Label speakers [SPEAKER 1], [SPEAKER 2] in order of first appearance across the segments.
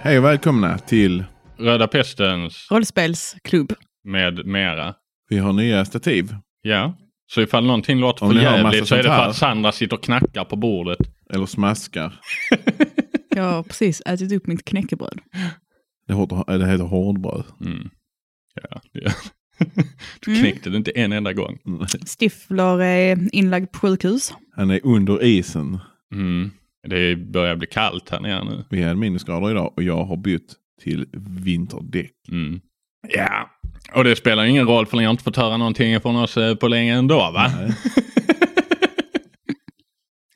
[SPEAKER 1] Hej och välkomna till...
[SPEAKER 2] Röda Pestens
[SPEAKER 3] Rollspelsklubb.
[SPEAKER 2] med mera.
[SPEAKER 1] Vi har nya stativ.
[SPEAKER 2] Ja, så ifall någonting låter
[SPEAKER 1] Om
[SPEAKER 2] för
[SPEAKER 1] ni hör massa
[SPEAKER 2] jävligt så är det
[SPEAKER 1] sånt
[SPEAKER 2] för
[SPEAKER 1] här.
[SPEAKER 2] att Sandra sitter och knackar på bordet.
[SPEAKER 1] Eller smaskar.
[SPEAKER 3] Jag har precis ätit upp mitt knäckebröd.
[SPEAKER 1] Det heter, det heter hårdbröd.
[SPEAKER 2] Mm. Ja, ja. Du knäckte det inte en enda gång.
[SPEAKER 1] Mm.
[SPEAKER 3] Stiffler är inlagd på sjukhus.
[SPEAKER 1] Han är under isen.
[SPEAKER 2] Mm. Det börjar bli kallt här nere nu.
[SPEAKER 1] Vi hade minusgrader idag och jag har bytt till vinterdäck.
[SPEAKER 2] Mm. Ja, och det spelar ingen roll för ni har inte fått höra någonting från oss eh, på länge ändå va?
[SPEAKER 1] Nej.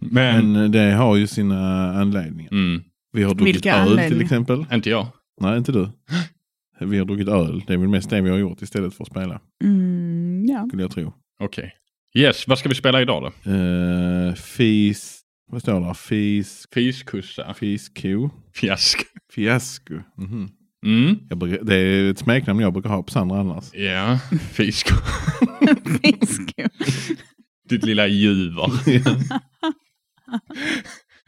[SPEAKER 2] Men,
[SPEAKER 1] Men det har ju sina anledningar.
[SPEAKER 2] mm,
[SPEAKER 1] Vi har druckit
[SPEAKER 3] Vilka
[SPEAKER 1] öl till
[SPEAKER 3] anledningar?
[SPEAKER 1] exempel.
[SPEAKER 2] inte jag.
[SPEAKER 1] Nej, inte du. Vi har druckit öl. Det är väl mest det vi har gjort istället för att spela,
[SPEAKER 3] Mm, ja.
[SPEAKER 1] skulle jag tro.
[SPEAKER 2] Okej. Yes, vad ska vi spela idag då?
[SPEAKER 1] Eh, fis... Vad står det? Fis...
[SPEAKER 2] Fiskussa.
[SPEAKER 1] Fisko?
[SPEAKER 2] Fiask.
[SPEAKER 1] Fiasko. Mhm.
[SPEAKER 2] Mm.
[SPEAKER 1] Jag brukar, det är ett smeknamn jag brukar ha på Sandra annars.
[SPEAKER 2] Ja, fisk.
[SPEAKER 3] Fisk.
[SPEAKER 2] Ditt lilla ljuver.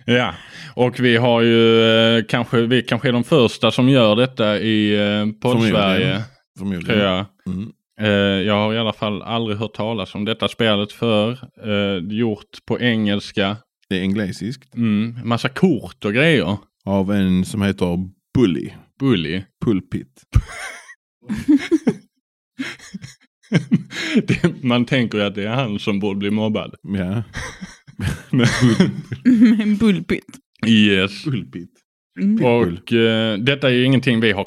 [SPEAKER 2] Ja, och vi har ju eh, kanske, vi kanske är de första som gör detta i eh,
[SPEAKER 1] gör
[SPEAKER 2] podd-Sverige.
[SPEAKER 1] det.
[SPEAKER 2] Tror
[SPEAKER 1] Förmodligen.
[SPEAKER 2] jag.
[SPEAKER 1] Mm.
[SPEAKER 2] Eh, jag har i alla fall aldrig hört talas om detta spelet för eh, Gjort på engelska.
[SPEAKER 1] Det är engelsiskt.
[SPEAKER 2] Mm, massa kort och grejer.
[SPEAKER 1] Av en som heter Bully.
[SPEAKER 2] Bully.
[SPEAKER 1] Pulpit.
[SPEAKER 2] Det, man tänker ju att det är han som borde bli mobbad.
[SPEAKER 1] Ja.
[SPEAKER 2] Men- eh,
[SPEAKER 3] En bullpit.
[SPEAKER 2] yes.
[SPEAKER 1] Pulpit.
[SPEAKER 3] Mm.
[SPEAKER 1] Pitbull.
[SPEAKER 2] Och eh, detta är ju ingenting vi har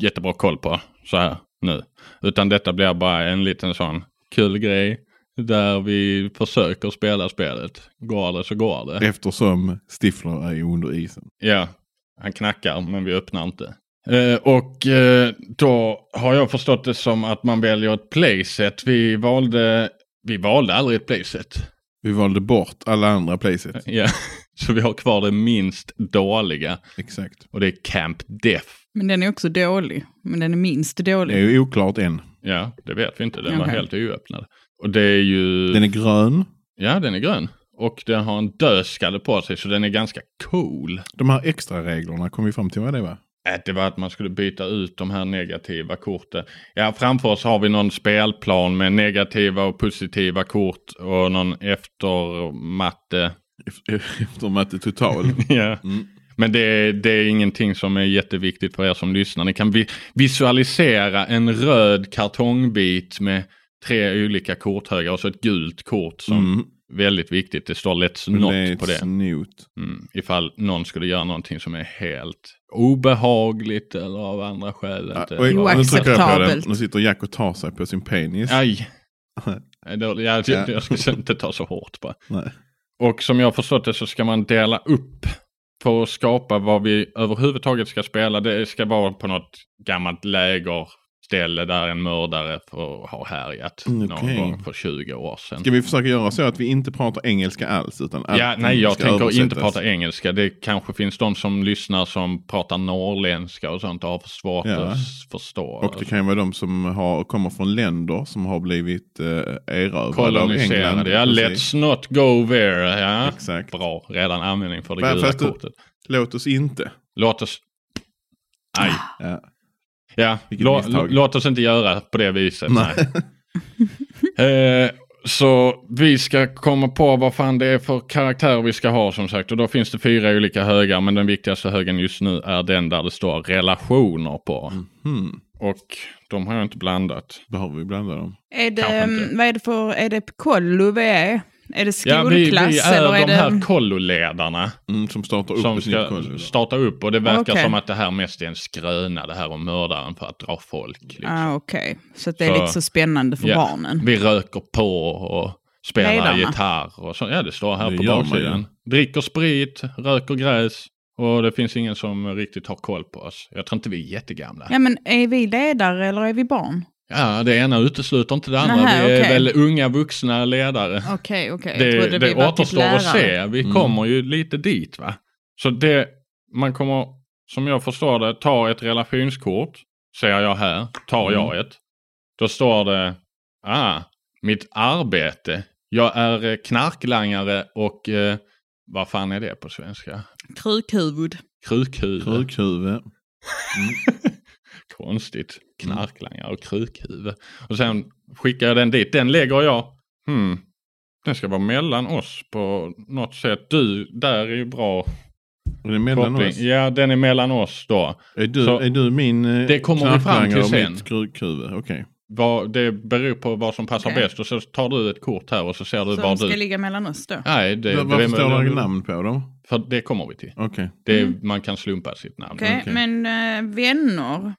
[SPEAKER 2] jättebra koll på så här nu. Utan detta blir bara en liten sån kul grej där vi försöker spela spelet. Går det så går det.
[SPEAKER 1] Eftersom Stifler är under isen.
[SPEAKER 2] Ja, han knackar men vi öppnar inte. Eh, och eh, då har jag förstått det som att man väljer ett playset. Vi valde, vi valde aldrig ett playset.
[SPEAKER 1] Vi valde bort alla andra playset.
[SPEAKER 2] Ja, så vi har kvar det minst dåliga
[SPEAKER 1] Exakt.
[SPEAKER 2] och det är Camp Death.
[SPEAKER 3] Men den är också dålig. Men den är minst
[SPEAKER 1] Det
[SPEAKER 3] dålig.
[SPEAKER 1] är ju oklart än.
[SPEAKER 2] Ja, det vet vi inte. Den var
[SPEAKER 3] Okej.
[SPEAKER 2] helt oöppnad. Och det är ju...
[SPEAKER 1] Den är grön.
[SPEAKER 2] Ja, den är grön. Och den har en dödskalle på sig, så den är ganska cool.
[SPEAKER 1] De här extra reglerna kom vi fram till vad det var.
[SPEAKER 2] Äh, Det var att man skulle byta ut de här negativa korten. Ja, framför oss har vi någon spelplan med negativa och positiva kort och någon eftermatte.
[SPEAKER 1] Ef- Eftersom att det är total.
[SPEAKER 2] Ja.
[SPEAKER 1] Mm.
[SPEAKER 2] Men det är, det är ingenting som är jätteviktigt för er som lyssnar. Ni kan vi visualisera en röd kartongbit med tre olika korthögar och så ett gult kort som
[SPEAKER 1] Mm.
[SPEAKER 2] väldigt viktigt. Det står let's
[SPEAKER 1] Men är
[SPEAKER 2] not
[SPEAKER 1] ett
[SPEAKER 2] på det.
[SPEAKER 1] Snot.
[SPEAKER 2] Mm. Ifall någon skulle göra någonting som är helt obehagligt eller av andra skäl.
[SPEAKER 1] Ah,
[SPEAKER 2] inte
[SPEAKER 1] oj,
[SPEAKER 2] bra.
[SPEAKER 1] nu trycker jag på den.
[SPEAKER 3] Oacceptabelt.
[SPEAKER 1] Nu sitter Jack och tar sig på sin penis.
[SPEAKER 2] Aj! Nej, då- Jag,
[SPEAKER 1] Ja.
[SPEAKER 2] jag, jag ska inte ta så hårt bara.
[SPEAKER 1] Nej.
[SPEAKER 2] Och som jag har förstått det så ska man dela upp för att skapa vad vi överhuvudtaget ska spela. Det ska vara på något gammalt lägerställe där en mördare får, har härjat
[SPEAKER 1] Mm,
[SPEAKER 2] någon
[SPEAKER 1] okej.
[SPEAKER 2] gång för 20 år sedan.
[SPEAKER 1] Ska vi försöka göra så att vi inte pratar engelska alls? Utan allt
[SPEAKER 2] Ja, nej, jag
[SPEAKER 1] ska
[SPEAKER 2] tänker inte
[SPEAKER 1] översättas?
[SPEAKER 2] prata engelska. Det kanske finns de som lyssnar som pratar norrländska och sånt och har svårt
[SPEAKER 1] Ja.
[SPEAKER 2] att s- förstå.
[SPEAKER 1] Och det kan ju vara de som har, kommer från länder som har blivit eh, erövrade av England.
[SPEAKER 2] Koloniserade. Ja,
[SPEAKER 1] Precis.
[SPEAKER 2] let's not go there. Ja.
[SPEAKER 1] Exakt.
[SPEAKER 2] Bra, redan användning för
[SPEAKER 1] Va,
[SPEAKER 2] det gula
[SPEAKER 1] fast du-
[SPEAKER 2] kortet.
[SPEAKER 1] Låt oss inte.
[SPEAKER 2] Låt oss... Aj.
[SPEAKER 1] Ja.
[SPEAKER 2] Ja,
[SPEAKER 1] Vilket
[SPEAKER 2] lå-
[SPEAKER 1] misstag.
[SPEAKER 2] låt oss inte göra på det viset. Nej.
[SPEAKER 1] Nej.
[SPEAKER 2] Eh, så vi ska komma på vad fan det är för karaktär vi ska ha som sagt. Och då finns det fyra olika högar. Men den viktigaste högen just nu är den där det står relationer på.
[SPEAKER 1] Hmm.
[SPEAKER 2] Och de har jag inte blandat.
[SPEAKER 1] Behöver vi blanda dem?
[SPEAKER 3] Är det,
[SPEAKER 2] Kanske inte.
[SPEAKER 3] vad är det för, är det kollo vi är? Är det
[SPEAKER 2] Ja, vi, vi
[SPEAKER 3] skolklass eller
[SPEAKER 2] är
[SPEAKER 3] är
[SPEAKER 2] de här
[SPEAKER 3] det...
[SPEAKER 2] kolloledarna
[SPEAKER 1] Mm, som startar upp
[SPEAKER 2] som
[SPEAKER 1] ett nytt
[SPEAKER 2] ska
[SPEAKER 1] kollo.
[SPEAKER 2] starta upp. Och det verkar
[SPEAKER 3] Okej.
[SPEAKER 2] som att det här mest är en skröna det här om mördaren för att dra folk. Liksom.
[SPEAKER 3] Ah, Okej, så att det
[SPEAKER 2] Så-
[SPEAKER 3] är lite så spännande för
[SPEAKER 2] Ja.
[SPEAKER 3] barnen.
[SPEAKER 2] Vi röker på och spelar
[SPEAKER 3] Ledarna.
[SPEAKER 2] gitarr och så. Ja, det står här
[SPEAKER 1] Det
[SPEAKER 2] på
[SPEAKER 1] gör man
[SPEAKER 2] baksidan. Dricker sprit, röker gräs och det finns ingen som riktigt har koll på oss. Jag tror inte vi är jättegamla. Ja,
[SPEAKER 3] Ja, men är vi ledare eller är vi barn?
[SPEAKER 2] det ena utesluter inte det andra.
[SPEAKER 3] Nähä,
[SPEAKER 2] vi är
[SPEAKER 3] okej.
[SPEAKER 2] väl unga vuxna ledare.
[SPEAKER 3] Okej, okej. Jag
[SPEAKER 2] det
[SPEAKER 3] trodde vi
[SPEAKER 2] det
[SPEAKER 3] var typ
[SPEAKER 2] återstår att
[SPEAKER 3] lärare.
[SPEAKER 2] se. Vi
[SPEAKER 1] Mm.
[SPEAKER 2] kommer ju lite dit va. Så det, man kommer, som jag förstår det, ta ett relationskort. Ser jag här, tar jag ett. Då står det, ah, mitt arbete. Jag är eh, knarklangare och, eh, vad fan är det på svenska?
[SPEAKER 3] Krukhuvud.
[SPEAKER 2] Krukhuvud.
[SPEAKER 1] Krukhuvud. Mm.
[SPEAKER 2] Konstigt. Knarklangare och krukhuvud. Och sen skickar jag den dit. Den lägger jag. Hmm. Den ska vara mellan oss på något sätt. Du, där är ju bra
[SPEAKER 1] Är det mellan
[SPEAKER 2] koppling.
[SPEAKER 1] oss?
[SPEAKER 2] Ja, den är mellan oss då.
[SPEAKER 1] Är du,
[SPEAKER 2] Så-
[SPEAKER 1] är du min eh,
[SPEAKER 2] Det kommer vi fram
[SPEAKER 1] knarklangare
[SPEAKER 2] till
[SPEAKER 1] och
[SPEAKER 2] sen.
[SPEAKER 1] mitt krukhuvud? Okej.
[SPEAKER 2] Vad, det beror på vad som passar
[SPEAKER 3] Okej.
[SPEAKER 2] bäst och så tar du ett kort här och så ser du
[SPEAKER 3] Så
[SPEAKER 2] var
[SPEAKER 3] de ska
[SPEAKER 2] du...
[SPEAKER 3] ligga mellan oss då?
[SPEAKER 2] Nej, det,
[SPEAKER 1] Var-
[SPEAKER 2] det,
[SPEAKER 1] Varför står det namn på dem?
[SPEAKER 2] För det kommer vi till.
[SPEAKER 1] Okej.
[SPEAKER 2] Det, är-
[SPEAKER 3] Mm.
[SPEAKER 2] Man kan slumpa sitt namn.
[SPEAKER 3] Okej,
[SPEAKER 1] okej.
[SPEAKER 3] men eh, vänner.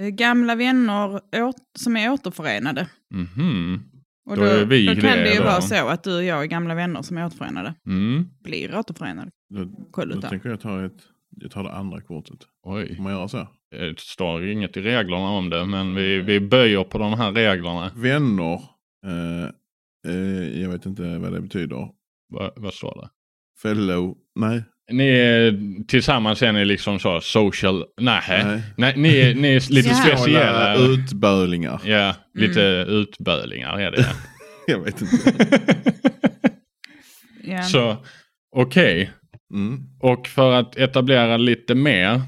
[SPEAKER 3] Eh, gamla vänner åt, som är återförenade.
[SPEAKER 2] Mhm.
[SPEAKER 3] Och
[SPEAKER 2] Då är vi
[SPEAKER 3] då kan
[SPEAKER 2] det
[SPEAKER 3] det ju
[SPEAKER 2] då.
[SPEAKER 3] vara så att du och jag är gamla vänner som är återförenade.
[SPEAKER 2] Mm.
[SPEAKER 3] Blir återförenade.
[SPEAKER 1] Då,
[SPEAKER 3] Kolla
[SPEAKER 1] då
[SPEAKER 3] ut där.
[SPEAKER 1] tänker jag ta ett, jag tar det andra kortet. Får
[SPEAKER 2] Oj,
[SPEAKER 1] man göra så?
[SPEAKER 2] det står inget i reglerna om det men vi, vi böjer på de här reglerna.
[SPEAKER 1] Vänner. Eh, eh, jag vet inte vad det betyder.
[SPEAKER 2] Va, vad står det?
[SPEAKER 1] Fellow. Nej.
[SPEAKER 2] Ni är, tillsammans är ni liksom så social, nej,
[SPEAKER 1] nej.
[SPEAKER 2] nej ni, är, ni är lite
[SPEAKER 3] Ja.
[SPEAKER 2] speciella.
[SPEAKER 1] Alla utbölingar.
[SPEAKER 2] Ja, lite utbölingar är det.
[SPEAKER 1] Jag vet inte.
[SPEAKER 3] Ja.
[SPEAKER 2] så okej,
[SPEAKER 1] Mm.
[SPEAKER 2] och för att etablera lite mer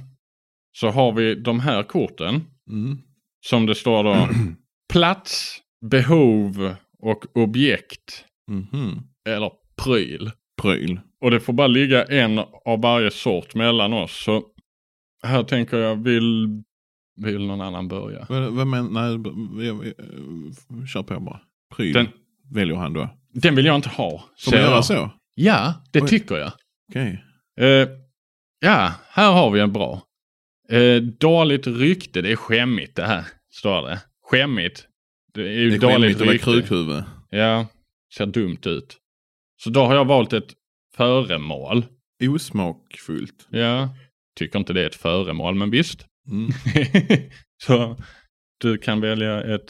[SPEAKER 2] så har vi de här korten
[SPEAKER 1] Mm.
[SPEAKER 2] som det står då plats, behov och objekt
[SPEAKER 1] Mhm.
[SPEAKER 2] eller pryl.
[SPEAKER 1] Pryl.
[SPEAKER 2] Och det får bara ligga en av varje sort mellan oss. Så här tänker jag, vill, vill någon annan börja?
[SPEAKER 1] Vad, vad men, nej, b- jag, eh, kör på bara. Pryl
[SPEAKER 2] Den-
[SPEAKER 1] väljer han då.
[SPEAKER 2] Den vill jag inte ha.
[SPEAKER 1] Får man
[SPEAKER 2] säger
[SPEAKER 1] göra
[SPEAKER 2] jag.
[SPEAKER 1] så?
[SPEAKER 2] Ja, det
[SPEAKER 1] Oj.
[SPEAKER 2] tycker jag.
[SPEAKER 1] Okej.
[SPEAKER 2] Eh, ja, här har vi en bra. Eh, dåligt rykte, det är skämmigt det här, står det. Skämmigt. Det är ju
[SPEAKER 1] Det är
[SPEAKER 2] dåligt
[SPEAKER 1] skämmigt att vara
[SPEAKER 2] rykte.
[SPEAKER 1] krukhuvud.
[SPEAKER 2] Ja, ser dumt ut. Så då har jag valt ett föremål.
[SPEAKER 1] Osmakfullt.
[SPEAKER 2] Ja, tycker inte det är ett föremål, men visst.
[SPEAKER 1] Mm.
[SPEAKER 2] så du kan välja ett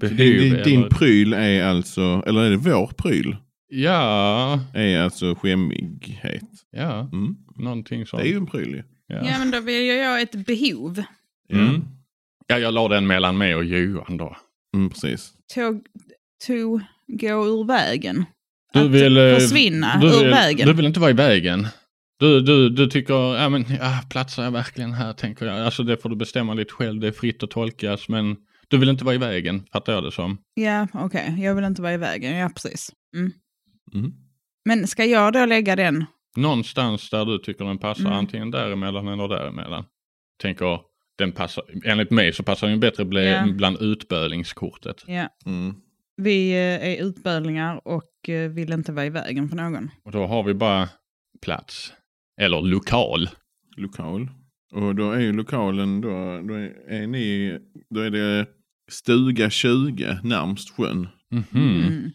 [SPEAKER 2] behov.
[SPEAKER 1] Din, din,
[SPEAKER 2] eller-
[SPEAKER 1] din pryl är alltså, eller är det vår pryl?
[SPEAKER 2] Ja,
[SPEAKER 1] Är alltså skämmighet.
[SPEAKER 2] ja,
[SPEAKER 1] Mm.
[SPEAKER 2] någonting
[SPEAKER 1] Det
[SPEAKER 2] sånt.
[SPEAKER 1] är ju en pryl ju.
[SPEAKER 2] ja.
[SPEAKER 3] ja, men då vill jag ett behov.
[SPEAKER 1] Ja.
[SPEAKER 2] Mm. ja, jag la den mellan mig och Johan då.
[SPEAKER 1] Mm, precis.
[SPEAKER 3] Tåg, to, gå ur vägen.
[SPEAKER 2] Du
[SPEAKER 3] Att
[SPEAKER 2] vill, eh,
[SPEAKER 3] försvinna
[SPEAKER 2] du
[SPEAKER 3] Ah, ur
[SPEAKER 2] vill,
[SPEAKER 3] vägen.
[SPEAKER 2] Du vill inte vara i vägen. Du, du, du tycker, ja men ja, platsar jag verkligen här tänker jag. Alltså det får du bestämma lite själv, det är fritt att tolkas men du vill inte vara i vägen, fattar jag det som.
[SPEAKER 3] Ja, okej. Jag vill inte vara i vägen. Ja, precis. Mm.
[SPEAKER 1] Mm.
[SPEAKER 3] Men ska jag då lägga den?
[SPEAKER 2] Någonstans där du tycker den passar,
[SPEAKER 3] Mm.
[SPEAKER 2] antingen däremellan eller däremellan. Tänker, den passar, enligt mig så passar den bättre ble,
[SPEAKER 3] Ja.
[SPEAKER 2] bland utbölingskortet.
[SPEAKER 3] Ja.
[SPEAKER 1] Mm.
[SPEAKER 3] Vi eh, är utbölingar och eh, vill inte vara i vägen för någon.
[SPEAKER 2] Och då har vi bara plats. Eller lokal.
[SPEAKER 1] Lokal. Och då är ju lokalen då, då är, är ni, då är det stuga 20 närmst sjön.
[SPEAKER 2] Mhm.
[SPEAKER 3] Mm.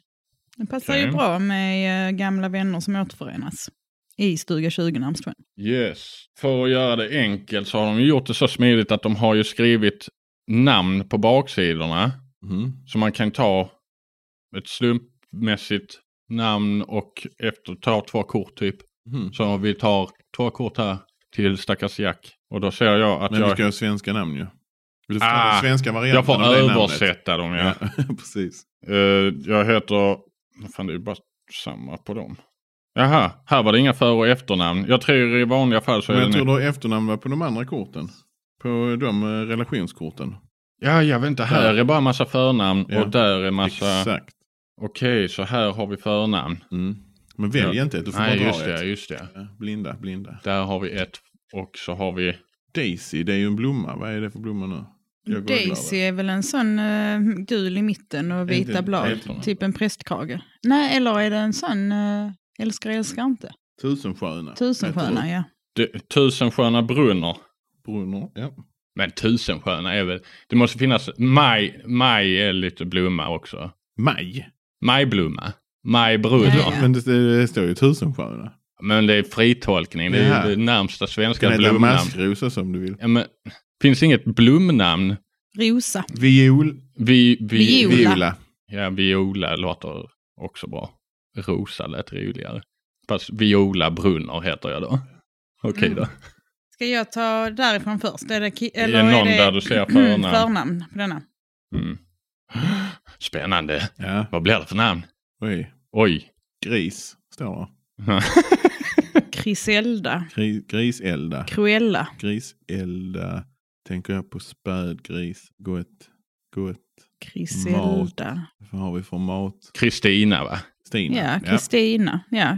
[SPEAKER 3] Det passar ju
[SPEAKER 2] Okej.
[SPEAKER 3] bra med eh, gamla vänner som återförenas i Stuga 20 Namnsjön.
[SPEAKER 2] Yes. För att göra det enkelt så har de ju gjort det så smidigt att de har ju skrivit namn på baksidorna.
[SPEAKER 1] Mm.
[SPEAKER 2] Så man kan ta ett slumpmässigt namn och efter ta två kort typ.
[SPEAKER 1] Mm.
[SPEAKER 2] Så vi tar två kort här till stackars Jack. Och då ser jag att
[SPEAKER 1] Men vi
[SPEAKER 2] jag,
[SPEAKER 1] ska ha svenska namn ju. Du får
[SPEAKER 2] Ah,
[SPEAKER 1] ta den svenska varianten
[SPEAKER 2] jag får
[SPEAKER 1] av det namnet.
[SPEAKER 2] översätta dem. Ja.
[SPEAKER 1] Ja, precis.
[SPEAKER 2] Eh, jag heter, vad fan det är ju bara samma på dem. Jaha, här var det inga för och efternamn. Jag tror i vanliga fall så är
[SPEAKER 1] Men jag
[SPEAKER 2] det
[SPEAKER 1] tror du har efternamn var på de andra korten. På de eh, relationskorten.
[SPEAKER 2] Ja, jag vet inte. Här är bara massa förnamn
[SPEAKER 1] Ja.
[SPEAKER 2] och där är massa...
[SPEAKER 1] Exakt.
[SPEAKER 2] Okej, så här har vi förnamn.
[SPEAKER 1] Mm. Men välj
[SPEAKER 2] Ja.
[SPEAKER 1] inte ett, du får bara
[SPEAKER 2] Nej,
[SPEAKER 1] dra
[SPEAKER 2] just det,
[SPEAKER 1] ett.
[SPEAKER 2] just det.
[SPEAKER 1] Ja, Blinda, blinda.
[SPEAKER 2] Där har vi ett och så har vi...
[SPEAKER 1] Daisy, det är ju en blomma. Vad är det för blomma nu? Jag går glad.
[SPEAKER 3] Daisy är väl en sån eh, gul i mitten och vita
[SPEAKER 1] Inte-
[SPEAKER 3] blad.
[SPEAKER 1] inte-
[SPEAKER 3] Typ en prästkrage. Nej, eller är det en sån uh, älskar älskar inte?
[SPEAKER 1] Tusensköna.
[SPEAKER 3] Tusensköna, ja.
[SPEAKER 2] D- Tusensköna brunnar.
[SPEAKER 1] Brunner. Ja.
[SPEAKER 2] Men tusensköna är väl... Det måste finnas... Maj, maj är lite blomma också.
[SPEAKER 1] Maj.
[SPEAKER 2] Majblomma. Majbrunnar.
[SPEAKER 3] Ja, ja.
[SPEAKER 1] Men det, det står ju tusensköna.
[SPEAKER 2] Men det är fritolkning. Det är
[SPEAKER 1] Ja.
[SPEAKER 2] ju det närmsta
[SPEAKER 1] Kan
[SPEAKER 2] svenska
[SPEAKER 1] heta
[SPEAKER 2] blomnamn.
[SPEAKER 1] maskros också om du vill.
[SPEAKER 2] Ja, men, finns inget blomnamn?
[SPEAKER 3] Rosa.
[SPEAKER 1] Viol.
[SPEAKER 2] Vi, vi,
[SPEAKER 3] Viol. Viola.
[SPEAKER 1] Viola.
[SPEAKER 2] Ja, viola låter också bra. Rosa lät roligare. Fast Viola Brunner heter jag då. Okej
[SPEAKER 3] Mm.
[SPEAKER 2] då.
[SPEAKER 3] Ska jag ta därifrån först? Är det ki-
[SPEAKER 2] Är
[SPEAKER 3] eller
[SPEAKER 2] någon
[SPEAKER 3] är det mm,
[SPEAKER 2] där du ser förnamn?
[SPEAKER 3] förnamn på denna?
[SPEAKER 2] Mm. Spännande.
[SPEAKER 1] Ja.
[SPEAKER 2] Vad blir det för namn?
[SPEAKER 1] Oj.
[SPEAKER 2] Oj.
[SPEAKER 1] Gris. Står det.
[SPEAKER 3] Criselda.
[SPEAKER 1] Gri- Griselda.
[SPEAKER 3] Cruella.
[SPEAKER 1] Griselda. Tänker jag på spädgris. Gott. Gott.
[SPEAKER 3] Criselda.
[SPEAKER 1] Vad har vi för mat?
[SPEAKER 2] Kristina va?
[SPEAKER 1] Stina.
[SPEAKER 3] Ja, Kristina. Ja.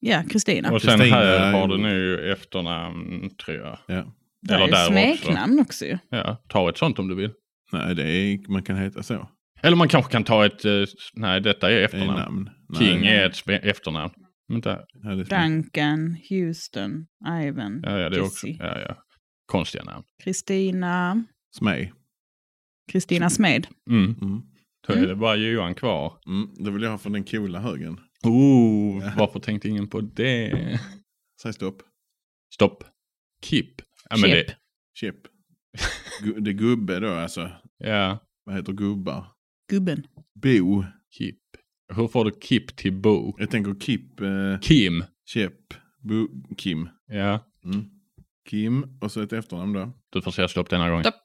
[SPEAKER 3] Ja, Kristina.
[SPEAKER 2] Och sen
[SPEAKER 1] Kristina
[SPEAKER 2] här
[SPEAKER 1] är-
[SPEAKER 2] har du nu efternamn tror jag.
[SPEAKER 1] Ja.
[SPEAKER 3] Det är
[SPEAKER 2] eller
[SPEAKER 3] ju
[SPEAKER 2] där också.
[SPEAKER 3] smeknamn också ju.
[SPEAKER 2] Ja, ta ett sånt om du vill.
[SPEAKER 1] Nej, det är, man kan heta så.
[SPEAKER 2] Eller man kanske kan ta ett, eh, nej detta är
[SPEAKER 1] Det är
[SPEAKER 2] efternamn.
[SPEAKER 1] namn. Nej.
[SPEAKER 2] King är ett spe- efternamn. Vänta,
[SPEAKER 1] Ja, det är sant.
[SPEAKER 3] Duncan, Houston, Ivan,
[SPEAKER 2] ja, ja det är också,
[SPEAKER 3] Jesse.
[SPEAKER 2] ja, ja. Konstiga namn.
[SPEAKER 3] Kristina,
[SPEAKER 1] Smej.
[SPEAKER 3] Kristina Smed.
[SPEAKER 2] Mm.
[SPEAKER 1] Mm.
[SPEAKER 2] Då är
[SPEAKER 3] Mm.
[SPEAKER 2] det bara Johan kvar.
[SPEAKER 1] Mm. Det vill jag ha från den coola högen.
[SPEAKER 2] Oh,
[SPEAKER 1] Ja.
[SPEAKER 2] varför tänkte ingen på det?
[SPEAKER 1] Säg stopp.
[SPEAKER 2] Stopp. Kip. Ja, men
[SPEAKER 3] Chip.
[SPEAKER 2] det,
[SPEAKER 1] Chip. Gu- det är gubbe då alltså.
[SPEAKER 2] ja,
[SPEAKER 1] Vad heter gubbar?
[SPEAKER 3] Gubben.
[SPEAKER 1] Bo.
[SPEAKER 2] kip. Hur får du kip till bo?
[SPEAKER 1] Jag tänker Kip. Eh,
[SPEAKER 2] Kim.
[SPEAKER 1] Chip. Bo. Kim.
[SPEAKER 2] Ja,
[SPEAKER 1] Mm. Kim och så ett efternamn då.
[SPEAKER 2] du får säga stopp denna gången.
[SPEAKER 3] Stopp.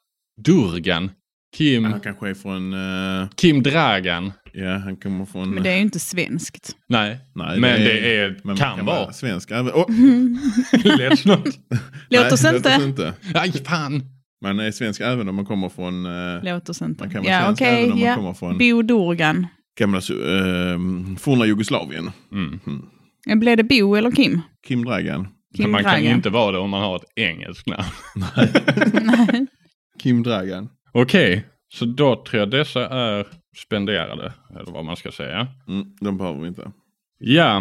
[SPEAKER 2] Durgan. Kim.
[SPEAKER 1] Han kanske är från... eh,
[SPEAKER 2] Kim Dragan.
[SPEAKER 1] ja, han kommer från...
[SPEAKER 2] Mm.
[SPEAKER 3] Men det är ju inte svenskt.
[SPEAKER 2] Nej,
[SPEAKER 1] Nej,
[SPEAKER 2] men
[SPEAKER 1] det
[SPEAKER 2] det
[SPEAKER 1] är-
[SPEAKER 2] är,
[SPEAKER 1] men man
[SPEAKER 2] kan, vara. Mm-hmm.
[SPEAKER 1] Svensk. även- Åh!
[SPEAKER 2] Let's not.
[SPEAKER 1] Nej,
[SPEAKER 3] Låt oss
[SPEAKER 1] Låt oss
[SPEAKER 3] inte.
[SPEAKER 1] inte.
[SPEAKER 2] Aj, fan.
[SPEAKER 1] Man är svensk även om man kommer från... eh,
[SPEAKER 3] Låt oss
[SPEAKER 1] man
[SPEAKER 3] inte.
[SPEAKER 1] kan vara
[SPEAKER 3] Ja,
[SPEAKER 1] svensk
[SPEAKER 3] okej.
[SPEAKER 1] även om man
[SPEAKER 3] ja.
[SPEAKER 1] kommer från
[SPEAKER 3] Bo Dorgan.
[SPEAKER 1] gamla uh, forna Jugoslavien.
[SPEAKER 2] Mm.
[SPEAKER 3] Blev det Bo eller Kim?
[SPEAKER 1] Kim Dragan.
[SPEAKER 3] Kim
[SPEAKER 2] Men man kan ju
[SPEAKER 3] Dragan.
[SPEAKER 2] inte vara det om man har ett engelskt namn.
[SPEAKER 3] Nej.
[SPEAKER 1] Kim Dragan.
[SPEAKER 2] Okej, så då tror jag dessa är spenderade, eller vad man ska säga.
[SPEAKER 1] Mm, de behöver vi inte.
[SPEAKER 2] Ja,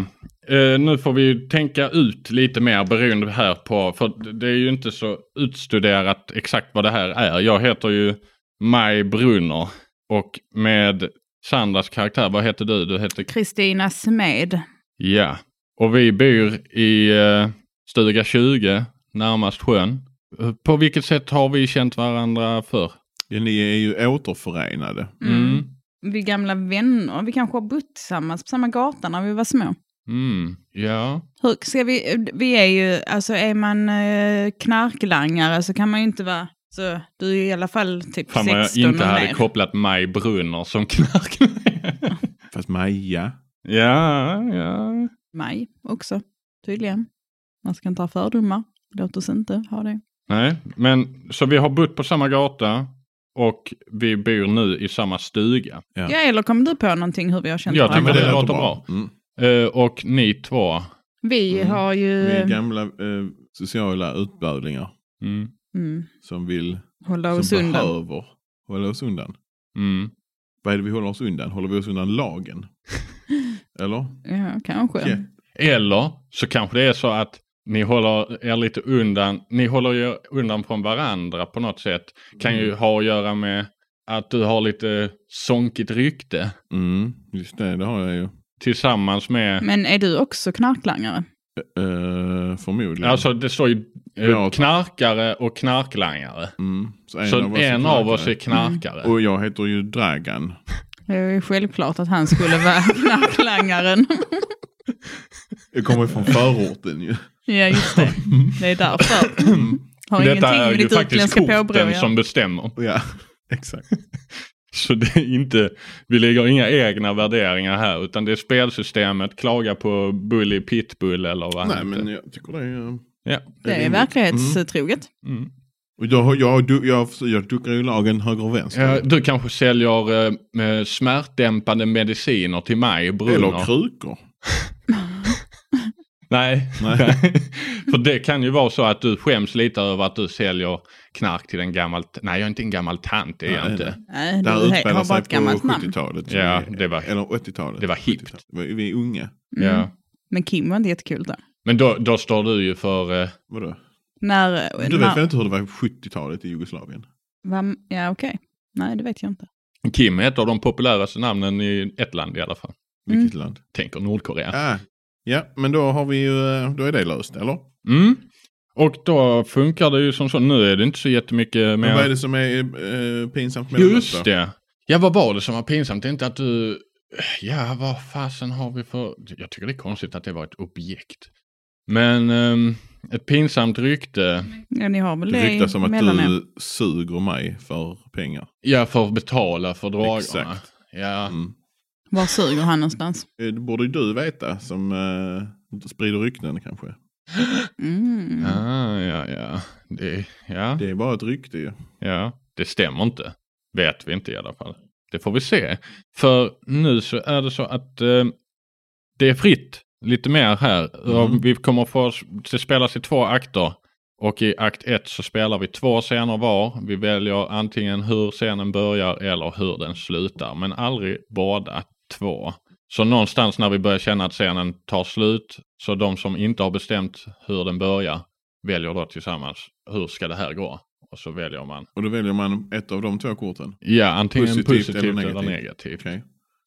[SPEAKER 2] eh, nu får vi ju tänka ut lite mer beroende här på, för det är ju inte så utstuderat exakt vad det här är. Jag heter ju Maj Brunner och med Sandras karaktär, vad heter du? Du heter
[SPEAKER 3] Kristina Smed.
[SPEAKER 2] Ja, och vi bor i eh, stuga 20 närmast sjön. Eh, På vilket sätt har vi känt varandra för?
[SPEAKER 1] Ja, ni är ju återförenade.
[SPEAKER 3] Mm. Vi är gamla vänner. Vi kanske har bott tillsammans på samma gata när vi var små.
[SPEAKER 2] Mm, ja.
[SPEAKER 3] Hur ska vi, vi är ju, alltså är man eh, knarklangare så kan man ju inte vara, så du är i alla fall typ
[SPEAKER 2] Fan vad jag
[SPEAKER 3] 16
[SPEAKER 2] inte
[SPEAKER 3] och
[SPEAKER 2] hade
[SPEAKER 3] mer.
[SPEAKER 2] kopplat Maj Brunner som knark.
[SPEAKER 1] Fast Maja.
[SPEAKER 2] ja, ja.
[SPEAKER 3] Maj också, tydligen. Man ska inte ha fördomar. Låt oss inte ha det.
[SPEAKER 2] Nej, men så vi har bott på samma gata och vi bor nu i samma stuga.
[SPEAKER 1] Ja.
[SPEAKER 3] Ja, eller kom du på någonting hur vi har känt
[SPEAKER 2] Jag
[SPEAKER 1] Ja,
[SPEAKER 3] varandra?
[SPEAKER 1] men
[SPEAKER 2] det låter bra.
[SPEAKER 1] Mm.
[SPEAKER 2] Eh, och ni två.
[SPEAKER 3] Vi
[SPEAKER 1] Mm.
[SPEAKER 3] har ju...
[SPEAKER 1] Vi är gamla eh, sociala utbödlingar
[SPEAKER 2] Mm,
[SPEAKER 3] Mm,
[SPEAKER 1] som vill,
[SPEAKER 3] hålla oss
[SPEAKER 1] som
[SPEAKER 3] undan.
[SPEAKER 1] behöver hålla oss undan.
[SPEAKER 2] mm.
[SPEAKER 1] Vad är det vi håller oss undan? Håller vi oss undan lagen? Eller?
[SPEAKER 3] Ja, kanske.
[SPEAKER 1] Ja.
[SPEAKER 2] Eller så kanske det är så att ni håller er lite undan, ni håller er undan från varandra på något sätt. Kan
[SPEAKER 3] Mm.
[SPEAKER 2] ju ha att göra med att du har lite sonkigt rykte
[SPEAKER 1] Mm, just det, det har jag ju.
[SPEAKER 2] tillsammans med,
[SPEAKER 3] Men är du också knarklangare?
[SPEAKER 1] Eh, förmodligen.
[SPEAKER 2] alltså det står ju eh,
[SPEAKER 1] Ja.
[SPEAKER 2] knarkare och knarklangare.
[SPEAKER 1] mm, så en,
[SPEAKER 2] så
[SPEAKER 1] av oss, är
[SPEAKER 2] en av oss är
[SPEAKER 1] knarkare.
[SPEAKER 2] knarkare.
[SPEAKER 3] Mm.
[SPEAKER 1] Och jag heter ju Dragan.
[SPEAKER 3] Det är ju självklart att han skulle vara knarklangaren.
[SPEAKER 1] Jag kommer från förorten ju.
[SPEAKER 3] ja, just det. Det är därför. Har
[SPEAKER 2] Detta
[SPEAKER 3] ingenting
[SPEAKER 2] är
[SPEAKER 3] med
[SPEAKER 2] ju
[SPEAKER 3] ditt
[SPEAKER 2] faktiskt
[SPEAKER 3] utländska påbrå att
[SPEAKER 2] korten
[SPEAKER 3] göra.
[SPEAKER 2] som bestämmer.
[SPEAKER 1] Ja, exakt.
[SPEAKER 2] Så det är inte, vi lägger inga egna värderingar här utan det är spelsystemet, klaga på Bully Pitbull eller vad
[SPEAKER 1] Nej
[SPEAKER 2] han
[SPEAKER 1] men
[SPEAKER 2] heter.
[SPEAKER 1] jag tycker det är... eh,
[SPEAKER 2] Ja.
[SPEAKER 3] Det är
[SPEAKER 1] rimligt.
[SPEAKER 3] verklighetstroget.
[SPEAKER 2] Mm.
[SPEAKER 1] Och jag, har- jag, du- jag, jag, jag duckar ju lagen höger och vänster.
[SPEAKER 2] Ja, du kanske säljer eh, eh, smärtdämpande mediciner till mig,
[SPEAKER 1] Eller
[SPEAKER 2] Brunner.
[SPEAKER 1] krukor.
[SPEAKER 2] Nej.
[SPEAKER 1] Nej.
[SPEAKER 2] För det kan ju vara så att du skäms lite över att du säljer knark till en gammal... t- Nej, jag är inte en gammal tant, det är jag
[SPEAKER 1] Nej,
[SPEAKER 2] inte.
[SPEAKER 1] Det
[SPEAKER 3] Nej, du
[SPEAKER 1] här
[SPEAKER 3] he-
[SPEAKER 1] utspelar
[SPEAKER 3] har bara
[SPEAKER 1] sig
[SPEAKER 3] ett
[SPEAKER 1] på
[SPEAKER 3] gammalt namn.
[SPEAKER 1] 70-talet.
[SPEAKER 2] Ja, det var-
[SPEAKER 1] Eller 80-talet.
[SPEAKER 2] det var hippt.
[SPEAKER 1] 70-talet. Vi vi är unga.
[SPEAKER 3] Mm.
[SPEAKER 2] Ja.
[SPEAKER 3] Men Kim var inte jättekul där.
[SPEAKER 2] Men då, då står du ju för... eh,
[SPEAKER 1] Vadå?
[SPEAKER 3] När,
[SPEAKER 1] Du vet
[SPEAKER 3] när,
[SPEAKER 1] väl inte hur det var på 70-talet i Jugoslavien?
[SPEAKER 3] Vad- ja, okej. Nej, det vet jag inte.
[SPEAKER 2] Kim är ett av de populäraste namnen i ett land i alla fall.
[SPEAKER 1] Vilket land?
[SPEAKER 2] Tänker Nordkorea.
[SPEAKER 1] Ah, ja, men då har vi ju, eh, då är det löst, eller?
[SPEAKER 2] Mm. Och då funkar det ju som så. Nu är det inte så jättemycket
[SPEAKER 1] Men vad är
[SPEAKER 2] mer...
[SPEAKER 1] det som är eh, pinsamt med detta?
[SPEAKER 2] Just det. Ja, vad var det som var pinsamt? Det är inte att du... Ja, vad fasen har vi för... Jag tycker det är konstigt att det var ett objekt. Men ehm, ett pinsamt rykte.
[SPEAKER 3] Ja, ni har väl
[SPEAKER 1] Det
[SPEAKER 3] det
[SPEAKER 1] ryktas om att
[SPEAKER 3] mellan er.
[SPEAKER 1] du suger mig för pengar.
[SPEAKER 2] Ja, för att betala för dragarna.
[SPEAKER 1] Exakt.
[SPEAKER 2] Ja.
[SPEAKER 1] Mm.
[SPEAKER 3] Var suger han någonstans?
[SPEAKER 1] Eh, Det borde ju du veta som eh, sprider rykten kanske.
[SPEAKER 3] Mm.
[SPEAKER 2] Ah, ja, ja. Det, ja,
[SPEAKER 1] Det är bara ett rykte ju.
[SPEAKER 2] ja. Det stämmer inte. Vet vi inte i alla fall. Det får vi se. För nu så är det så att eh, det är fritt lite mer här.
[SPEAKER 1] Mm.
[SPEAKER 2] Och Vi kommer få, det spelas i två akter. Och i akt ett så spelar vi två scener var. Vi väljer antingen hur scenen börjar eller hur den slutar. Men aldrig båda två. Så någonstans när vi börjar känna att scenen tar slut, så de som inte har bestämt hur den börjar väljer då tillsammans, hur ska det här gå? Och så väljer man,
[SPEAKER 1] Och då väljer man ett av de två korten.
[SPEAKER 2] ja antingen
[SPEAKER 1] Positivt
[SPEAKER 2] positivt,
[SPEAKER 1] eller
[SPEAKER 2] eller negativt.
[SPEAKER 1] negativt. Okej.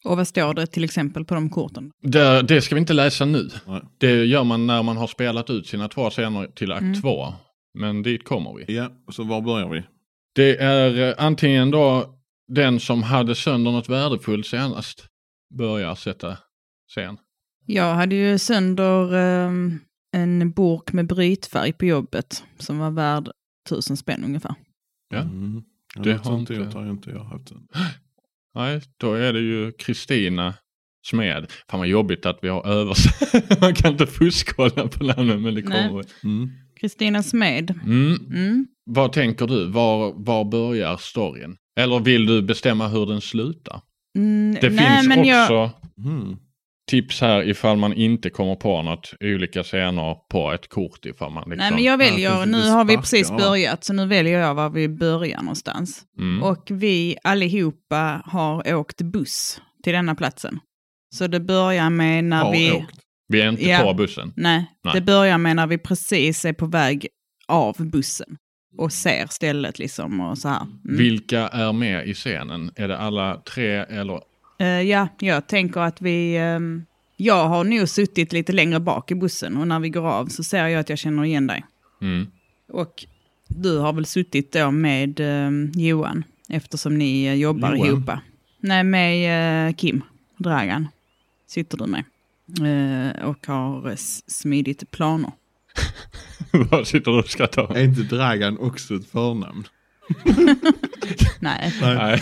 [SPEAKER 3] Och vad står det till exempel på de korten?
[SPEAKER 2] Det, det ska vi inte läsa nu.
[SPEAKER 1] Nej.
[SPEAKER 2] Det gör man när man har spelat ut sina två scener till akt
[SPEAKER 3] Mm.
[SPEAKER 2] två. Men dit kommer vi.
[SPEAKER 1] Ja, så var börjar vi?
[SPEAKER 2] Det är eh, antingen då den som hade sönder något värdefullt senast börjar sätta scen.
[SPEAKER 3] Jag hade ju sönder ehm, en burk med brytfärg på jobbet som var värd tusen spänn ungefär.
[SPEAKER 2] Ja.
[SPEAKER 1] Mm. Ja,
[SPEAKER 2] Det
[SPEAKER 1] något
[SPEAKER 2] har
[SPEAKER 1] sånt
[SPEAKER 2] inte-
[SPEAKER 1] jag tar inte jag haft. än.
[SPEAKER 2] Nej, då är det ju Kristina Smed. Fan vad jobbigt att vi har översatt. Man kan inte fuskkolla på namnen men det
[SPEAKER 3] Nej.
[SPEAKER 2] kommer.
[SPEAKER 1] Mm.
[SPEAKER 3] Kristina Smed.
[SPEAKER 2] Mm.
[SPEAKER 3] Mm.
[SPEAKER 2] Vad tänker du? Var, var börjar storyn? Eller vill du bestämma hur den slutar?
[SPEAKER 3] Mm,
[SPEAKER 2] Det
[SPEAKER 3] nej,
[SPEAKER 2] finns
[SPEAKER 3] men
[SPEAKER 2] också
[SPEAKER 3] jag-
[SPEAKER 1] Mm.
[SPEAKER 2] tips här ifall man inte kommer på något. Olika scener på ett kort ifall man liksom...
[SPEAKER 3] Nej, men jag
[SPEAKER 1] Ja,
[SPEAKER 3] väljer,
[SPEAKER 1] precis,
[SPEAKER 3] nu
[SPEAKER 1] det
[SPEAKER 3] har vi
[SPEAKER 1] sparkar,
[SPEAKER 3] precis
[SPEAKER 1] va?
[SPEAKER 3] börjat, så nu väljer jag var vi börjar någonstans.
[SPEAKER 2] Mm.
[SPEAKER 3] Och vi allihopa har åkt buss till denna platsen. Så det börjar med när
[SPEAKER 1] Har
[SPEAKER 3] vi...
[SPEAKER 1] åkt.
[SPEAKER 2] Vi är inte
[SPEAKER 3] Ja. Mm.
[SPEAKER 2] på bussen.
[SPEAKER 3] Nej,
[SPEAKER 2] Nej.
[SPEAKER 3] det börjar med när vi precis är på väg av bussen och ser stället liksom och så här. Mm.
[SPEAKER 2] Vilka är med i scenen? Är det alla tre eller?
[SPEAKER 3] Eh, ja, jag tänker att vi... ehm, jag har nog suttit lite längre bak i bussen och när vi går av så ser jag att jag känner igen dig.
[SPEAKER 2] Mm.
[SPEAKER 3] Och du har väl suttit då med ehm, Johan eftersom ni eh, jobbar
[SPEAKER 1] Johan?
[SPEAKER 3] ihop. Nej, med eh, Kim Dragan sitter du med. Eh, och har eh, s- smidigt planer.
[SPEAKER 2] Vad sitter du och skrattar åt?
[SPEAKER 1] Är inte Dragan också ett förnamn?
[SPEAKER 3] Nej,
[SPEAKER 2] Nej.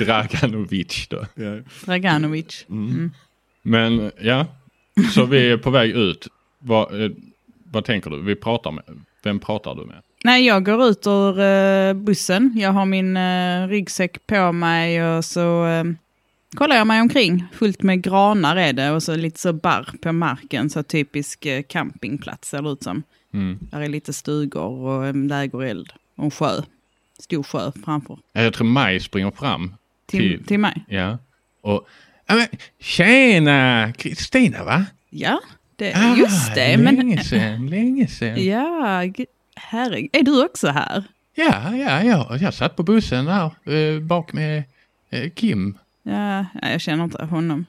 [SPEAKER 2] Draganovic då.
[SPEAKER 1] Ja.
[SPEAKER 3] Draganovic.
[SPEAKER 1] Mm.
[SPEAKER 2] Men ja, så vi är på väg ut. Vad, eh, vad tänker du? Vi pratar med, vem pratar du med?
[SPEAKER 3] Nej, jag går ut ur eh, bussen. Jag har min eh, ryggsäck på mig och så eh, kollar jag mig omkring. Fullt med granar är det och så lite så barr på marken. Så typisk eh, campingplats ser det ut som.
[SPEAKER 2] Mm.
[SPEAKER 3] Där är lite stugor och en lägereld och en sjö. Stor sjö framför.
[SPEAKER 2] Ja, Jag tror Maj springer fram.
[SPEAKER 3] Till,
[SPEAKER 2] Till-
[SPEAKER 3] till mig.
[SPEAKER 2] Ja. Och, ja men tjena Kristina va?
[SPEAKER 3] Ja,
[SPEAKER 2] Ah,
[SPEAKER 3] det, just det. Men,
[SPEAKER 2] Länge sen, länge sen.
[SPEAKER 3] ja, g- herregud. Är du också här?
[SPEAKER 2] Ja, ja, ja, jag satt på bussen där eh, bak med eh, Kim.
[SPEAKER 3] Ja, nej, jag känner inte honom.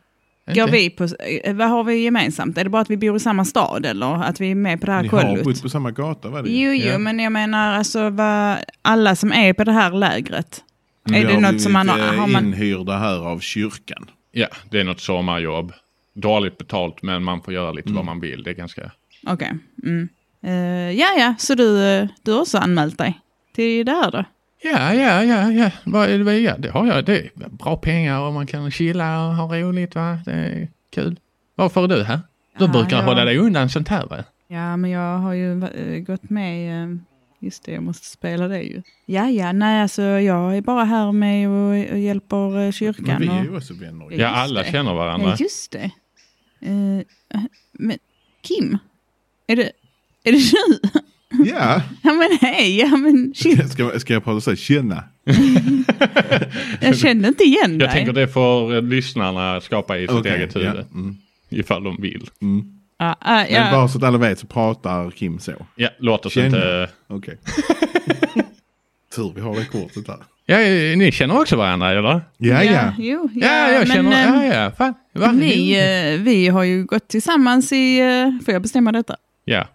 [SPEAKER 2] Inte?
[SPEAKER 3] Går vi på, eh, vad har vi gemensamt? Är det bara att vi bor i samma stad eller att vi är med på det här
[SPEAKER 1] Ni har
[SPEAKER 3] kollot?
[SPEAKER 1] bott på samma gata var det ju.
[SPEAKER 3] Jo, jo,
[SPEAKER 2] Ja.
[SPEAKER 3] men jag menar alltså vad, alla som är på det här lägret. Är
[SPEAKER 1] Vi
[SPEAKER 3] det något som man har,
[SPEAKER 1] blivit, eh,
[SPEAKER 3] har man,
[SPEAKER 1] inhyrda här av kyrkan.
[SPEAKER 2] Ja, det är något sommarjobb. Dåligt betalt men man får göra lite vad man vill. Det är ganska...
[SPEAKER 3] okej. Mm. Eh, ja, ja, så du, eh, du har också anmält dig till det här då?
[SPEAKER 2] Ja, ja, ja, ja. Vad är det? ja det har jag. Det är bra pengar och man kan chilla och ha roligt va. Det är kul. Varför är du här? Du
[SPEAKER 3] Ah,
[SPEAKER 2] brukar
[SPEAKER 3] ja.
[SPEAKER 2] hålla dig undan sånt här va?
[SPEAKER 3] Ja, men jag har ju eh, gått med, eh, just det, jag måste spela det ju. Ja, ja, nej, alltså jag är bara här med och, och hjälper eh,
[SPEAKER 1] Men vi
[SPEAKER 3] kyrkan.
[SPEAKER 1] är
[SPEAKER 3] Och,
[SPEAKER 1] ju också vänner. ju.
[SPEAKER 3] Ja,
[SPEAKER 2] Ja,
[SPEAKER 3] just
[SPEAKER 2] alla
[SPEAKER 3] det.
[SPEAKER 2] känner varandra.
[SPEAKER 3] ja, just det. Eh, men Kim, är det, är det du?
[SPEAKER 1] Ja,
[SPEAKER 3] Ja, men hej, ja, men shit.
[SPEAKER 1] ska, ska jag prata så här? Tjena.
[SPEAKER 3] Jag kände inte igen dig.
[SPEAKER 2] Jag tänker det får eh, lyssnarna skapa i sitt
[SPEAKER 1] Okej,
[SPEAKER 2] eget
[SPEAKER 1] ja,
[SPEAKER 2] huvud.
[SPEAKER 1] mm,
[SPEAKER 2] Ifall de vill.
[SPEAKER 1] mm.
[SPEAKER 3] Ja, Ah, ja,
[SPEAKER 1] Men
[SPEAKER 3] ja.
[SPEAKER 1] bara så att alla vet så pratar Kim så.
[SPEAKER 2] Ja, låt oss
[SPEAKER 1] Känner.
[SPEAKER 2] inte...
[SPEAKER 1] Okej. Tur vi har det kortet där.
[SPEAKER 2] Ja, eh, ni känner också varandra eller?
[SPEAKER 1] Ja,
[SPEAKER 3] ja,
[SPEAKER 1] ja.
[SPEAKER 3] jo, ja,
[SPEAKER 2] Ja, jag
[SPEAKER 3] men,
[SPEAKER 2] känner...
[SPEAKER 3] ehm,
[SPEAKER 2] Ja, ja, fan. Va?
[SPEAKER 3] Vi, eh, vi har ju gått tillsammans i... eh, Får jag bestämma detta?
[SPEAKER 2] Ja.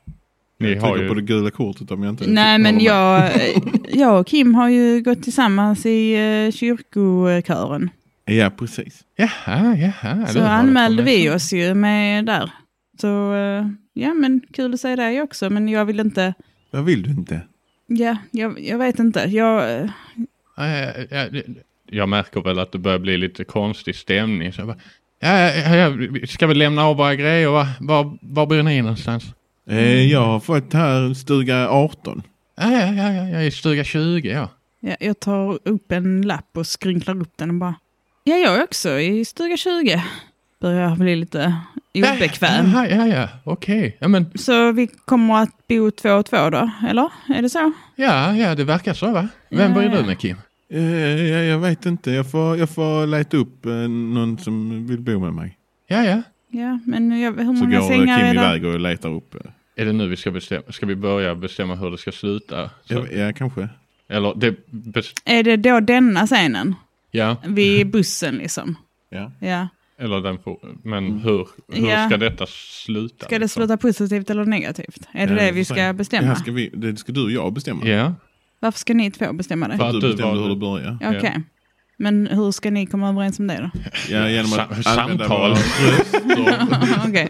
[SPEAKER 2] Ni
[SPEAKER 1] Jag
[SPEAKER 2] har
[SPEAKER 1] trycker på
[SPEAKER 2] ju...
[SPEAKER 1] det gula kortet om jag inte
[SPEAKER 3] Nej,
[SPEAKER 2] typ
[SPEAKER 1] håller
[SPEAKER 3] men
[SPEAKER 1] med.
[SPEAKER 3] jag, eh, jag och Kim har ju gått tillsammans i eh, kyrkokören.
[SPEAKER 1] Ja, precis.
[SPEAKER 2] Jaha, jaha.
[SPEAKER 3] Så
[SPEAKER 2] du har
[SPEAKER 3] anmälde
[SPEAKER 2] kommit.
[SPEAKER 3] vi oss ju med där. Så eh, ja, men kul att säga dig också, men jag vill inte...
[SPEAKER 1] Vad vill du inte?
[SPEAKER 3] Ja, jag, jag vet inte. Jag, eh,
[SPEAKER 2] Ja, ja, ja, det- Jag märker väl att det börjar bli lite konstig stämning. Så jag bara, Ja, ja, ja, ska vi lämna av våra grejer? Va? Var, var bor ni någonstans?
[SPEAKER 1] Eh, jag har fått här stuga 18.
[SPEAKER 2] Ja, ja, ja, ja, jag är i stuga 20 ja.
[SPEAKER 3] Ja, jag tar upp en lapp och skrynklar upp den och bara... Ja, jag är också i stuga 20. Börjar bli lite obekväm.
[SPEAKER 2] Ja, ja, ja, okej. Ja, men
[SPEAKER 3] Så vi kommer att bo två och två då, eller? Är det så?
[SPEAKER 2] ja, ja, det verkar så va? Vem
[SPEAKER 3] Ja,
[SPEAKER 2] bor du
[SPEAKER 3] ja.
[SPEAKER 2] med Kim?
[SPEAKER 1] Eh, jag, jag vet inte, jag får, jag får leta upp eh, någon som vill bo med mig.
[SPEAKER 2] Ja, ja.
[SPEAKER 3] Ja, men jag, hur
[SPEAKER 1] Så
[SPEAKER 3] många
[SPEAKER 1] går eh,
[SPEAKER 3] sängar
[SPEAKER 1] Kim
[SPEAKER 3] är det?
[SPEAKER 1] iväg och letar upp. eh.
[SPEAKER 2] Är det nu vi ska bestämma? Ska vi börja bestämma hur det ska sluta? Så,
[SPEAKER 1] Ja, ja, kanske.
[SPEAKER 2] Eller det... bes-
[SPEAKER 3] Är det då denna scenen?
[SPEAKER 2] Ja,
[SPEAKER 1] Mm.
[SPEAKER 3] Vid bussen liksom?
[SPEAKER 1] Ja.
[SPEAKER 3] Ja.
[SPEAKER 2] eller den får... Men
[SPEAKER 1] Mm.
[SPEAKER 2] hur, hur
[SPEAKER 3] Ja.
[SPEAKER 2] ska detta sluta?
[SPEAKER 3] Ska det
[SPEAKER 2] liksom?
[SPEAKER 3] sluta positivt eller negativt? Är det
[SPEAKER 1] Ja,
[SPEAKER 3] det
[SPEAKER 1] vi
[SPEAKER 3] vi
[SPEAKER 1] får
[SPEAKER 3] ska
[SPEAKER 1] se. Det,
[SPEAKER 3] bestämma?
[SPEAKER 1] här ska vi, det ska du och jag bestämma.
[SPEAKER 2] Ja,
[SPEAKER 3] Varför ska ni två bestämma det?
[SPEAKER 2] För att
[SPEAKER 1] Du
[SPEAKER 2] du
[SPEAKER 1] bestämde
[SPEAKER 2] valde-
[SPEAKER 1] hur det börjar.
[SPEAKER 3] Okej. Men hur ska ni komma överens om det då?
[SPEAKER 1] Ja, genom att
[SPEAKER 2] Sam-
[SPEAKER 1] använda våra
[SPEAKER 2] samtal.
[SPEAKER 1] röster.
[SPEAKER 3] Okej.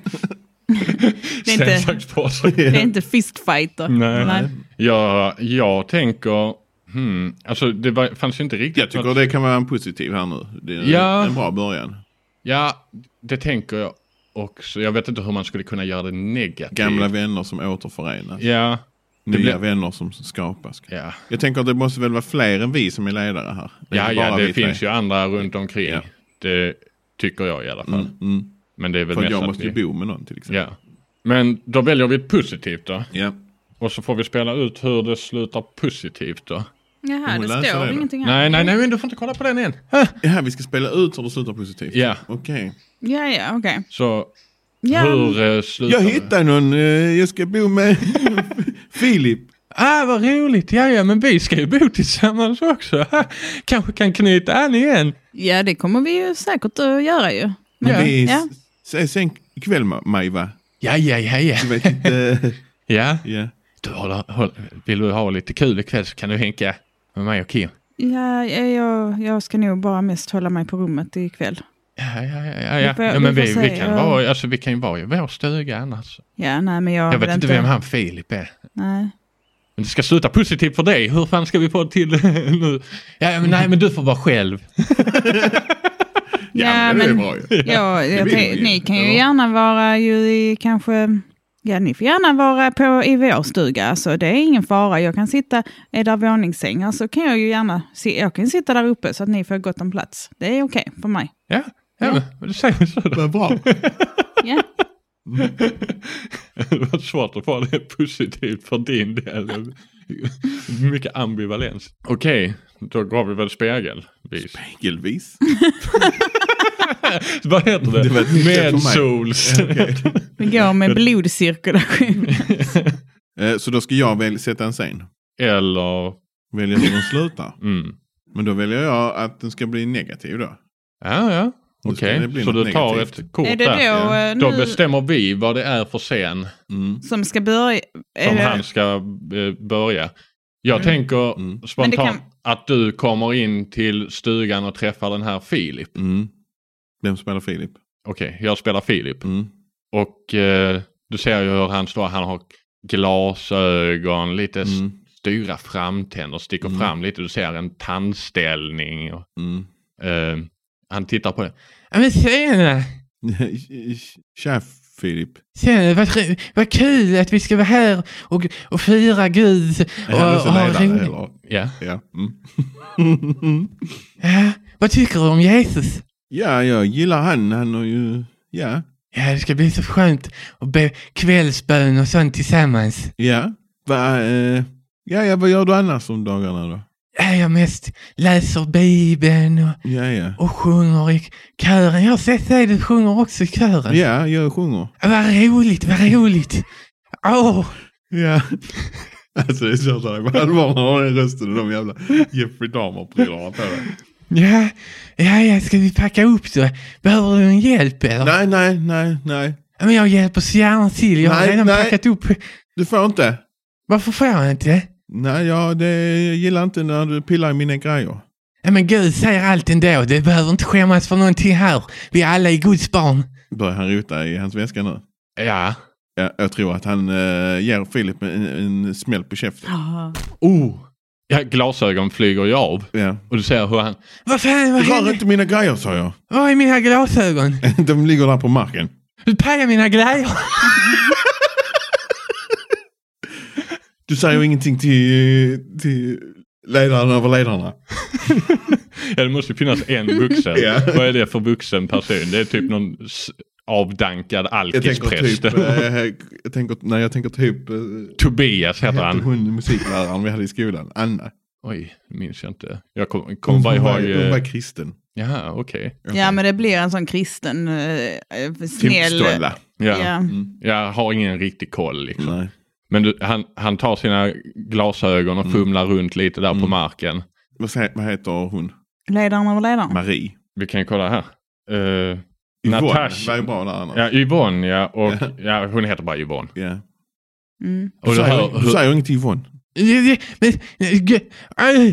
[SPEAKER 3] Det, är inte-
[SPEAKER 2] Sensakspåse.
[SPEAKER 3] det är inte fistfighter.
[SPEAKER 2] Nej.
[SPEAKER 3] Nej.
[SPEAKER 2] Ja, jag tänker... Hmm, alltså det var, fanns ju inte riktigt...
[SPEAKER 1] Jag tycker
[SPEAKER 2] något-
[SPEAKER 1] det kan vara en positiv här nu. Det är
[SPEAKER 2] Ja.
[SPEAKER 1] en bra början.
[SPEAKER 2] Ja, det tänker jag också. Jag vet inte hur man skulle kunna göra det negativt.
[SPEAKER 1] Gamla vänner som återförenas.
[SPEAKER 2] Ja,
[SPEAKER 1] Nya
[SPEAKER 2] blir-
[SPEAKER 1] vänner som skapas.
[SPEAKER 2] ja.
[SPEAKER 1] Jag tänker att det måste väl vara fler än vi som är ledare här. är
[SPEAKER 2] Ja,
[SPEAKER 1] inte
[SPEAKER 2] ja,
[SPEAKER 1] bara vi
[SPEAKER 2] det
[SPEAKER 1] tre.
[SPEAKER 2] finns ju andra runt omkring.
[SPEAKER 1] Ja.
[SPEAKER 2] Det tycker jag i alla fall.
[SPEAKER 1] Mm, mm.
[SPEAKER 2] Men det är väl
[SPEAKER 1] För
[SPEAKER 2] mest
[SPEAKER 1] jag
[SPEAKER 2] att
[SPEAKER 1] måste ju
[SPEAKER 2] vi...
[SPEAKER 1] bo med någon till exempel.
[SPEAKER 2] Ja. Men då väljer vi ett positivt då.
[SPEAKER 1] Ja.
[SPEAKER 2] Och så får vi spela ut hur det slutar positivt då.
[SPEAKER 3] Jaha,
[SPEAKER 1] Hon
[SPEAKER 3] det
[SPEAKER 1] läser
[SPEAKER 3] står
[SPEAKER 1] det då.
[SPEAKER 3] ingenting här.
[SPEAKER 2] Nej, nej, nej, men du får inte kolla på den än.
[SPEAKER 1] ja, vi ska spela ut hur det slutar positivt.
[SPEAKER 2] Ja.
[SPEAKER 1] Okej.
[SPEAKER 3] Ja, ja, okej.
[SPEAKER 2] Så
[SPEAKER 3] Ja,
[SPEAKER 2] hur eh, slutar
[SPEAKER 1] Jag
[SPEAKER 2] det?
[SPEAKER 1] hittar någon. eh, Jag ska bo med Filip.
[SPEAKER 2] Ah, vad roligt! Ja, ja, men vi ska ju bo tillsammans också. Ha, Kanske kan knyta an igen.
[SPEAKER 3] ja, det kommer vi ju säkert att göra ju.
[SPEAKER 1] Men
[SPEAKER 2] Ja.
[SPEAKER 1] vi
[SPEAKER 3] Ja.
[SPEAKER 1] ses sen ikväll, Ma- Maj, va?
[SPEAKER 2] Ja, ja, ja, ja.
[SPEAKER 1] Du vet inte.
[SPEAKER 2] Ja,
[SPEAKER 1] ja.
[SPEAKER 2] du håller, håll, vill du ha lite kul ikväll så kan du hänka med mig och Kim.
[SPEAKER 3] Ja, ja, jag, jag ska nog bara mest hålla mig på rummet ikväll.
[SPEAKER 2] Ja, ja, ja, ja,
[SPEAKER 3] Vi
[SPEAKER 2] ja.
[SPEAKER 3] får-
[SPEAKER 2] ja men
[SPEAKER 3] vi
[SPEAKER 2] vi,
[SPEAKER 3] får
[SPEAKER 2] vi,
[SPEAKER 3] se,
[SPEAKER 2] kan
[SPEAKER 3] ja.
[SPEAKER 2] vara, alltså, vi kan ju vara i vår stuga annars.
[SPEAKER 3] Ja, nej, men jag,
[SPEAKER 2] Jag
[SPEAKER 3] vill
[SPEAKER 2] vet inte vem han Filip är.
[SPEAKER 3] Nej.
[SPEAKER 2] Men det ska sluta positivt för dig. Hur fan ska vi få det till nu? Ja, ja, men, nej, men du får vara själv.
[SPEAKER 3] Ja,
[SPEAKER 1] men det är
[SPEAKER 3] men
[SPEAKER 1] bra ju.
[SPEAKER 3] ja, jag
[SPEAKER 1] vill
[SPEAKER 3] tänk-
[SPEAKER 1] vi ju,
[SPEAKER 3] ni kan ju
[SPEAKER 1] eller?
[SPEAKER 3] gärna vara ju i kanske... Ja, ni får gärna vara på, i vår stuga. Alltså, det är ingen fara. Jag kan sitta... Är där våningssängar så kan jag ju gärna... Si, jag kan sitta där uppe så att ni får gott om plats. Det är okej för mig.
[SPEAKER 2] Ja, ja,
[SPEAKER 3] Ja.
[SPEAKER 2] men då säger vi så då.
[SPEAKER 1] Vad bra.
[SPEAKER 3] Ja.
[SPEAKER 2] Det var svårt att få det positivt för din del. Mycket ambivalens. Okej, då gav vi väl spegel. Vis.
[SPEAKER 1] Spegelvis.
[SPEAKER 2] Vad heter det?
[SPEAKER 1] Det var ett nytt för mig.
[SPEAKER 2] Med sols.
[SPEAKER 3] Vi går med blodcirkulation.
[SPEAKER 1] Eh, Så då ska jag väl sätta en scen.
[SPEAKER 2] Eller,
[SPEAKER 1] Välja hur den slutar.
[SPEAKER 2] mm.
[SPEAKER 1] Men då väljer jag att den ska bli negativ då.
[SPEAKER 2] Ja, ja.
[SPEAKER 1] Nu ska
[SPEAKER 2] Okej,
[SPEAKER 1] det bli
[SPEAKER 2] så
[SPEAKER 1] något
[SPEAKER 2] du tar
[SPEAKER 1] negativt.
[SPEAKER 2] ett kort
[SPEAKER 3] är det
[SPEAKER 2] där.
[SPEAKER 3] då
[SPEAKER 2] Då
[SPEAKER 3] eh, nu
[SPEAKER 2] bestämmer vi vad det är för scen
[SPEAKER 1] Mm.
[SPEAKER 3] som ska börja?
[SPEAKER 2] som
[SPEAKER 3] Är det-
[SPEAKER 2] han ska eh, börja. Jag tänker
[SPEAKER 1] Mm.
[SPEAKER 2] spontant
[SPEAKER 3] Men det
[SPEAKER 2] att du kommer in till stugan och träffar den här Filip.
[SPEAKER 1] Mm. Vem spelar Filip?
[SPEAKER 2] Okej, jag spelar Filip.
[SPEAKER 1] Mm.
[SPEAKER 2] Och eh, du ser ju hur han står, han har glasögon, lite mm.
[SPEAKER 1] Mm.
[SPEAKER 2] styra framtänder, sticker
[SPEAKER 1] Mm.
[SPEAKER 2] fram lite. Du ser en tandställning. Och,
[SPEAKER 1] Mm.
[SPEAKER 2] eh, han tittar på det. Ja men tjena!
[SPEAKER 1] Tja Filip.
[SPEAKER 2] Tjena, vad, tr- vad kul att vi ska vara här och, och fira Gud.
[SPEAKER 1] Är han också
[SPEAKER 2] ha
[SPEAKER 1] ledare
[SPEAKER 2] roligt."
[SPEAKER 1] eller?
[SPEAKER 2] Ja.
[SPEAKER 1] Ja. Mm.
[SPEAKER 2] ja. Vad tycker du om Jesus?
[SPEAKER 1] ja, jag gillar han. Han har ju... Ja.
[SPEAKER 2] Ja, det ska bli så skönt och be kvällsbön och sånt tillsammans.
[SPEAKER 1] Ja. Va, eh... ja, ja, vad gör du annars om dagarna då?
[SPEAKER 2] Ja, jag mest läser Bibeln och
[SPEAKER 1] Ja, ja.
[SPEAKER 2] och sjunger i kören. Jag har sett dig, du sjunger också i kören.
[SPEAKER 1] Ja, jag sjunger.
[SPEAKER 2] Vad roligt, vad roligt. Åh,
[SPEAKER 1] Ja. Alltså det är så att han är på allvar när han har den rösten och de jävla Jeffrey Dahmer-prylarna på det.
[SPEAKER 2] ja, ja, ja, ska vi packa upp då? Behöver du en hjälp eller?
[SPEAKER 1] Nej, nej, nej, nej.
[SPEAKER 2] Ja, Men jag hjälper så gärna till. Jag har
[SPEAKER 1] Nej,
[SPEAKER 2] redan
[SPEAKER 1] nej.
[SPEAKER 2] packat upp.
[SPEAKER 1] Du får inte.
[SPEAKER 2] Varför får jag inte?
[SPEAKER 1] Nej, ja, det, jag gillar inte när du pillar i mina grejer.
[SPEAKER 2] Ja, men Gud säger allt ändå. Du behöver inte skämmas för någonting här. Vi är alla är Guds barn.
[SPEAKER 1] Börjar han rota i hans väska nu?
[SPEAKER 2] Ja.
[SPEAKER 1] Ja, jag tror att han eh, ger Filip en, en smäll på käften.
[SPEAKER 3] Ah,
[SPEAKER 2] Oh, Ja, glasögon flyger ju av.
[SPEAKER 1] Ja.
[SPEAKER 2] Och du ser hur han... Vad fan, vad
[SPEAKER 1] Rör
[SPEAKER 2] händer?
[SPEAKER 1] inte mina grejer sa jag.
[SPEAKER 2] Var är mina glasögon?
[SPEAKER 1] De ligger där på marken.
[SPEAKER 2] Du pajar mina grejer.
[SPEAKER 1] Du
[SPEAKER 2] Mm.
[SPEAKER 1] säger ingenting till, till ledaren över ledarna.
[SPEAKER 2] Ja, det måste ju finnas en vuxen.
[SPEAKER 1] Ja.
[SPEAKER 2] Vad är det för vuxen person? Det är typ någon s- avdankad
[SPEAKER 1] Jag tänker
[SPEAKER 2] alkispräst.
[SPEAKER 1] typ, eh, jag tänker, nej jag tänker typ, eh,
[SPEAKER 2] Tobias heter
[SPEAKER 1] hette
[SPEAKER 2] han.
[SPEAKER 1] hon musikläraren vi hade i skolan? Anna.
[SPEAKER 2] Oj, minns jag inte. Jag kommer
[SPEAKER 1] Hon
[SPEAKER 2] kom bara
[SPEAKER 1] var,
[SPEAKER 2] ihåg...
[SPEAKER 1] hon
[SPEAKER 2] eh,
[SPEAKER 1] var kristen.
[SPEAKER 2] Jaha, okej.
[SPEAKER 3] Ja, men det blir en sån kristen, eh, eh, snäll...
[SPEAKER 1] Typstolla.
[SPEAKER 2] Ja.
[SPEAKER 3] Ja.
[SPEAKER 2] Jag har ingen riktig koll liksom.
[SPEAKER 1] Mm. Nej.
[SPEAKER 2] Men du, han, han tar sina glasögon
[SPEAKER 1] Mm.
[SPEAKER 2] och fumlar runt lite där på marken.
[SPEAKER 1] Vad, sä- vad heter hon?
[SPEAKER 3] Ledaren över ledaren.
[SPEAKER 1] Marie.
[SPEAKER 2] Vi kan kolla här. Eh,
[SPEAKER 1] Yvonne
[SPEAKER 2] Natasha.
[SPEAKER 1] var ju bra där annars.
[SPEAKER 2] ja, Yvonne ja. Och,
[SPEAKER 1] Ja.
[SPEAKER 2] ja, hon heter bara Yvonne.
[SPEAKER 1] Ja.
[SPEAKER 3] Mm.
[SPEAKER 1] Du,
[SPEAKER 2] Och du hör,
[SPEAKER 1] säger, du
[SPEAKER 2] hur,
[SPEAKER 1] säger inget till Yvonne.
[SPEAKER 2] eh,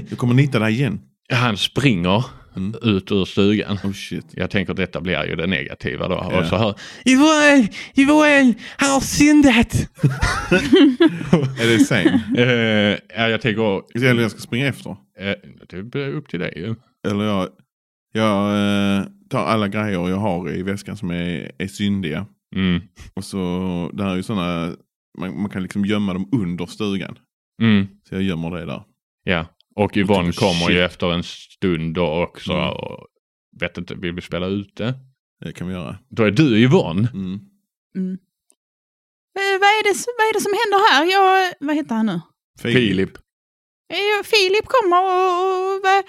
[SPEAKER 1] Jag kommer nita dig igen.
[SPEAKER 2] han springer
[SPEAKER 1] Mm.
[SPEAKER 2] ut ur stugan.
[SPEAKER 1] Oh shit.
[SPEAKER 2] Jag tänker att detta blir ju det negativa då.
[SPEAKER 1] Ja.
[SPEAKER 2] Och så hör Yvonne, Yvonne, han har syndat.
[SPEAKER 1] Är det sen?
[SPEAKER 2] Eh, ja, jag tänker,
[SPEAKER 1] Eller jag ska springa efter.
[SPEAKER 2] eh, det är upp till dig ju.
[SPEAKER 1] Eller jag, jag eh, tar alla grejer jag har i väskan som är, är syndiga.
[SPEAKER 2] Mm.
[SPEAKER 1] Och så, det här är ju sådana, man, man kan liksom gömma dem under stugan.
[SPEAKER 2] Mm.
[SPEAKER 1] Så jag gömmer det där.
[SPEAKER 2] Ja, och Yvonne
[SPEAKER 1] Jag tycker,
[SPEAKER 2] kommer ju
[SPEAKER 1] Oh, shit.
[SPEAKER 2] efter en stund då också.
[SPEAKER 1] Mm.
[SPEAKER 2] Och vet inte, vill vi spela ute?
[SPEAKER 1] Det kan vi göra.
[SPEAKER 2] Då är du Yvonne.
[SPEAKER 1] Mm.
[SPEAKER 3] Mm. Eh, vad, är det, s- vad är det som händer här? Jag, vad heter han nu?
[SPEAKER 2] Filip.
[SPEAKER 3] Eh, Filip kommer och... och vad,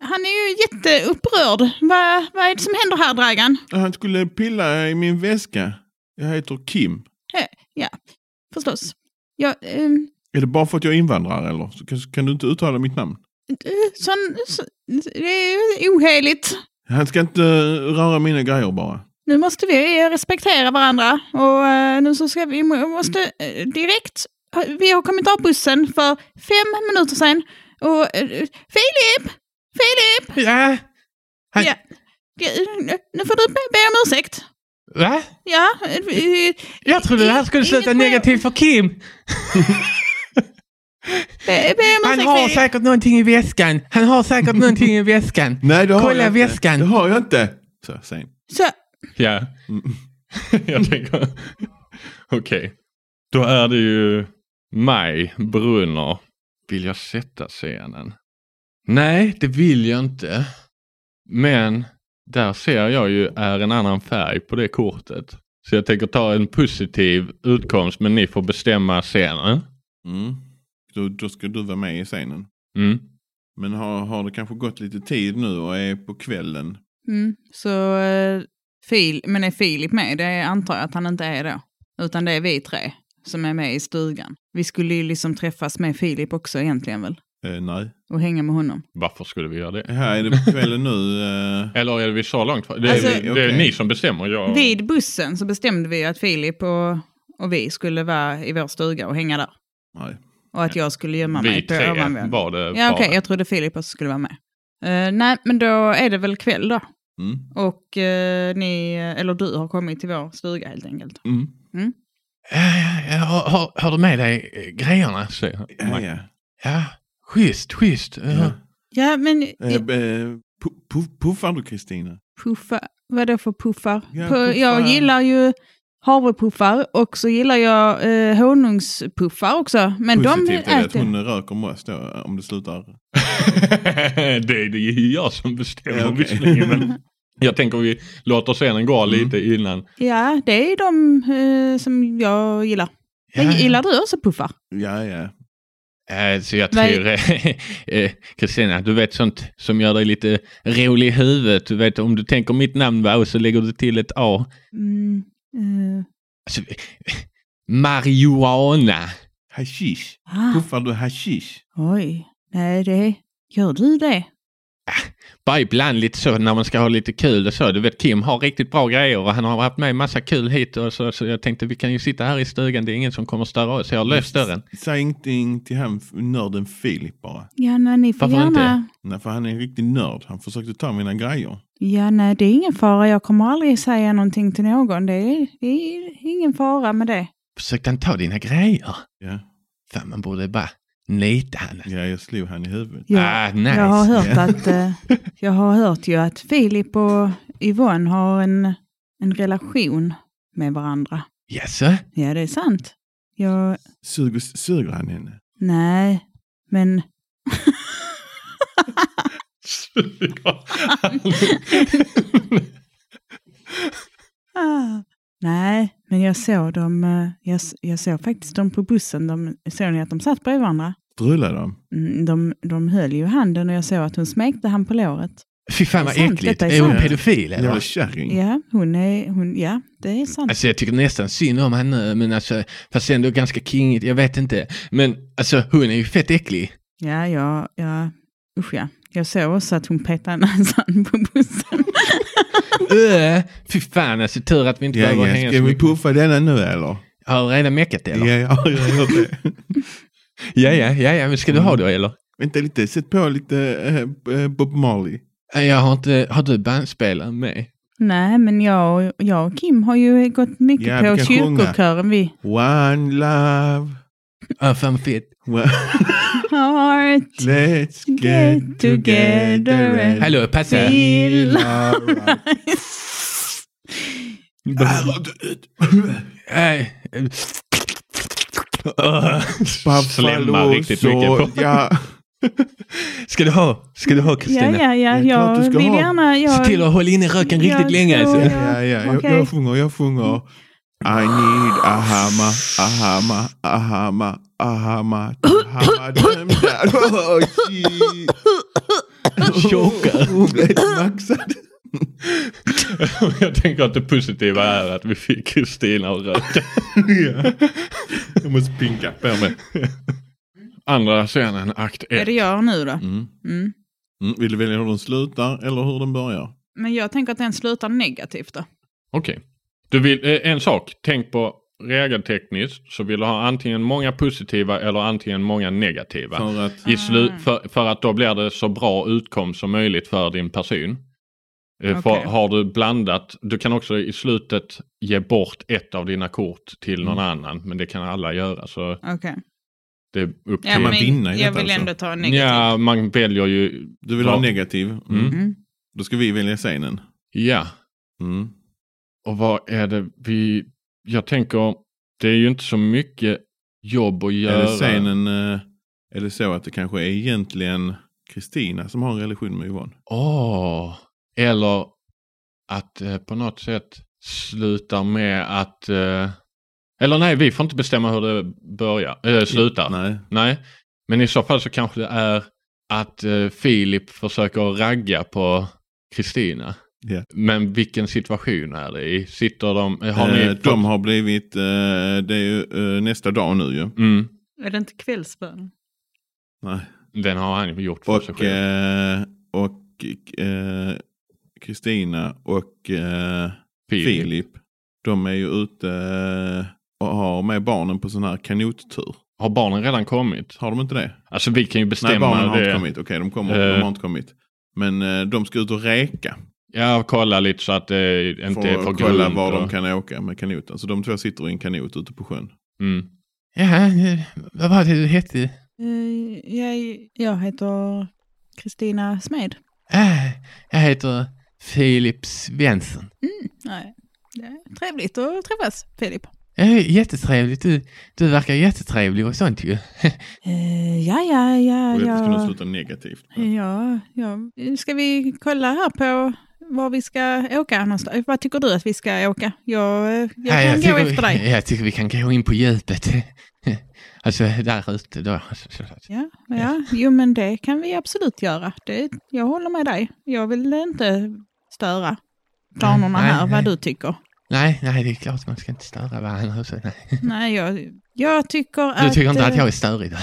[SPEAKER 3] han är ju jätteupprörd. Vad, vad är det som händer här, Dragan?
[SPEAKER 1] Han skulle pilla i min väska. Jag heter Kim.
[SPEAKER 3] Förstås. Jag, ehm,
[SPEAKER 1] Är det bara för att jag är invandrare eller? Så kan, kan du inte uttala mitt namn?
[SPEAKER 3] eh, sån, så, det är ju oheligt.
[SPEAKER 1] Han ska inte eh, röra mina grejer bara.
[SPEAKER 3] Nu måste vi eh, respektera varandra och eh, nu så ska vi må- måste eh, direkt. Vi har kommit av bussen för fem minuter sedan och eh, Filip, Filip,
[SPEAKER 2] Ja. Han-
[SPEAKER 3] ja. Gud, nu- nu får du be be om ursäkt.
[SPEAKER 2] Va?
[SPEAKER 3] Ja, eh,
[SPEAKER 2] Jag trodde
[SPEAKER 3] det här skulle sluta Inget mer. negativt
[SPEAKER 2] för Kim.
[SPEAKER 3] be, be om ursäkt. Filip.
[SPEAKER 2] säkert någonting i väskan. Han har säkert någonting i väskan.
[SPEAKER 1] Nej, det har
[SPEAKER 2] Kolla
[SPEAKER 1] jag
[SPEAKER 2] väskan.
[SPEAKER 1] Inte. Det har jag inte. Så, sen.
[SPEAKER 3] Så,
[SPEAKER 2] Ja,
[SPEAKER 1] Mm.
[SPEAKER 2] jag tänker. Okej. Då är det ju Maj Brunner. Vill jag sätta scenen? Nej, det vill jag inte. Men där ser jag ju är en annan färg på det kortet. Så jag tänker ta en positiv utkomst men ni får bestämma scenen.
[SPEAKER 1] Mm. Då, då ska du vara med i scenen.
[SPEAKER 2] Mm.
[SPEAKER 1] Men har, har det kanske gått lite tid nu och är på kvällen?
[SPEAKER 3] mm, så eh, Fil, men är Filip med? Det antar jag att han inte är då. Utan det är vi tre som är med i stugan. Vi skulle ju liksom träffas med Filip också egentligen väl?
[SPEAKER 1] Eh, nej.
[SPEAKER 3] Och hänga med honom.
[SPEAKER 2] Varför skulle vi göra det?
[SPEAKER 1] Här är det på kvällen nu. Eh,
[SPEAKER 2] Eller är vi så långt? Det är,
[SPEAKER 3] Alltså-
[SPEAKER 2] det är
[SPEAKER 1] Okej.
[SPEAKER 2] ni som bestämmer. Jag...
[SPEAKER 3] Vid bussen så bestämde vi att Filip och, och vi skulle vara i vår stuga och hänga där.
[SPEAKER 1] nej.
[SPEAKER 3] Och att jag skulle gömma
[SPEAKER 2] Vi
[SPEAKER 3] mig på
[SPEAKER 2] tre
[SPEAKER 3] ovanvåningen.
[SPEAKER 2] var det
[SPEAKER 3] Ja, okej,
[SPEAKER 2] bara.
[SPEAKER 3] jag trodde Filip också skulle vara med. Eh, nej, men då är det väl kväll då.
[SPEAKER 1] Mm.
[SPEAKER 3] Och eh, ni, eller du har kommit till vår stuga helt enkelt.
[SPEAKER 1] Mm.
[SPEAKER 2] Har, har, har du med dig eh, grejerna? säger han.
[SPEAKER 1] Ja, ja.
[SPEAKER 2] Ja, schysst, schysst. Ja.
[SPEAKER 1] ja.
[SPEAKER 3] Ja, men
[SPEAKER 1] Eh, eh, pu- pu- puffar du Kristina?
[SPEAKER 3] puffa, vad då för puffar?
[SPEAKER 1] Ja,
[SPEAKER 3] Pu-
[SPEAKER 1] puffar.
[SPEAKER 3] Jag gillar ju havrepuffar och så gillar jag eh, honungspuffar också. Men de
[SPEAKER 1] Positivt är det att
[SPEAKER 3] äter...
[SPEAKER 1] hon röker med oss då, eh, om det slutar.
[SPEAKER 2] det, är- det är ju jag som bestämmer
[SPEAKER 1] Ja, okej.
[SPEAKER 2] visserligen. Men jag tänker vi låter scenen gå
[SPEAKER 1] Mm.
[SPEAKER 2] lite innan.
[SPEAKER 3] Ja, det är de eh, som jag gillar. Men gillar du också puffar?
[SPEAKER 1] Ja, ja.
[SPEAKER 2] Eh, Så jag
[SPEAKER 3] Vad-
[SPEAKER 2] tror, eh, eh, Kristina, du vet sånt som gör dig lite rolig i huvudet. Du vet om du tänker mitt namn va, och så lägger du till ett A.
[SPEAKER 3] Mm, eh,
[SPEAKER 2] Alltså, marijuana.
[SPEAKER 1] Hashish.
[SPEAKER 3] ah,
[SPEAKER 1] Puffar du hashish?
[SPEAKER 3] oj, nej det... Gör du det?
[SPEAKER 2] Bara ibland lite så när man ska ha lite kul och så. Du vet Kim har riktigt bra grejer och han har haft med massa kul hit och så. Så jag tänkte vi kan ju sitta här i stugan. Det är ingen som kommer störa oss. Jag har löst dörren.
[SPEAKER 1] Säg ingenting till han f- nörden Filip bara.
[SPEAKER 3] Ja, nej, ni får
[SPEAKER 2] Varför inte?
[SPEAKER 3] gärna...
[SPEAKER 1] Nej, för han är en riktig nörd. Han försökte ta mina grejer.
[SPEAKER 3] Ja, nej, det är ingen fara. Jag kommer aldrig säga någonting till någon. Det är, det är ingen fara med det.
[SPEAKER 2] Försökte han ta dina grejer?
[SPEAKER 1] Ja.
[SPEAKER 2] Fan man borde bara Nita henne.
[SPEAKER 1] Ja, jag slog han i huvudet.
[SPEAKER 3] Ja,
[SPEAKER 2] Ah, nice.
[SPEAKER 3] jag, har hört
[SPEAKER 1] Ja.
[SPEAKER 3] att, eh, jag har hört ju att Filip och Yvonne har en, en relation med varandra.
[SPEAKER 2] Yes, sir.
[SPEAKER 3] Ja, det är sant. Jag,
[SPEAKER 1] Suger, suger han henne?
[SPEAKER 3] nej, men Ah, Nej, men jag såg dem. eh, Jag, s- jag såg faktiskt dem på bussen. De, såg ni att de satt bredvid varandra?
[SPEAKER 1] Drullar de?
[SPEAKER 3] Mm, De, de höll ju handen och jag såg att hon smekte han på låret.
[SPEAKER 2] Fy fan vad
[SPEAKER 3] Det är sant,
[SPEAKER 2] äckligt.
[SPEAKER 3] detta
[SPEAKER 2] Är,
[SPEAKER 3] är
[SPEAKER 2] hon
[SPEAKER 1] sant.
[SPEAKER 2] pedofil eller?
[SPEAKER 1] Jävla
[SPEAKER 2] vad?
[SPEAKER 1] kärring.
[SPEAKER 3] Ja, hon är, hon, ja det är sant.
[SPEAKER 2] Alltså jag tycker nästan synd om henne, men alltså, fast ändå ganska kingigt, jag vet inte. Men alltså hon är ju fett äcklig.
[SPEAKER 3] Ja, ja, ja. Usch ja. Jag såg också att hon petade näsan på bussen.
[SPEAKER 2] Öh, Fy fan alltså, tur att vi inte
[SPEAKER 1] Ja,
[SPEAKER 2] behöver
[SPEAKER 1] ja.
[SPEAKER 2] hänga
[SPEAKER 1] Ska
[SPEAKER 2] så
[SPEAKER 1] vi
[SPEAKER 2] mycket.
[SPEAKER 1] puffa denna nu eller?
[SPEAKER 2] Har du redan meckat det eller?
[SPEAKER 1] Ja, jag har hört det.
[SPEAKER 2] Ja, ja, ja, ja, men ska du ha det eller?
[SPEAKER 1] Vänta lite, sätt på lite eh, eh, Bob Marley.
[SPEAKER 2] Äh, Jag har inte, har du bandspelaren med?
[SPEAKER 3] Nej, men jag, och- jag och Kim har ju gått mycket
[SPEAKER 1] Ja, vi
[SPEAKER 3] på
[SPEAKER 1] kan sjunga.
[SPEAKER 3] kyrkokören. Vi
[SPEAKER 1] One love,
[SPEAKER 2] Ja, fan vad fett.
[SPEAKER 1] one,
[SPEAKER 3] har
[SPEAKER 1] let's get together and
[SPEAKER 2] Hallå, passa.
[SPEAKER 3] till.
[SPEAKER 2] Äh, äh, Öh, Slemmar riktigt mycket på.
[SPEAKER 1] Ja,
[SPEAKER 2] Ska du ha? Ska du ha
[SPEAKER 3] Ja,
[SPEAKER 2] Kristina?
[SPEAKER 3] ja, ja.
[SPEAKER 1] är klart
[SPEAKER 3] Jag
[SPEAKER 1] du ska
[SPEAKER 3] vill
[SPEAKER 1] ha.
[SPEAKER 3] gärna...
[SPEAKER 2] Se
[SPEAKER 3] Jag,
[SPEAKER 2] till att hålla inne röken riktigt
[SPEAKER 3] Ja,
[SPEAKER 2] länge.
[SPEAKER 3] så-
[SPEAKER 2] Alltså.
[SPEAKER 1] ja, ja, jag,
[SPEAKER 3] Okej.
[SPEAKER 1] jag sjunger, jag sjunger. I need a hammer, a hammer, a hammer, a hammer, a hammer. Damn that. Oh, shit.
[SPEAKER 2] Chockar.
[SPEAKER 1] Hon blev Oh, maxad.
[SPEAKER 2] Jag tänker att det positiva är att vi fick Kristina att röka.
[SPEAKER 1] Jag måste pinka på mig.
[SPEAKER 2] Andra scenen, akt
[SPEAKER 3] är
[SPEAKER 2] 1.
[SPEAKER 3] det jag nu då?
[SPEAKER 1] Mm.
[SPEAKER 3] Mm.
[SPEAKER 1] Mm. Vill du välja hur den slutar eller hur den börjar?
[SPEAKER 3] Men jag tänker att den slutar negativt då.
[SPEAKER 2] Okej. Du vill, eh, en sak, tänk på regeltekniskt så vill du ha antingen många positiva eller antingen många negativa.
[SPEAKER 1] För att...
[SPEAKER 2] I
[SPEAKER 3] Ah.
[SPEAKER 2] slu- för, för att då blir det så bra utkom som möjligt för din person. Eh, För
[SPEAKER 3] Okej.
[SPEAKER 2] har du blandat, du kan också i slutet ge bort ett av dina kort till
[SPEAKER 1] Mm.
[SPEAKER 2] någon annan men det kan alla göra så
[SPEAKER 3] Okej.
[SPEAKER 2] det är upp till...
[SPEAKER 3] Ja,
[SPEAKER 1] man
[SPEAKER 3] men
[SPEAKER 1] vinna i
[SPEAKER 3] Jag
[SPEAKER 1] detta
[SPEAKER 3] vill
[SPEAKER 1] alltså?
[SPEAKER 3] ändå ta en negativ.
[SPEAKER 2] Ja, man väljer ju...
[SPEAKER 1] Du vill
[SPEAKER 2] Ja.
[SPEAKER 1] ha negativ? Mm.
[SPEAKER 2] Mm.
[SPEAKER 3] Mm.
[SPEAKER 1] Då ska vi välja scenen.
[SPEAKER 2] Ja,
[SPEAKER 1] Mm.
[SPEAKER 2] och vad är det vi... Jag tänker, det är ju inte så mycket jobb att göra.
[SPEAKER 1] Är det scenen, eh, är det så att det kanske är egentligen Kristina som har en relation med Yvonne?
[SPEAKER 2] Åh, eller att eh, på något sätt sluta med att... Eh, eller nej, vi får inte bestämma hur det börjar, eh, slutar. Nej.
[SPEAKER 1] Nej.
[SPEAKER 2] Men i så fall så kanske det är att eh, Filip försöker ragga på Kristina.
[SPEAKER 1] Ja.
[SPEAKER 2] Men vilken situation är det i? Sitter de... eh, Har ni
[SPEAKER 1] eh, de har blivit, eh, det är ju eh, nästa dag nu ju.
[SPEAKER 2] Mm,
[SPEAKER 3] Är det inte kvällsbön?
[SPEAKER 1] Nej.
[SPEAKER 2] den har han ju gjort för sig
[SPEAKER 1] Och,
[SPEAKER 2] själv.
[SPEAKER 1] eh, och eh, Kristina och eh,
[SPEAKER 2] Filip.
[SPEAKER 1] Filip, de är ju ute eh, och har med barnen på sån här kanottur.
[SPEAKER 2] Har barnen redan kommit?
[SPEAKER 1] Har de inte det?
[SPEAKER 2] Alltså vi kan ju
[SPEAKER 1] Nej,
[SPEAKER 2] bestämma
[SPEAKER 1] barnen har inte
[SPEAKER 2] det.
[SPEAKER 1] kommit. Okej, de, kommer,
[SPEAKER 2] Eh.
[SPEAKER 1] de har inte kommit. Men eh, de ska ut och räka.
[SPEAKER 2] Ja, kolla lite så att det inte är
[SPEAKER 1] för
[SPEAKER 2] för
[SPEAKER 1] att kolla
[SPEAKER 2] grunt
[SPEAKER 1] var
[SPEAKER 2] och-
[SPEAKER 1] de kan åka med kanoten. Så de två sitter i en kanot ute på sjön.
[SPEAKER 2] Mm. Ja, vad var det du hette?
[SPEAKER 3] Eh, jag, jag heter Kristina Smed.
[SPEAKER 2] Ah, Jag heter Filip Svensson.
[SPEAKER 3] Nej. Det är trevligt att träffas, Filip.
[SPEAKER 2] Jättetrevligt, du, du verkar jättetrevlig och sånt ju.
[SPEAKER 3] Eh, ja, ja, ja.
[SPEAKER 1] Och detta ska nog
[SPEAKER 3] ja.
[SPEAKER 1] sluta negativt. Men
[SPEAKER 3] Ja, ja. Ska vi kolla här på var vi ska åka någonstans? Eh, Vad tycker du att vi ska åka? Jag, eh, jag kan gå efter dig.
[SPEAKER 2] Ah, Jag tycker vi kan gå in på djupet. Alltså där ute då.
[SPEAKER 3] Ja, ja, jo men det kan vi absolut göra. Det, jag håller med dig. Jag vill inte störa planerna
[SPEAKER 2] Nej,
[SPEAKER 3] här,
[SPEAKER 2] nej.
[SPEAKER 3] vad du tycker.
[SPEAKER 2] Nej, nej, det är klart man ska inte störa varandra och så. Nej.
[SPEAKER 3] Nej, jag, jag tycker att...
[SPEAKER 2] Du tycker inte att
[SPEAKER 3] eh,
[SPEAKER 2] jag är störig? då?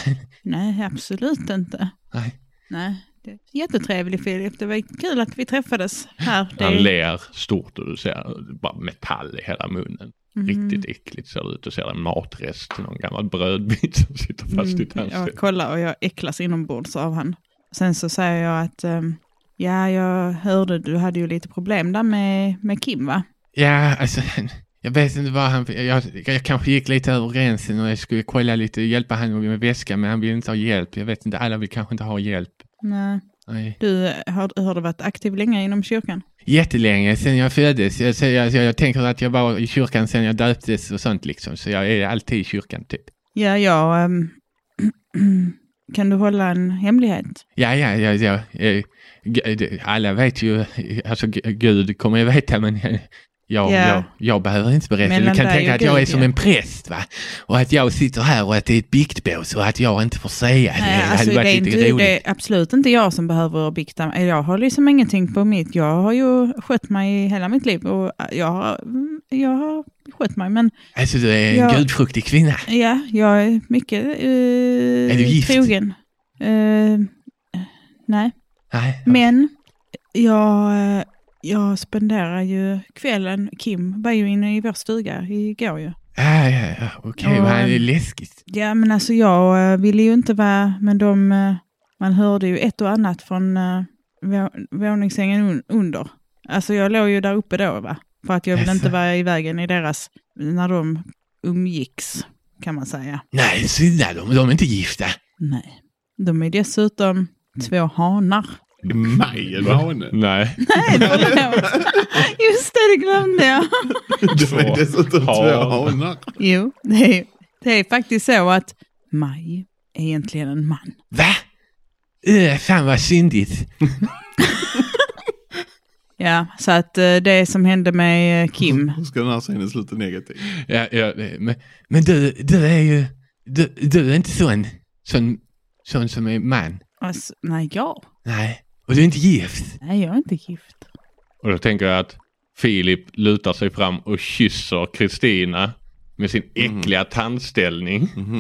[SPEAKER 3] Nej, absolut inte.
[SPEAKER 2] Mm. Nej. Mm.
[SPEAKER 3] Nej. det är Jättetrevlig Filip, det var kul att vi träffades här. Det,
[SPEAKER 2] Han ler stort och du ser bara metall i hela munnen.
[SPEAKER 3] Mm.
[SPEAKER 2] Riktigt äckligt ser det ut. Du ser en matrest, någon gammal brödbit som sitter fast i
[SPEAKER 3] Mm, Jag
[SPEAKER 2] tandställningen.
[SPEAKER 3] kollar och jag äcklas inombords av han. Sen så säger jag att ehm, ja, jag hörde du hade ju lite problem där med, med Kim va?
[SPEAKER 2] Ja, alltså,
[SPEAKER 4] Jag vet inte vad han... Jag, jag kanske gick lite över gränsen och jag skulle kolla lite, hjälpa han med väskan, men han vill inte ha hjälp. Jag vet inte, alla vill kanske inte ha hjälp.
[SPEAKER 3] Nej.
[SPEAKER 4] Nej.
[SPEAKER 3] Du eh, har, har du varit aktiv länge inom kyrkan?
[SPEAKER 4] Jättelänge sedan jag föddes. Jag, så jag, så jag tänker att jag var i kyrkan sedan jag döptes och sånt liksom, så jag är alltid i kyrkan typ.
[SPEAKER 3] Ja, jag... ehm, kan du hålla en hemlighet?
[SPEAKER 4] Ja, ja, ja, ja. eh, g- det- Alla vet ju, alltså g- Gud kommer ju veta men eh, jag,
[SPEAKER 3] Ja.
[SPEAKER 4] jag, jag behöver inte berätta.
[SPEAKER 3] Mellan
[SPEAKER 4] du kan
[SPEAKER 3] dig
[SPEAKER 4] tänka
[SPEAKER 3] och
[SPEAKER 4] att jag
[SPEAKER 3] Gud,
[SPEAKER 4] är som
[SPEAKER 3] ja.
[SPEAKER 4] en präst va? Och att jag sitter här och att det är ett biktbås och att jag inte får säga det.
[SPEAKER 3] Nej,
[SPEAKER 4] det
[SPEAKER 3] alltså,
[SPEAKER 4] hade
[SPEAKER 3] det, är
[SPEAKER 4] varit
[SPEAKER 3] inte,
[SPEAKER 4] lite roligt.
[SPEAKER 3] det är absolut inte jag som behöver bikta mig. Jag har liksom ingenting på mitt. Jag har ju skött mig i hela mitt liv och jag har, mm, jag har skött mig. Men
[SPEAKER 4] Alltså du är en
[SPEAKER 3] Ja.
[SPEAKER 4] gudfruktig kvinna.
[SPEAKER 3] ja, jag är mycket eh,
[SPEAKER 4] du gift?
[SPEAKER 3] trogen. Eh, nej,
[SPEAKER 4] Nej.
[SPEAKER 3] men jag, eh, jag spenderar ju kvällen, Kim var ju inne i vår stuga igår ju.
[SPEAKER 4] Ja, ja, ja. Okej,
[SPEAKER 3] Och,
[SPEAKER 4] vad
[SPEAKER 3] eh,
[SPEAKER 4] läskigt.
[SPEAKER 3] Ja, men alltså jag eh, ville ju inte vara med de... eh, Man hörde ju ett och annat från eh, vå- våningssängen un- under. Alltså jag låg ju där uppe då, va? För att jag ville
[SPEAKER 4] Jaså.
[SPEAKER 3] inte vara i vägen i deras... När de umgicks, kan man säga.
[SPEAKER 4] Nej, synda dem. De är inte gifta.
[SPEAKER 3] Nej. De är dessutom två hanar.
[SPEAKER 1] Mig eller hanen?
[SPEAKER 2] Nej.
[SPEAKER 3] Nej, förlåt. Just det, det glömde jag.
[SPEAKER 1] De är dessutom två
[SPEAKER 2] Han.
[SPEAKER 1] hanar.
[SPEAKER 3] Jo, det är, det är faktiskt så att Maj är egentligen en man.
[SPEAKER 4] Va? Uh, fan vad syndigt.
[SPEAKER 3] Ja, så att eh, det som hände med eh, Kim
[SPEAKER 1] Hur ska den här scenen sluta negativt?
[SPEAKER 4] Ja, ja, det- men, men du, du är ju... Du, du är inte sån, sån, sån som är man.
[SPEAKER 3] Alltså, nej, jag?
[SPEAKER 4] Nej. Och du är inte gift.
[SPEAKER 3] Nej, jag är inte gift.
[SPEAKER 2] Och då tänker jag att Filip lutar sig fram och kysser Kristina med sin äckliga tandställning.
[SPEAKER 1] Mhm.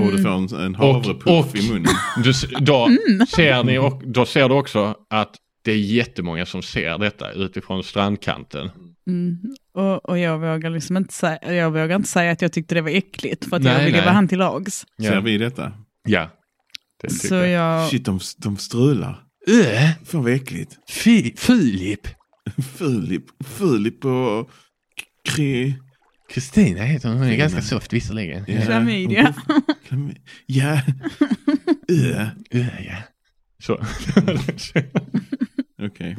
[SPEAKER 3] Mm.
[SPEAKER 1] Och du får en, en
[SPEAKER 2] Och-
[SPEAKER 1] havrepuff
[SPEAKER 2] och-
[SPEAKER 1] i munnen.
[SPEAKER 2] Du, s- då,
[SPEAKER 3] Mm.
[SPEAKER 2] ser ni och, då ser du också att det är jättemånga som ser detta utifrån strandkanten.
[SPEAKER 3] Och, och jag, vågar liksom inte säga, jag vågar inte säga att jag tyckte det var äckligt för att jag
[SPEAKER 2] Nej,
[SPEAKER 3] ville
[SPEAKER 2] nej.
[SPEAKER 3] vara han till lags.
[SPEAKER 1] Ser
[SPEAKER 2] Ja.
[SPEAKER 1] vi detta?
[SPEAKER 2] ja. Det
[SPEAKER 3] Så
[SPEAKER 2] tycker jag.
[SPEAKER 3] jag...
[SPEAKER 1] Shit, de, de strular.
[SPEAKER 4] Uh,
[SPEAKER 1] Fan vad äckligt.
[SPEAKER 4] fi, Filip.
[SPEAKER 1] Filip, Filip och Kri...
[SPEAKER 4] Kristina heter hon. Hon är
[SPEAKER 1] Kristina.
[SPEAKER 4] ganska soft visserligen.
[SPEAKER 1] Ja.
[SPEAKER 3] Klamydia.
[SPEAKER 1] Klam- Ja. Ö.
[SPEAKER 4] Uh, ja.
[SPEAKER 2] Så.
[SPEAKER 1] Okej.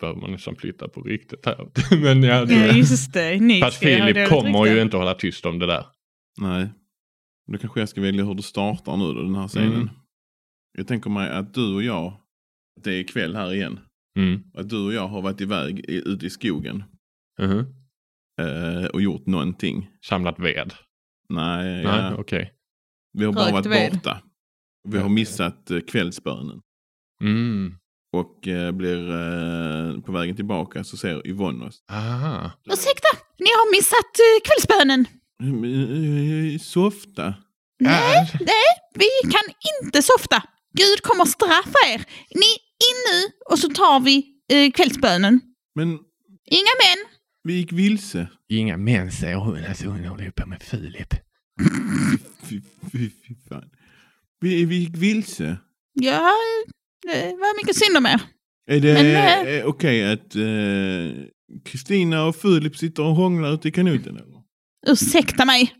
[SPEAKER 2] Behöver man nästan flytta på riktigt här. Men ja,
[SPEAKER 3] Ja,
[SPEAKER 2] det,
[SPEAKER 3] just det. Ni
[SPEAKER 2] fast
[SPEAKER 3] ska göra
[SPEAKER 2] Filip
[SPEAKER 3] dåligt
[SPEAKER 2] kommer
[SPEAKER 3] rykte.
[SPEAKER 2] ju inte hålla tyst om det där.
[SPEAKER 1] Nej. Då kanske jag ska välja hur du startar nu då, den här scenen.
[SPEAKER 2] Mm.
[SPEAKER 1] Jag tänker mig att du och jag, att det är kväll här igen.
[SPEAKER 2] Mm.
[SPEAKER 1] Att du och jag har varit iväg i, ute i skogen
[SPEAKER 2] Mhm.
[SPEAKER 1] eh, och gjort någonting.
[SPEAKER 2] Samlat ved.
[SPEAKER 1] Nej,
[SPEAKER 2] Nej,
[SPEAKER 1] ja.
[SPEAKER 2] okej.
[SPEAKER 1] vi har bara
[SPEAKER 3] Rökt
[SPEAKER 1] varit
[SPEAKER 3] ved.
[SPEAKER 1] borta. Vi har missat eh, kvällsbönen.
[SPEAKER 2] Mm.
[SPEAKER 1] Och eh, blir eh, på vägen tillbaka så ser Yvonne oss.
[SPEAKER 2] Aha.
[SPEAKER 3] Ursäkta, ni har missat uh, kvällsbönen.
[SPEAKER 1] Mm, eh, eh, Softa.
[SPEAKER 3] Nej,
[SPEAKER 4] Ja.
[SPEAKER 3] nej, vi kan inte softa. Gud kommer straffa er. Ni in nu och så tar vi uh, kvällsbönen.
[SPEAKER 1] Men
[SPEAKER 3] Inga män.
[SPEAKER 1] vi gick vilse.
[SPEAKER 4] Inga män säger hon. Alltså hon håller ju på med Filip.
[SPEAKER 1] Fy, fy, fy fan. Vi, vi gick vilse.
[SPEAKER 3] Ja, eh, det var mycket synd om er.
[SPEAKER 1] Är det
[SPEAKER 3] Men, eh,
[SPEAKER 1] eh, okej att eh, Kristina och Filip sitter och hånglar ute i kanoten? Eller?
[SPEAKER 3] Ursäkta mig.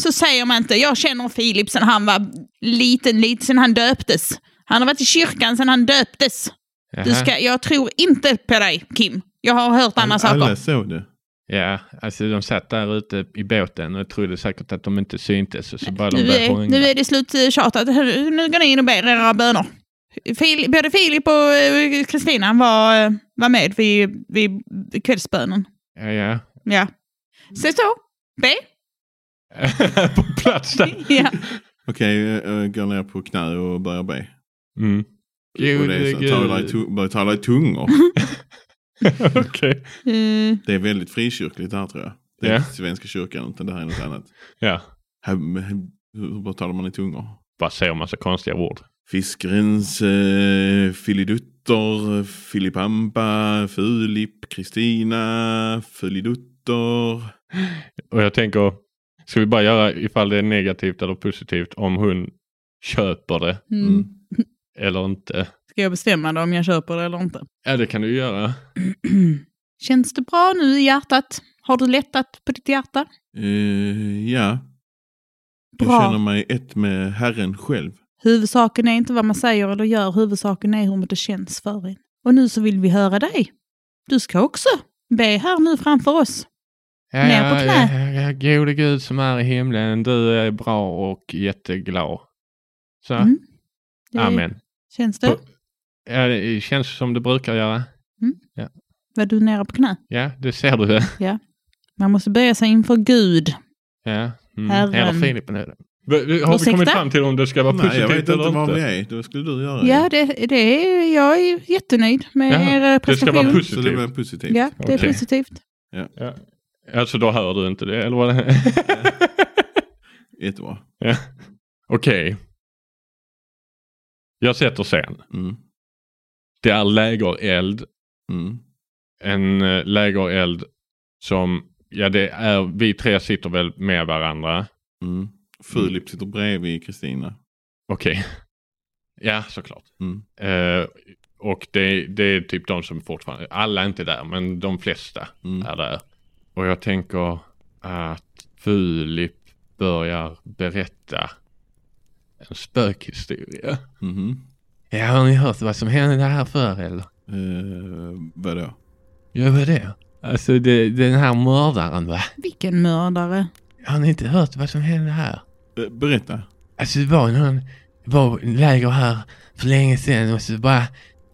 [SPEAKER 3] Så säger man inte. Jag känner Filip sen han var liten, liten, sen han döptes. Han har varit i kyrkan sen han döptes. Du
[SPEAKER 4] Jaha.
[SPEAKER 3] ska, jag tror inte på dig, Kim. Jag har hört andra
[SPEAKER 1] Alla
[SPEAKER 3] saker.
[SPEAKER 1] såg det.
[SPEAKER 4] Ja, alltså de satt där ute i båten och trodde säkert att de inte syntes och så bara de
[SPEAKER 3] Nu
[SPEAKER 4] började
[SPEAKER 3] är, nu
[SPEAKER 4] hångla.
[SPEAKER 3] är det slut eh, tjatat. Nu nu går ni in och ber era böner. Fil, både Filip och eh, Kristina var, eh, var med vid, vid kvällsbönen.
[SPEAKER 4] Ja, ja.
[SPEAKER 3] Ja. Så så. Be.
[SPEAKER 2] på plats där.
[SPEAKER 3] Ja.
[SPEAKER 1] Okej, okay, går ner på knä och börjar be.
[SPEAKER 2] Mm.
[SPEAKER 1] Och det är så, här, tala i tu- börjar tala i tungor.
[SPEAKER 2] Okej.
[SPEAKER 3] Eh,
[SPEAKER 1] Det är väldigt frikyrkligt det här tror jag. Det är
[SPEAKER 2] Ja.
[SPEAKER 1] inte Svenska kyrkan utan det här är något annat.
[SPEAKER 2] Ja.
[SPEAKER 1] Hem- hem- Hur hur talar man i tungor?
[SPEAKER 2] Bara säger massa konstiga ord.
[SPEAKER 1] Fiskrens, eh, Filidutter, Filipampa, Filip, Kristina, Filidutter.
[SPEAKER 2] Och jag tänker, ska vi bara göra ifall det är negativt eller positivt om hon köper det
[SPEAKER 3] Mm.
[SPEAKER 2] eller inte?
[SPEAKER 3] Ska jag bestämma då om jag köper det eller inte?
[SPEAKER 2] Ja, det kan du göra.
[SPEAKER 3] Känns det bra nu i hjärtat? Har du lättat på ditt hjärta?
[SPEAKER 1] Mm. Eh, ja, jag
[SPEAKER 3] Bra.
[SPEAKER 1] känner mig ett med Herren själv.
[SPEAKER 3] Huvudsaken är inte vad man säger eller gör, huvudsaken är hur det känns för en. Och nu så vill vi höra dig. Du ska också be här nu framför oss.
[SPEAKER 4] Ja,
[SPEAKER 3] Ner på
[SPEAKER 4] ja,
[SPEAKER 3] knä.
[SPEAKER 4] ja, ja, Gode Gud som är i himlen, du är bra och jätteglad. Så,
[SPEAKER 3] Mm. Det
[SPEAKER 4] amen.
[SPEAKER 3] Känns det?
[SPEAKER 4] På- Ja, det känns som det brukar göra.
[SPEAKER 3] Var du nere på knä?
[SPEAKER 4] Ja, det ser du. ju.
[SPEAKER 3] Man måste böja sig inför Gud.
[SPEAKER 4] Ja. Mm.
[SPEAKER 3] Herren.
[SPEAKER 4] Eller Filip nu.
[SPEAKER 2] Har vi
[SPEAKER 3] Ursäkta?
[SPEAKER 2] kommit fram till om det ska vara
[SPEAKER 1] Nej, jag vet
[SPEAKER 2] positivt
[SPEAKER 1] inte
[SPEAKER 2] eller
[SPEAKER 1] vad vi
[SPEAKER 2] inte?
[SPEAKER 1] är. Det skulle du göra.
[SPEAKER 3] Ja,
[SPEAKER 1] ju.
[SPEAKER 3] det, det är, jag är jättenöjd med
[SPEAKER 4] Jaha,
[SPEAKER 3] er
[SPEAKER 2] Det ska
[SPEAKER 3] prestation.
[SPEAKER 2] vara
[SPEAKER 1] Så det var
[SPEAKER 2] positivt.
[SPEAKER 1] positivt.
[SPEAKER 3] Ja, det är
[SPEAKER 2] Okej.
[SPEAKER 3] positivt.
[SPEAKER 2] Alltså då hör du inte det, eller vad?
[SPEAKER 1] Jättebra.
[SPEAKER 2] Okej. Jag sätter scen.
[SPEAKER 1] Mm.
[SPEAKER 2] Det är lägereld
[SPEAKER 1] Mm.
[SPEAKER 2] en eh, lägereld som, ja det är, vi tre sitter väl med varandra.
[SPEAKER 1] Mm. Filip sitter bredvid Kristina.
[SPEAKER 2] Okej. Ja, såklart.
[SPEAKER 1] Mm.
[SPEAKER 2] Eh, och det, det är typ de som fortfarande, alla är inte där, men de flesta
[SPEAKER 1] Mm.
[SPEAKER 2] är där. Och jag tänker att Filip börjar berätta en spökhistoria.
[SPEAKER 1] Mhm.
[SPEAKER 4] Ja, har ni hört vad som hände här förr eller?
[SPEAKER 1] Eh, vadå?
[SPEAKER 4] Ja, vad det? Alltså det, den här mördaren va?
[SPEAKER 3] Vilken mördare.
[SPEAKER 4] Har ni inte hört vad som hände här?
[SPEAKER 1] Eh, berätta.
[SPEAKER 4] Alltså det var någon, det var en läger här för länge sedan och så bara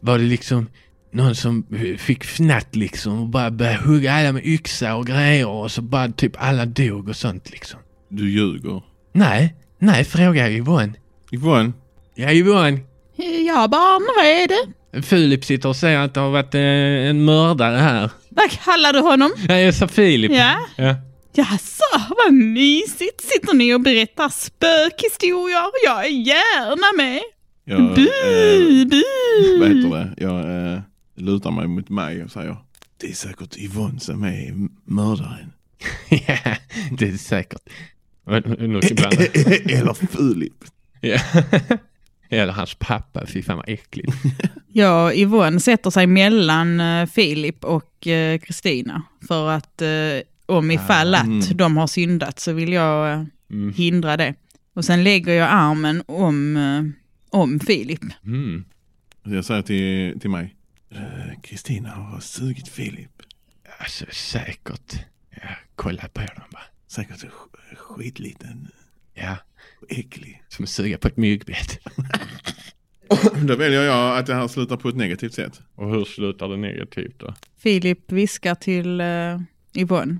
[SPEAKER 4] var det liksom någon som fick fnatt liksom och bara började hugga alla med yxa och grejer och så bara typ alla dog och sånt liksom.
[SPEAKER 1] Du ljuger.
[SPEAKER 4] Nej, nej fråga Yvonne.
[SPEAKER 1] Yvonne,
[SPEAKER 4] Ja Yvonne,
[SPEAKER 3] Jag bara är det.
[SPEAKER 4] Filip sitter och säger att det har varit eh, en mördare här.
[SPEAKER 3] Vad kallar du honom?
[SPEAKER 4] Nej jag sa Filip.
[SPEAKER 3] Ja.
[SPEAKER 4] Ja.
[SPEAKER 3] Jaså, vad mysigt. Sitter ni och berättar spökhistorier? Jag är gärna med.
[SPEAKER 1] jag, eh,
[SPEAKER 3] Bu, bu.
[SPEAKER 1] vad heter det? jag eh, lutar mig mot mig och säger det är säkert Yvonne som är m- mördaren.
[SPEAKER 4] ja, det är säkert.
[SPEAKER 2] Nu ska jag blanda.
[SPEAKER 1] Eller Filip.
[SPEAKER 4] Ja. Eller hans pappa, fy fan vad äckligt.
[SPEAKER 3] Ja, Yvonne sätter sig mellan eh, Filip och eh, Kristina. För att eh, om ifall att
[SPEAKER 1] mm.
[SPEAKER 3] de har syndat så vill jag eh,
[SPEAKER 2] Mm.
[SPEAKER 3] hindra det. Och sen lägger jag armen om, eh, om Filip.
[SPEAKER 2] Mm.
[SPEAKER 1] Så jag säger till, till mig. "Eh, Kristina har sugit Filip.
[SPEAKER 4] Alltså säkert. Ja, kolla på dem bara.
[SPEAKER 1] Säkert sk- skitliten
[SPEAKER 4] Ja,
[SPEAKER 1] och äcklig.
[SPEAKER 4] som att suga på ett myggbett.
[SPEAKER 1] Då väljer jag att det här slutar på ett negativt sätt.
[SPEAKER 2] Och hur slutar det negativt då?
[SPEAKER 3] Filip viskar till eh, Yvonne.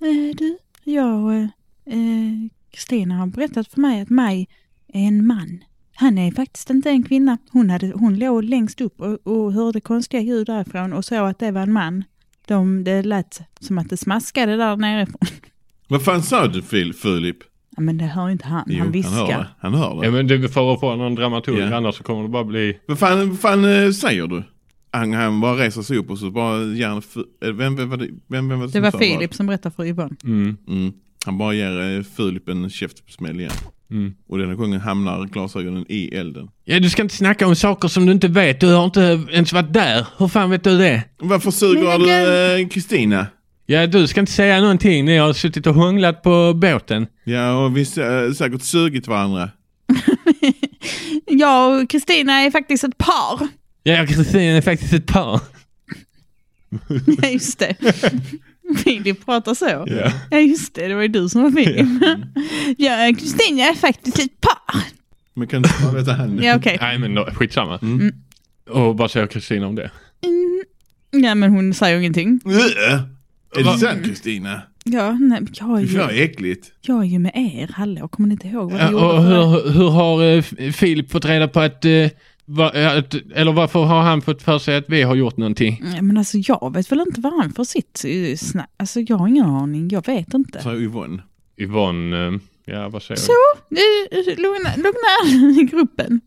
[SPEAKER 3] Eh, du, jag, eh, eh, Kristina har berättat för mig att Maj är en man. Han är faktiskt inte en kvinna. Hon, hade, hon låg längst upp och, och hörde konstiga ljud därifrån och såg att det var en man. De, det lät som att det smaskade där nerifrån.
[SPEAKER 1] Vad fan sa du Fil- Filip?
[SPEAKER 3] Ja, men det hör inte han. han
[SPEAKER 1] han hör
[SPEAKER 3] viskar.
[SPEAKER 1] det. Han hör det.
[SPEAKER 2] Ja men det är för att få någon dramaturg
[SPEAKER 1] Ja.
[SPEAKER 2] annars så kommer det bara bli
[SPEAKER 1] Vad fan, vad fan eh, säger du? Han, han bara reser sig upp och så bara ger han... Fi- eh, Vem, vem, var det- vem, vem var det
[SPEAKER 3] det
[SPEAKER 1] som
[SPEAKER 3] var
[SPEAKER 1] sa
[SPEAKER 3] Filip som berättade för Yvonne.
[SPEAKER 2] mm,
[SPEAKER 1] vad? Mm. Han bara ger eh, Filip en käftsmäll igen.
[SPEAKER 2] mm.
[SPEAKER 1] Och denna gången hamnar glasögonen i elden.
[SPEAKER 4] Ja, du ska inte snacka om saker som du inte vet. Du har inte ens varit där. Hur fan vet du det?
[SPEAKER 1] Varför suger
[SPEAKER 3] Men
[SPEAKER 1] du eh, Kristina?
[SPEAKER 4] Ja, du ska inte säga någonting. Ni har suttit och hånglat på båten.
[SPEAKER 1] Ja, och vi sä- säkert sugit varandra.
[SPEAKER 3] Jag och Kristina är faktiskt ett par.
[SPEAKER 4] Ja, jag och Kristina är faktiskt ett par.
[SPEAKER 3] Ja, just det. Filip pratar så.
[SPEAKER 1] Ja.
[SPEAKER 3] Ja just det, det var ju du som var Filip. Ja, Kristina är faktiskt ett par.
[SPEAKER 1] Men kan du bara veta han?
[SPEAKER 3] Ja okej.
[SPEAKER 2] Nej men då, skitsamma.
[SPEAKER 1] Mm.
[SPEAKER 3] Mm.
[SPEAKER 2] Och vad säger Kristina om det?
[SPEAKER 3] Mm. Ja men hon säger ingenting.
[SPEAKER 1] Äh, Är
[SPEAKER 2] Va?
[SPEAKER 1] det sant Kristina?
[SPEAKER 3] Ja, nej, men jag, är
[SPEAKER 1] Fy fan
[SPEAKER 3] ju,
[SPEAKER 1] vad äckligt.
[SPEAKER 3] jag är ju med er, hallå, kommer ni inte ihåg vad vi
[SPEAKER 4] Ja,
[SPEAKER 3] gjorde?
[SPEAKER 4] och
[SPEAKER 3] för er?
[SPEAKER 4] hur, hur har eh, F- Filip fått reda på att, eh, va, att... Eller varför har han fått för sig att vi har gjort någonting?
[SPEAKER 3] Nej, Men alltså jag vet väl inte vad han får sitt eh, snack. Alltså jag har ingen aning, jag vet inte.
[SPEAKER 1] Sa Yvonne.
[SPEAKER 2] Yvonne, eh, ja vad säger
[SPEAKER 3] Så, eh, lugna, lugna er i gruppen.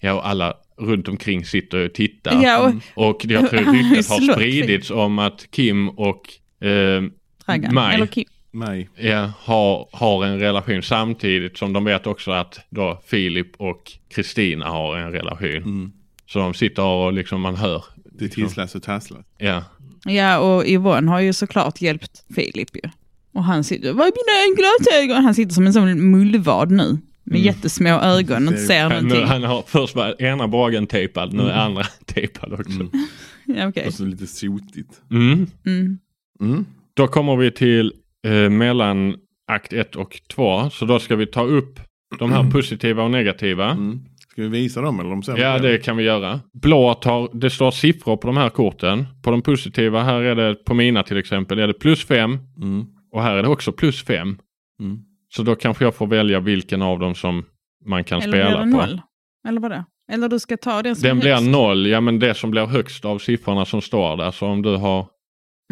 [SPEAKER 2] Ja, och alla runt omkring sitter och tittar.
[SPEAKER 3] Ja, och
[SPEAKER 2] Och jag tror ryktet har spridits om att Kim och eh,
[SPEAKER 3] Dragan,
[SPEAKER 2] Maj.
[SPEAKER 3] eller Kim.
[SPEAKER 1] Nej.
[SPEAKER 2] ja, har, har en relation samtidigt som de vet också att då Filip och Kristina har en relation.
[SPEAKER 1] Mm.
[SPEAKER 2] Så de sitter och liksom man hör.
[SPEAKER 1] Det tisslas och tasslas.
[SPEAKER 2] Ja.
[SPEAKER 3] Ja, och Yvonne har ju såklart hjälpt Filip ju. Och han sitter, vad är mina glasögon? Han sitter som en sån mullvad nu. Med
[SPEAKER 2] Mm.
[SPEAKER 3] jättesmå ögon och inte ser
[SPEAKER 2] Han, nu,
[SPEAKER 3] någonting.
[SPEAKER 2] han har först var ena bragen tejpad,
[SPEAKER 3] Mm.
[SPEAKER 2] nu är andra tejpad också.
[SPEAKER 1] Mm.
[SPEAKER 3] Ja, okej.
[SPEAKER 1] Och så lite sotigt.
[SPEAKER 2] Mm.
[SPEAKER 3] Mm.
[SPEAKER 1] Mm.
[SPEAKER 2] Då kommer vi till eh, mellan akt 1 och 2. Så då ska vi ta upp de här positiva och negativa.
[SPEAKER 1] Mm. Ska vi visa dem eller de sämre?
[SPEAKER 2] Ja, det kan vi göra. Blå tar, det står siffror på de här korten. På de positiva, här är det på mina till exempel, är det plus 5
[SPEAKER 1] Mm.
[SPEAKER 2] och här är det också plus 5.
[SPEAKER 1] Mm.
[SPEAKER 2] Så då kanske jag får välja vilken av dem som man kan
[SPEAKER 3] Eller blir
[SPEAKER 2] spela
[SPEAKER 3] det
[SPEAKER 2] på.
[SPEAKER 3] noll? Eller vadå? Eller du ska ta den som
[SPEAKER 2] Den
[SPEAKER 3] är
[SPEAKER 2] blir
[SPEAKER 3] högst.
[SPEAKER 2] noll, ja men det som blir högst av siffrorna som står där. Så om du har,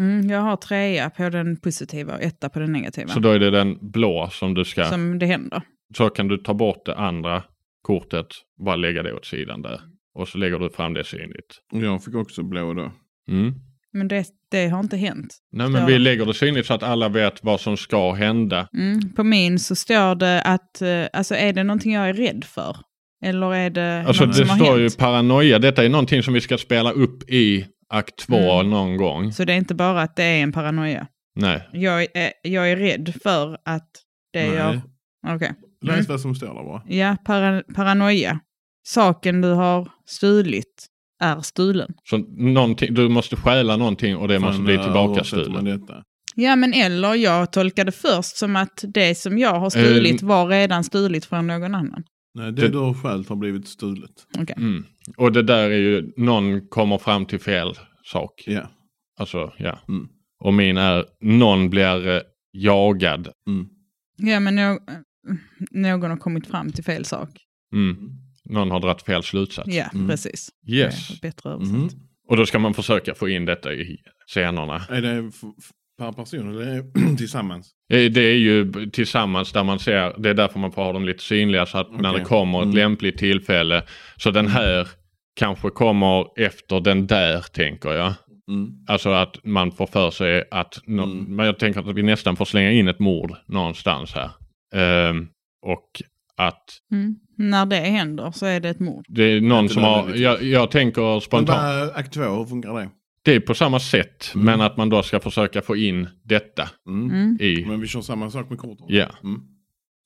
[SPEAKER 3] Mm, jag har trea på den positiva och etta på den negativa.
[SPEAKER 2] så då är det den blå som du ska,
[SPEAKER 3] Som det händer.
[SPEAKER 2] så kan du ta bort det andra kortet, bara lägga det åt sidan där. Och så lägger du fram det synligt.
[SPEAKER 1] Jag fick också blå då.
[SPEAKER 2] Mm.
[SPEAKER 3] Men det, det har inte hänt.
[SPEAKER 2] Nej
[SPEAKER 3] Står
[SPEAKER 2] men vi
[SPEAKER 3] det.
[SPEAKER 2] lägger det synligt så att alla vet vad som ska hända.
[SPEAKER 3] Mm. På min så står det att, eh, alltså är det någonting jag är rädd för? Eller är det
[SPEAKER 2] Alltså
[SPEAKER 3] något
[SPEAKER 2] det
[SPEAKER 3] som har
[SPEAKER 2] står ju
[SPEAKER 3] hänt?
[SPEAKER 2] paranoia. Detta är någonting som vi ska spela upp i akt 2
[SPEAKER 3] Mm.
[SPEAKER 2] någon gång.
[SPEAKER 3] Så det är inte bara att det är en paranoia.
[SPEAKER 2] Nej.
[SPEAKER 3] Jag är, eh, jag är rädd för att det
[SPEAKER 1] Nej.
[SPEAKER 3] jag... Okej.
[SPEAKER 1] Läs
[SPEAKER 3] Mm.
[SPEAKER 1] vad som står där bara.
[SPEAKER 3] Ja, para, paranoia. Saken du har stulit är stulen.
[SPEAKER 2] Så någonting, du måste stjäla någonting och det
[SPEAKER 1] Fan,
[SPEAKER 2] måste bli
[SPEAKER 1] eh, översätter man
[SPEAKER 2] tillbakastulet.
[SPEAKER 1] detta?
[SPEAKER 3] Ja, men eller jag tolkade först som att det som jag har
[SPEAKER 1] Ehm.
[SPEAKER 3] stulit var redan stulit från någon annan.
[SPEAKER 1] Nej, det,
[SPEAKER 2] Det-
[SPEAKER 1] du har stjält har blivit stulet.
[SPEAKER 2] Mm. Och det där är ju, någon kommer fram till fel sak.
[SPEAKER 1] Ja.
[SPEAKER 2] Alltså ja.
[SPEAKER 1] Mm.
[SPEAKER 2] Och min är, någon blir eh, jagad.
[SPEAKER 1] Mm.
[SPEAKER 3] Ja, men no- någon har kommit fram till fel sak.
[SPEAKER 2] Mm. Någon har dragit fel slutsats.
[SPEAKER 3] Ja,
[SPEAKER 1] Mm.
[SPEAKER 3] precis.
[SPEAKER 2] Yes.
[SPEAKER 3] Det är Bättre översatt.
[SPEAKER 1] Mhm.
[SPEAKER 2] Och då ska man försöka få in detta i scenerna.
[SPEAKER 1] Är det f- f- per person eller är det tillsammans?
[SPEAKER 2] Eh, Det är ju b- tillsammans där man ser, det är därför man får ha dem lite synliga så att när
[SPEAKER 1] Okej.
[SPEAKER 2] det kommer ett
[SPEAKER 1] Mm.
[SPEAKER 2] lämpligt tillfälle. Så den här kanske kommer efter den där tänker jag.
[SPEAKER 1] Mm.
[SPEAKER 2] Alltså att man får för sig att, nå-
[SPEAKER 1] Mm.
[SPEAKER 2] men jag tänker att vi nästan får slänga in ett mord någonstans här. Ehm, och att
[SPEAKER 3] Mm. När det händer så är det ett mord.
[SPEAKER 2] det är någon
[SPEAKER 1] Inte
[SPEAKER 2] som har,
[SPEAKER 1] nödvändigtvis.
[SPEAKER 2] jag, jag tänker
[SPEAKER 1] Men
[SPEAKER 2] spontant,
[SPEAKER 1] vad, akt två, hur funkar det?
[SPEAKER 2] det är på samma sätt
[SPEAKER 1] Mm.
[SPEAKER 2] men att man då ska försöka få in detta
[SPEAKER 1] Mm.
[SPEAKER 3] Mm.
[SPEAKER 2] i,
[SPEAKER 1] Men vi kör samma sak med korten?
[SPEAKER 2] ja.
[SPEAKER 1] Mm.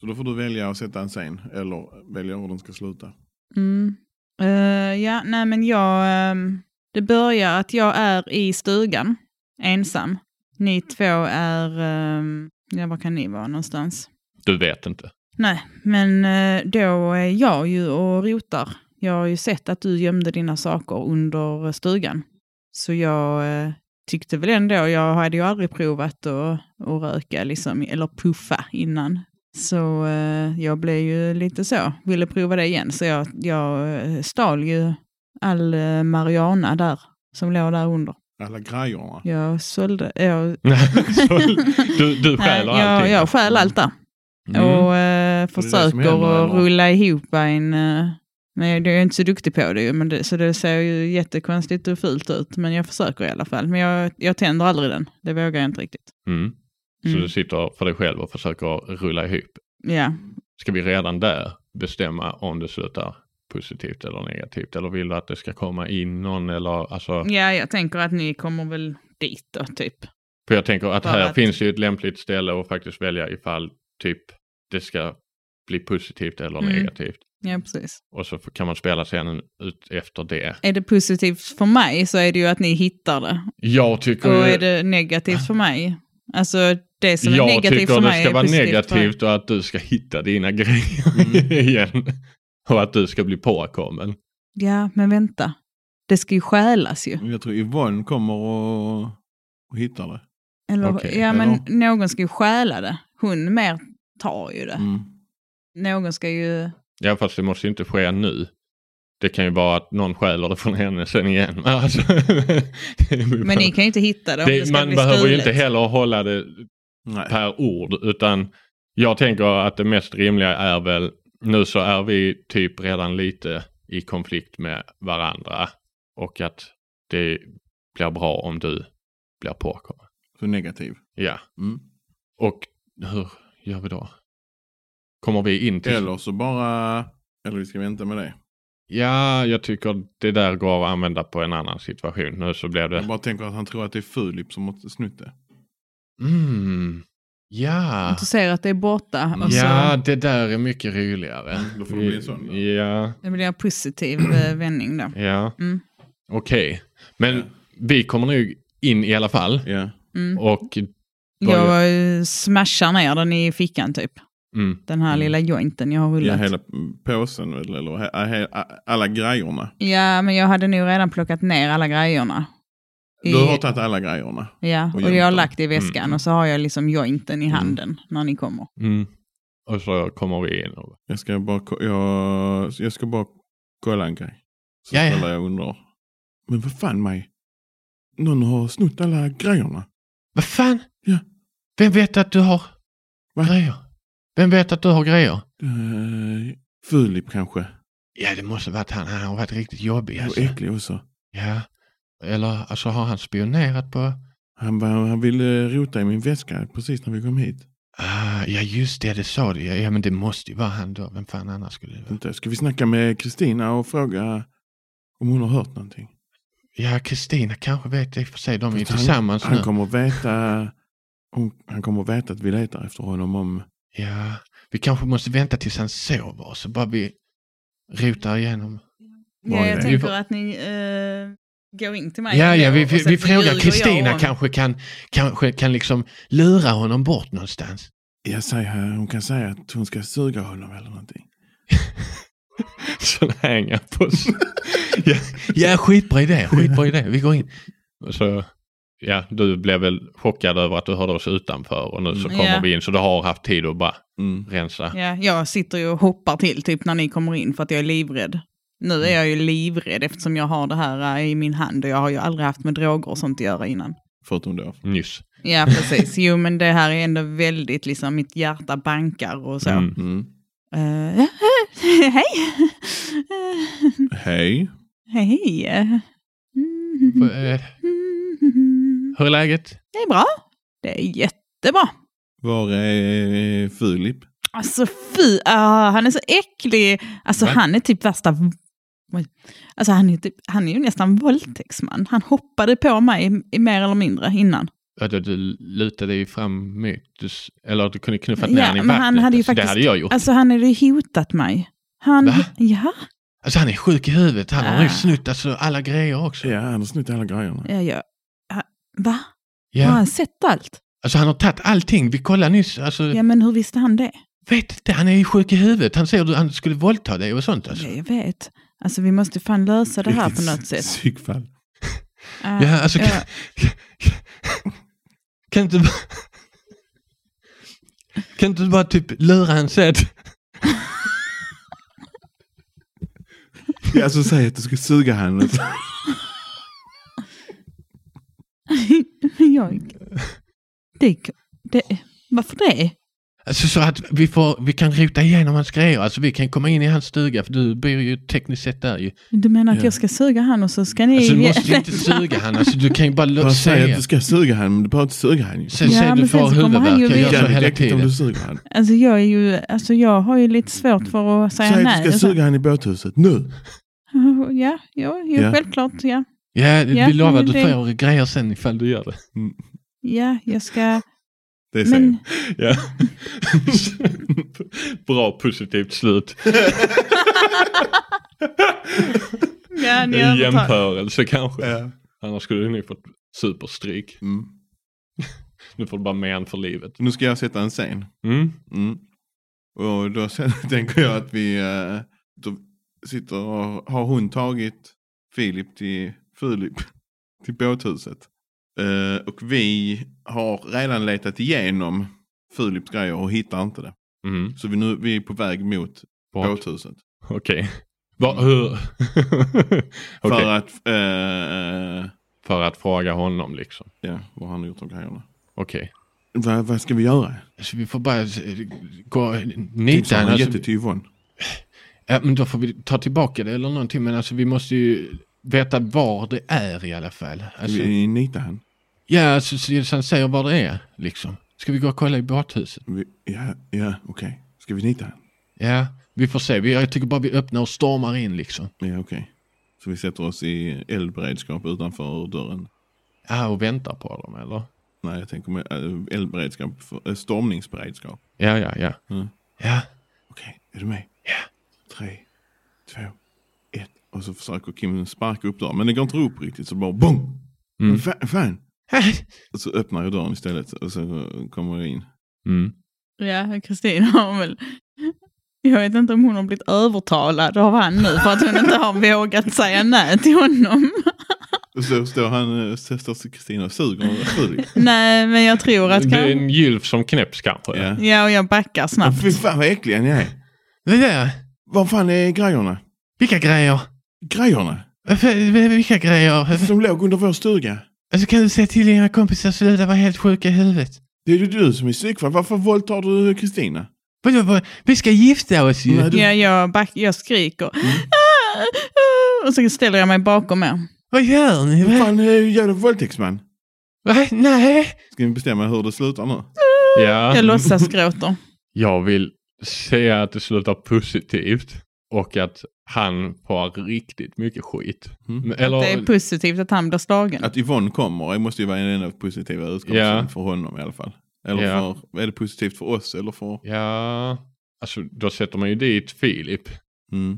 [SPEAKER 1] Så då får du välja att sätta en scen eller välja hur den ska sluta.
[SPEAKER 3] Mm. Eh, ja, nej men jag... ehm, det börjar att jag är i stugan, ensam. Ni två är... ehm, ja, var kan ni vara någonstans?
[SPEAKER 2] Du vet inte.
[SPEAKER 3] Nej, men eh, då är jag ju och rotar. Jag har ju sett att du gömde dina saker under stugan. Så jag eh, tyckte väl ändå, jag hade ju aldrig provat att, att röka liksom, eller puffa innan. Så eh, jag blev ju lite så, ville prova det igen. Så jag, jag eh, stal ju all eh, marijuana där, som låg där under.
[SPEAKER 1] Alla grejerna.
[SPEAKER 3] Jag sålde, jag,
[SPEAKER 2] Så du, du
[SPEAKER 3] nej,
[SPEAKER 2] stjäl
[SPEAKER 3] jag,
[SPEAKER 2] allting.
[SPEAKER 3] jag stjäl allt där.
[SPEAKER 2] Mm.
[SPEAKER 3] Och eh,
[SPEAKER 1] det som
[SPEAKER 3] försöker
[SPEAKER 1] händer,
[SPEAKER 3] att
[SPEAKER 1] eller?
[SPEAKER 3] rulla ihop en... Eh, men jag är inte så duktig på det, ju, men det, så det ser ju jättekonstigt och fult ut. Men jag försöker i alla fall. Men jag, jag tänder aldrig den. Det vågar jag inte riktigt.
[SPEAKER 2] Mm. Så
[SPEAKER 3] Mm.
[SPEAKER 2] du sitter för dig själv och försöker rulla ihop.
[SPEAKER 3] Ja.
[SPEAKER 2] Ska vi redan där bestämma om det slutar positivt eller negativt? Eller vill du att det ska komma in någon eller alltså?
[SPEAKER 3] ja, jag tänker att ni kommer väl dit då, typ.
[SPEAKER 2] För jag tänker att
[SPEAKER 3] Bara
[SPEAKER 2] här
[SPEAKER 3] att-
[SPEAKER 2] finns ju ett lämpligt ställe att faktiskt välja ifall typ det ska bli positivt eller
[SPEAKER 3] Mm.
[SPEAKER 2] negativt.
[SPEAKER 3] Ja, precis.
[SPEAKER 2] Och så kan man spela scenen ut efter det.
[SPEAKER 3] Är det positivt för mig så är det ju att ni hittar det.
[SPEAKER 2] Jag tycker
[SPEAKER 3] Och
[SPEAKER 2] ju-
[SPEAKER 3] är det negativt för mig? Alltså det som är
[SPEAKER 2] jag
[SPEAKER 3] negativt
[SPEAKER 2] tycker
[SPEAKER 3] för
[SPEAKER 2] det
[SPEAKER 3] mig
[SPEAKER 2] ska
[SPEAKER 3] är
[SPEAKER 2] vara
[SPEAKER 3] positivt för
[SPEAKER 2] negativt och att du ska hitta dina grejer igen. Och att du ska bli påkommen.
[SPEAKER 3] Ja, men vänta. Det ska ju stjälas ju.
[SPEAKER 1] Jag tror Yvonne kommer och, och hittar det.
[SPEAKER 3] Eller,
[SPEAKER 2] Okej,
[SPEAKER 3] ja, men
[SPEAKER 1] eller?
[SPEAKER 3] någon ska ju stjäla det. Hon mer tar ju det.
[SPEAKER 1] Mm.
[SPEAKER 3] Någon ska ju...
[SPEAKER 2] Ja fast det måste ju inte ske nu. Det kan ju vara att någon stjäler det från henne sen igen. Alltså,
[SPEAKER 3] Men ni kan ju inte hitta det om det,
[SPEAKER 2] det,
[SPEAKER 3] ska
[SPEAKER 2] man
[SPEAKER 3] bli
[SPEAKER 2] behöver ju
[SPEAKER 3] stulet.
[SPEAKER 2] inte heller hålla det
[SPEAKER 1] Nej.
[SPEAKER 2] per ord utan jag tänker att det mest rimliga är väl nu så är vi typ redan lite i konflikt med varandra och att det blir bra om du blir påkommen.
[SPEAKER 1] Så negativ.
[SPEAKER 2] Ja,
[SPEAKER 1] Mm.
[SPEAKER 2] och hur gör vi då? Kommer vi in till...
[SPEAKER 1] Eller så bara, eller vi ska vänta med det.
[SPEAKER 2] Ja, jag tycker det där går att använda på en annan situation. Nu så
[SPEAKER 1] Jag
[SPEAKER 2] blev det...
[SPEAKER 1] bara tänker att han tror att det är Filip som har snott det.
[SPEAKER 2] Mm. Ja.
[SPEAKER 3] Du ser att det är borta. Och
[SPEAKER 2] Ja,
[SPEAKER 3] så,
[SPEAKER 2] det där är mycket roligare.
[SPEAKER 1] Mm, Då får det bli en sån, ja.
[SPEAKER 2] Ja,
[SPEAKER 3] det blir en positiv eh, vändning där.
[SPEAKER 2] ja.
[SPEAKER 3] Mm.
[SPEAKER 2] Okej. Men
[SPEAKER 1] Ja.
[SPEAKER 2] vi kommer nog in i alla fall.
[SPEAKER 1] Ja.
[SPEAKER 3] Mm.
[SPEAKER 2] Och...
[SPEAKER 3] Jag eh, smashar ner den i fickan typ.
[SPEAKER 2] Mm.
[SPEAKER 3] Den här lilla jointen jag har
[SPEAKER 1] Ja,
[SPEAKER 3] rullat.
[SPEAKER 1] hela påsen eller, eller he, he, alla grejerna.
[SPEAKER 3] Ja, men jag hade nog redan plockat ner alla grejerna. I,
[SPEAKER 1] Du har tagit alla grejerna.
[SPEAKER 3] ja,
[SPEAKER 1] och
[SPEAKER 3] och
[SPEAKER 1] gömt
[SPEAKER 3] jag har
[SPEAKER 1] dem.
[SPEAKER 3] lagt det i väskan
[SPEAKER 2] Mm.
[SPEAKER 3] och så har jag liksom jointen i handen när ni kommer.
[SPEAKER 2] Mm. Och så kommer vi in. Och...
[SPEAKER 1] Jag ska bara, ko- jag, jag ska bara kolla en grej. Så
[SPEAKER 4] Ja, ja.
[SPEAKER 1] ställer jag undrar. Men vad fan Maj? Någon har snott alla grejerna.
[SPEAKER 4] Vad fan?
[SPEAKER 1] Ja.
[SPEAKER 4] Vem vet att du har
[SPEAKER 1] Va?
[SPEAKER 4] grejer? Vem vet att du har grejer?
[SPEAKER 1] Eh, Filip kanske.
[SPEAKER 4] Ja, det måste varit han. Han har varit riktigt jobbig
[SPEAKER 1] Och
[SPEAKER 4] alltså.
[SPEAKER 1] äcklig också.
[SPEAKER 4] Ja. Eller alltså har han spionerat på...
[SPEAKER 1] Han, var, han ville rota i min väska precis när vi kom hit.
[SPEAKER 4] Ah, ja, just det, det sa du. Ja, ja, men det måste ju vara han då. Vem fan annars skulle det vara?
[SPEAKER 1] Vänta, Ska vi snacka med Kristina och fråga om hon har hört någonting?
[SPEAKER 4] Ja, Kristina kanske vet i och för sig. De är ju
[SPEAKER 1] Fast han-
[SPEAKER 4] tillsammans nu.
[SPEAKER 1] Han kommer veta, hon, han kommer veta att vi letar efter honom om...
[SPEAKER 4] Ja, vi kanske måste vänta tills han sover så bara vi rotar igenom.
[SPEAKER 1] Vad
[SPEAKER 3] Ja,
[SPEAKER 1] är
[SPEAKER 3] jag
[SPEAKER 1] det?
[SPEAKER 3] tänker
[SPEAKER 4] Vi får-
[SPEAKER 3] att ni eh, går in till mig.
[SPEAKER 4] Ja, ja, vi,
[SPEAKER 3] Och sen
[SPEAKER 4] vi, vi
[SPEAKER 3] så ljuger
[SPEAKER 4] frågar
[SPEAKER 3] jag
[SPEAKER 4] Kristina
[SPEAKER 3] om-
[SPEAKER 4] kanske kan, kanske kan liksom lura honom bort någonstans.
[SPEAKER 1] Jag säger, här, hon kan säga att hon ska suga honom eller någonting.
[SPEAKER 2] Så hänger på oss.
[SPEAKER 4] Ja, skitbra idé, skitbra idé. Vi går in.
[SPEAKER 2] Så, ja, du blev väl chockad över att du hörde oss utanför och nu så
[SPEAKER 3] Mm.
[SPEAKER 2] kommer
[SPEAKER 3] Ja.
[SPEAKER 2] vi in. Så du har haft tid att bara
[SPEAKER 1] Mm.
[SPEAKER 2] rensa.
[SPEAKER 3] Ja, jag sitter ju och hoppar till typ när ni kommer in för att jag är livrädd. Nu
[SPEAKER 4] Mm.
[SPEAKER 3] är jag ju livrädd eftersom jag har det här eh, i min hand och jag har ju aldrig haft med droger och sånt att göra innan.
[SPEAKER 1] Förutom då.
[SPEAKER 2] Nyss.
[SPEAKER 3] Ja, precis. Jo, men det här är ändå väldigt, liksom mitt hjärta bankar och så.
[SPEAKER 2] Mm.
[SPEAKER 1] Mm.
[SPEAKER 3] Eh, hej! Eh,
[SPEAKER 1] Hej.
[SPEAKER 3] hej! Mm.
[SPEAKER 4] Eh,
[SPEAKER 3] Mm.
[SPEAKER 4] Hur är läget?
[SPEAKER 3] Det är bra. Det är jättebra.
[SPEAKER 1] Var är Filip?
[SPEAKER 3] Alltså fy, ah, han är så äcklig. Alltså
[SPEAKER 2] Va?
[SPEAKER 3] han är typ värsta... Oj. Alltså han är, typ, han är ju nästan våldtäktsman. Han hoppade på mig i- i mer eller mindre innan.
[SPEAKER 2] Ja, du, du lutade ju fram mot, du, s- eller du kunde knuffat
[SPEAKER 3] Ja,
[SPEAKER 2] ner den i
[SPEAKER 3] men han
[SPEAKER 2] vattnet.
[SPEAKER 3] hade ju
[SPEAKER 2] Så Det
[SPEAKER 3] faktiskt-
[SPEAKER 2] hade jag gjort.
[SPEAKER 3] Alltså han hade ju hotat mig. Han,
[SPEAKER 4] Va?
[SPEAKER 3] ja,
[SPEAKER 4] Alltså han är sjuk i huvudet. Han har
[SPEAKER 3] Ah.
[SPEAKER 4] ju snott alltså, alla grejer också.
[SPEAKER 1] Ja, han har snott alla grejerna.
[SPEAKER 3] ja, ja. Ha- Va? Har
[SPEAKER 4] Ja.
[SPEAKER 3] han sett allt?
[SPEAKER 4] Alltså han har tagit allting. Vi kollade nyss. Alltså,
[SPEAKER 3] Ja, men hur visste han det?
[SPEAKER 4] Vet inte, han är ju sjuk i huvudet. Han säger att han skulle våldta dig och sånt alltså.
[SPEAKER 3] Ja, jag vet. Alltså vi måste fan lösa det här på
[SPEAKER 1] Riktigt
[SPEAKER 3] något sätt.
[SPEAKER 1] Psykfall.
[SPEAKER 3] Ah,
[SPEAKER 4] Ja, alltså kan,
[SPEAKER 3] ja.
[SPEAKER 4] kan inte bara... Kan inte du bara typ lura han säga att...
[SPEAKER 1] Ja, så säg att du ska suga honom.
[SPEAKER 3] jag... Det, det, varför det?
[SPEAKER 4] Alltså så att vi, får, vi kan rota igenom hans grejer. Alltså vi kan komma in i hans stuga för du bor ju tekniskt sett där ju.
[SPEAKER 3] Du menar att
[SPEAKER 1] Ja.
[SPEAKER 3] jag ska suga han och så ska ni...
[SPEAKER 4] Alltså du måste ju inte suga han. Alltså du kan ju bara låta
[SPEAKER 1] Bara säg att
[SPEAKER 4] säga.
[SPEAKER 1] du ska suga honom, men du behöver inte suga honom.
[SPEAKER 4] Sen
[SPEAKER 3] Ja,
[SPEAKER 4] säger du
[SPEAKER 3] men sen
[SPEAKER 4] får
[SPEAKER 3] så kommer han
[SPEAKER 4] huvudvärk.
[SPEAKER 3] ju
[SPEAKER 4] Jag gör
[SPEAKER 3] veta.
[SPEAKER 4] så hela
[SPEAKER 1] äckligt om du
[SPEAKER 4] tiden.
[SPEAKER 1] suger honom.
[SPEAKER 3] Alltså jag, är ju, alltså jag har ju lite svårt för att säga
[SPEAKER 1] Säg att
[SPEAKER 3] nej.
[SPEAKER 1] du ska suga honom i båthuset, nu.
[SPEAKER 3] Ja, ja, ja,
[SPEAKER 1] Ja.
[SPEAKER 3] självklart. Ja.
[SPEAKER 4] Ja,
[SPEAKER 3] Ja,
[SPEAKER 4] vi lovar
[SPEAKER 3] men
[SPEAKER 4] du
[SPEAKER 3] det-
[SPEAKER 4] får grejer sen ifall du gör det.
[SPEAKER 3] ja, jag ska...
[SPEAKER 1] Det är
[SPEAKER 3] Men,
[SPEAKER 1] men...
[SPEAKER 2] Ja. Bra positivt slut.
[SPEAKER 3] ja, ni
[SPEAKER 2] En
[SPEAKER 3] övertar.
[SPEAKER 2] jämförelse kanske.
[SPEAKER 1] ja.
[SPEAKER 2] Annars skulle du nog fått superstryk.
[SPEAKER 1] mm.
[SPEAKER 2] Nu får du bara men för livet.
[SPEAKER 1] Nu ska jag sätta en scen.
[SPEAKER 2] Mm.
[SPEAKER 1] Mm. Och då sen tänker jag att vi eh, då sitter och har hon tagit Filip till Filip till båthuset. Eh, och vi har redan letat igenom Filips grejer och hittar inte det.
[SPEAKER 2] Mm.
[SPEAKER 1] Så vi, nu, vi är på väg mot
[SPEAKER 2] Bra.
[SPEAKER 1] båthuset.
[SPEAKER 2] Okej. Va- hur? Okej.
[SPEAKER 1] För att, eh,
[SPEAKER 2] För att fråga honom liksom.
[SPEAKER 1] ja, vad han har gjort av grejerna.
[SPEAKER 2] Okej.
[SPEAKER 1] Va, vad ska vi göra?
[SPEAKER 4] Alltså vi får bara eh, gå
[SPEAKER 1] Tänk så
[SPEAKER 4] nita
[SPEAKER 1] har
[SPEAKER 4] han.
[SPEAKER 1] han
[SPEAKER 4] Alltså,
[SPEAKER 1] gett det till Yvonne.
[SPEAKER 4] Ja, men då får vi ta tillbaka det eller någonting. Men alltså vi måste ju veta var det är i alla fall. Alltså,
[SPEAKER 1] Vi nitar han.
[SPEAKER 4] Ja, alltså så han säger var det är liksom. Ska vi gå och kolla i badhuset?
[SPEAKER 1] Vi, ja, ja okej. Ska vi nita han?
[SPEAKER 4] Ja, Vi får se. Vi- Jag tycker bara vi öppnar och stormar in liksom.
[SPEAKER 1] Ja, okej. Så vi sätter oss i eldberedskap utanför dörren.
[SPEAKER 4] Ja, och väntar på dem eller?
[SPEAKER 1] Nej, jag tänker med eh, eldberedskap, för, eh, stormningsberedskap.
[SPEAKER 4] Ja, ja, ja.
[SPEAKER 1] Mm.
[SPEAKER 4] Ja,
[SPEAKER 1] Okej, är du med?
[SPEAKER 4] Ja.
[SPEAKER 1] Tre, två, ett. Och så försöker Kim sparka upp dörren, men det går inte upp riktigt så det bara BOOM!
[SPEAKER 4] Mm.
[SPEAKER 1] Men fan, fan! Och så öppnar jag dörren istället och så kommer jag in.
[SPEAKER 2] Mm.
[SPEAKER 3] Ja, Kristin har väl... Jag vet inte om hon har blivit övertalad av han nu för att hon inte har vågat säga nej till honom.
[SPEAKER 1] Och så står han, eh, så står Kristina och suger och suger.
[SPEAKER 3] Nej, men jag tror att...
[SPEAKER 2] Det är
[SPEAKER 3] Kan...
[SPEAKER 2] en gylf som knäpps kanske.
[SPEAKER 1] Ja.
[SPEAKER 3] Ja, och jag backar snabbt.
[SPEAKER 1] Fy fan vad äckliga ni är.
[SPEAKER 4] det där.
[SPEAKER 1] Var fan är grejerna?
[SPEAKER 4] Vilka grejer?
[SPEAKER 1] Grejerna?
[SPEAKER 4] Varför- Vilka grejer?
[SPEAKER 1] Som låg under vår stuga.
[SPEAKER 4] Alltså kan du säga till dina kompisar att sluta vara helt sjuka i huvudet?
[SPEAKER 1] Det är ju du som är psykfall. Varför våldtar du Kristina?
[SPEAKER 4] Vadå, vad- vi ska gifta oss ju.
[SPEAKER 1] Nej, du-
[SPEAKER 3] Ja, jag, back... jag skriker. Ah, ah, Och så ställer jag mig bakom er.
[SPEAKER 4] Vad gör ni?
[SPEAKER 1] Vad
[SPEAKER 4] Va?
[SPEAKER 1] fan är ju jävla våldtäktsman?
[SPEAKER 4] Va? Nej.
[SPEAKER 1] Ska vi bestämma hur det slutar nu?
[SPEAKER 2] Ja. Mm.
[SPEAKER 3] Jag låtsas gråter.
[SPEAKER 2] Jag vill säga att det slutar positivt och att han får riktigt mycket skit.
[SPEAKER 1] Mm.
[SPEAKER 2] Eller,
[SPEAKER 3] Det är positivt att han blir slagen.
[SPEAKER 1] Att Yvonne kommer det måste ju vara en av de positiva utgången
[SPEAKER 2] Ja.
[SPEAKER 1] för honom i alla fall. Eller
[SPEAKER 2] Ja.
[SPEAKER 1] för, är det positivt för oss eller för...
[SPEAKER 2] ja, alltså då sätter man ju dit Filip.
[SPEAKER 1] Mm.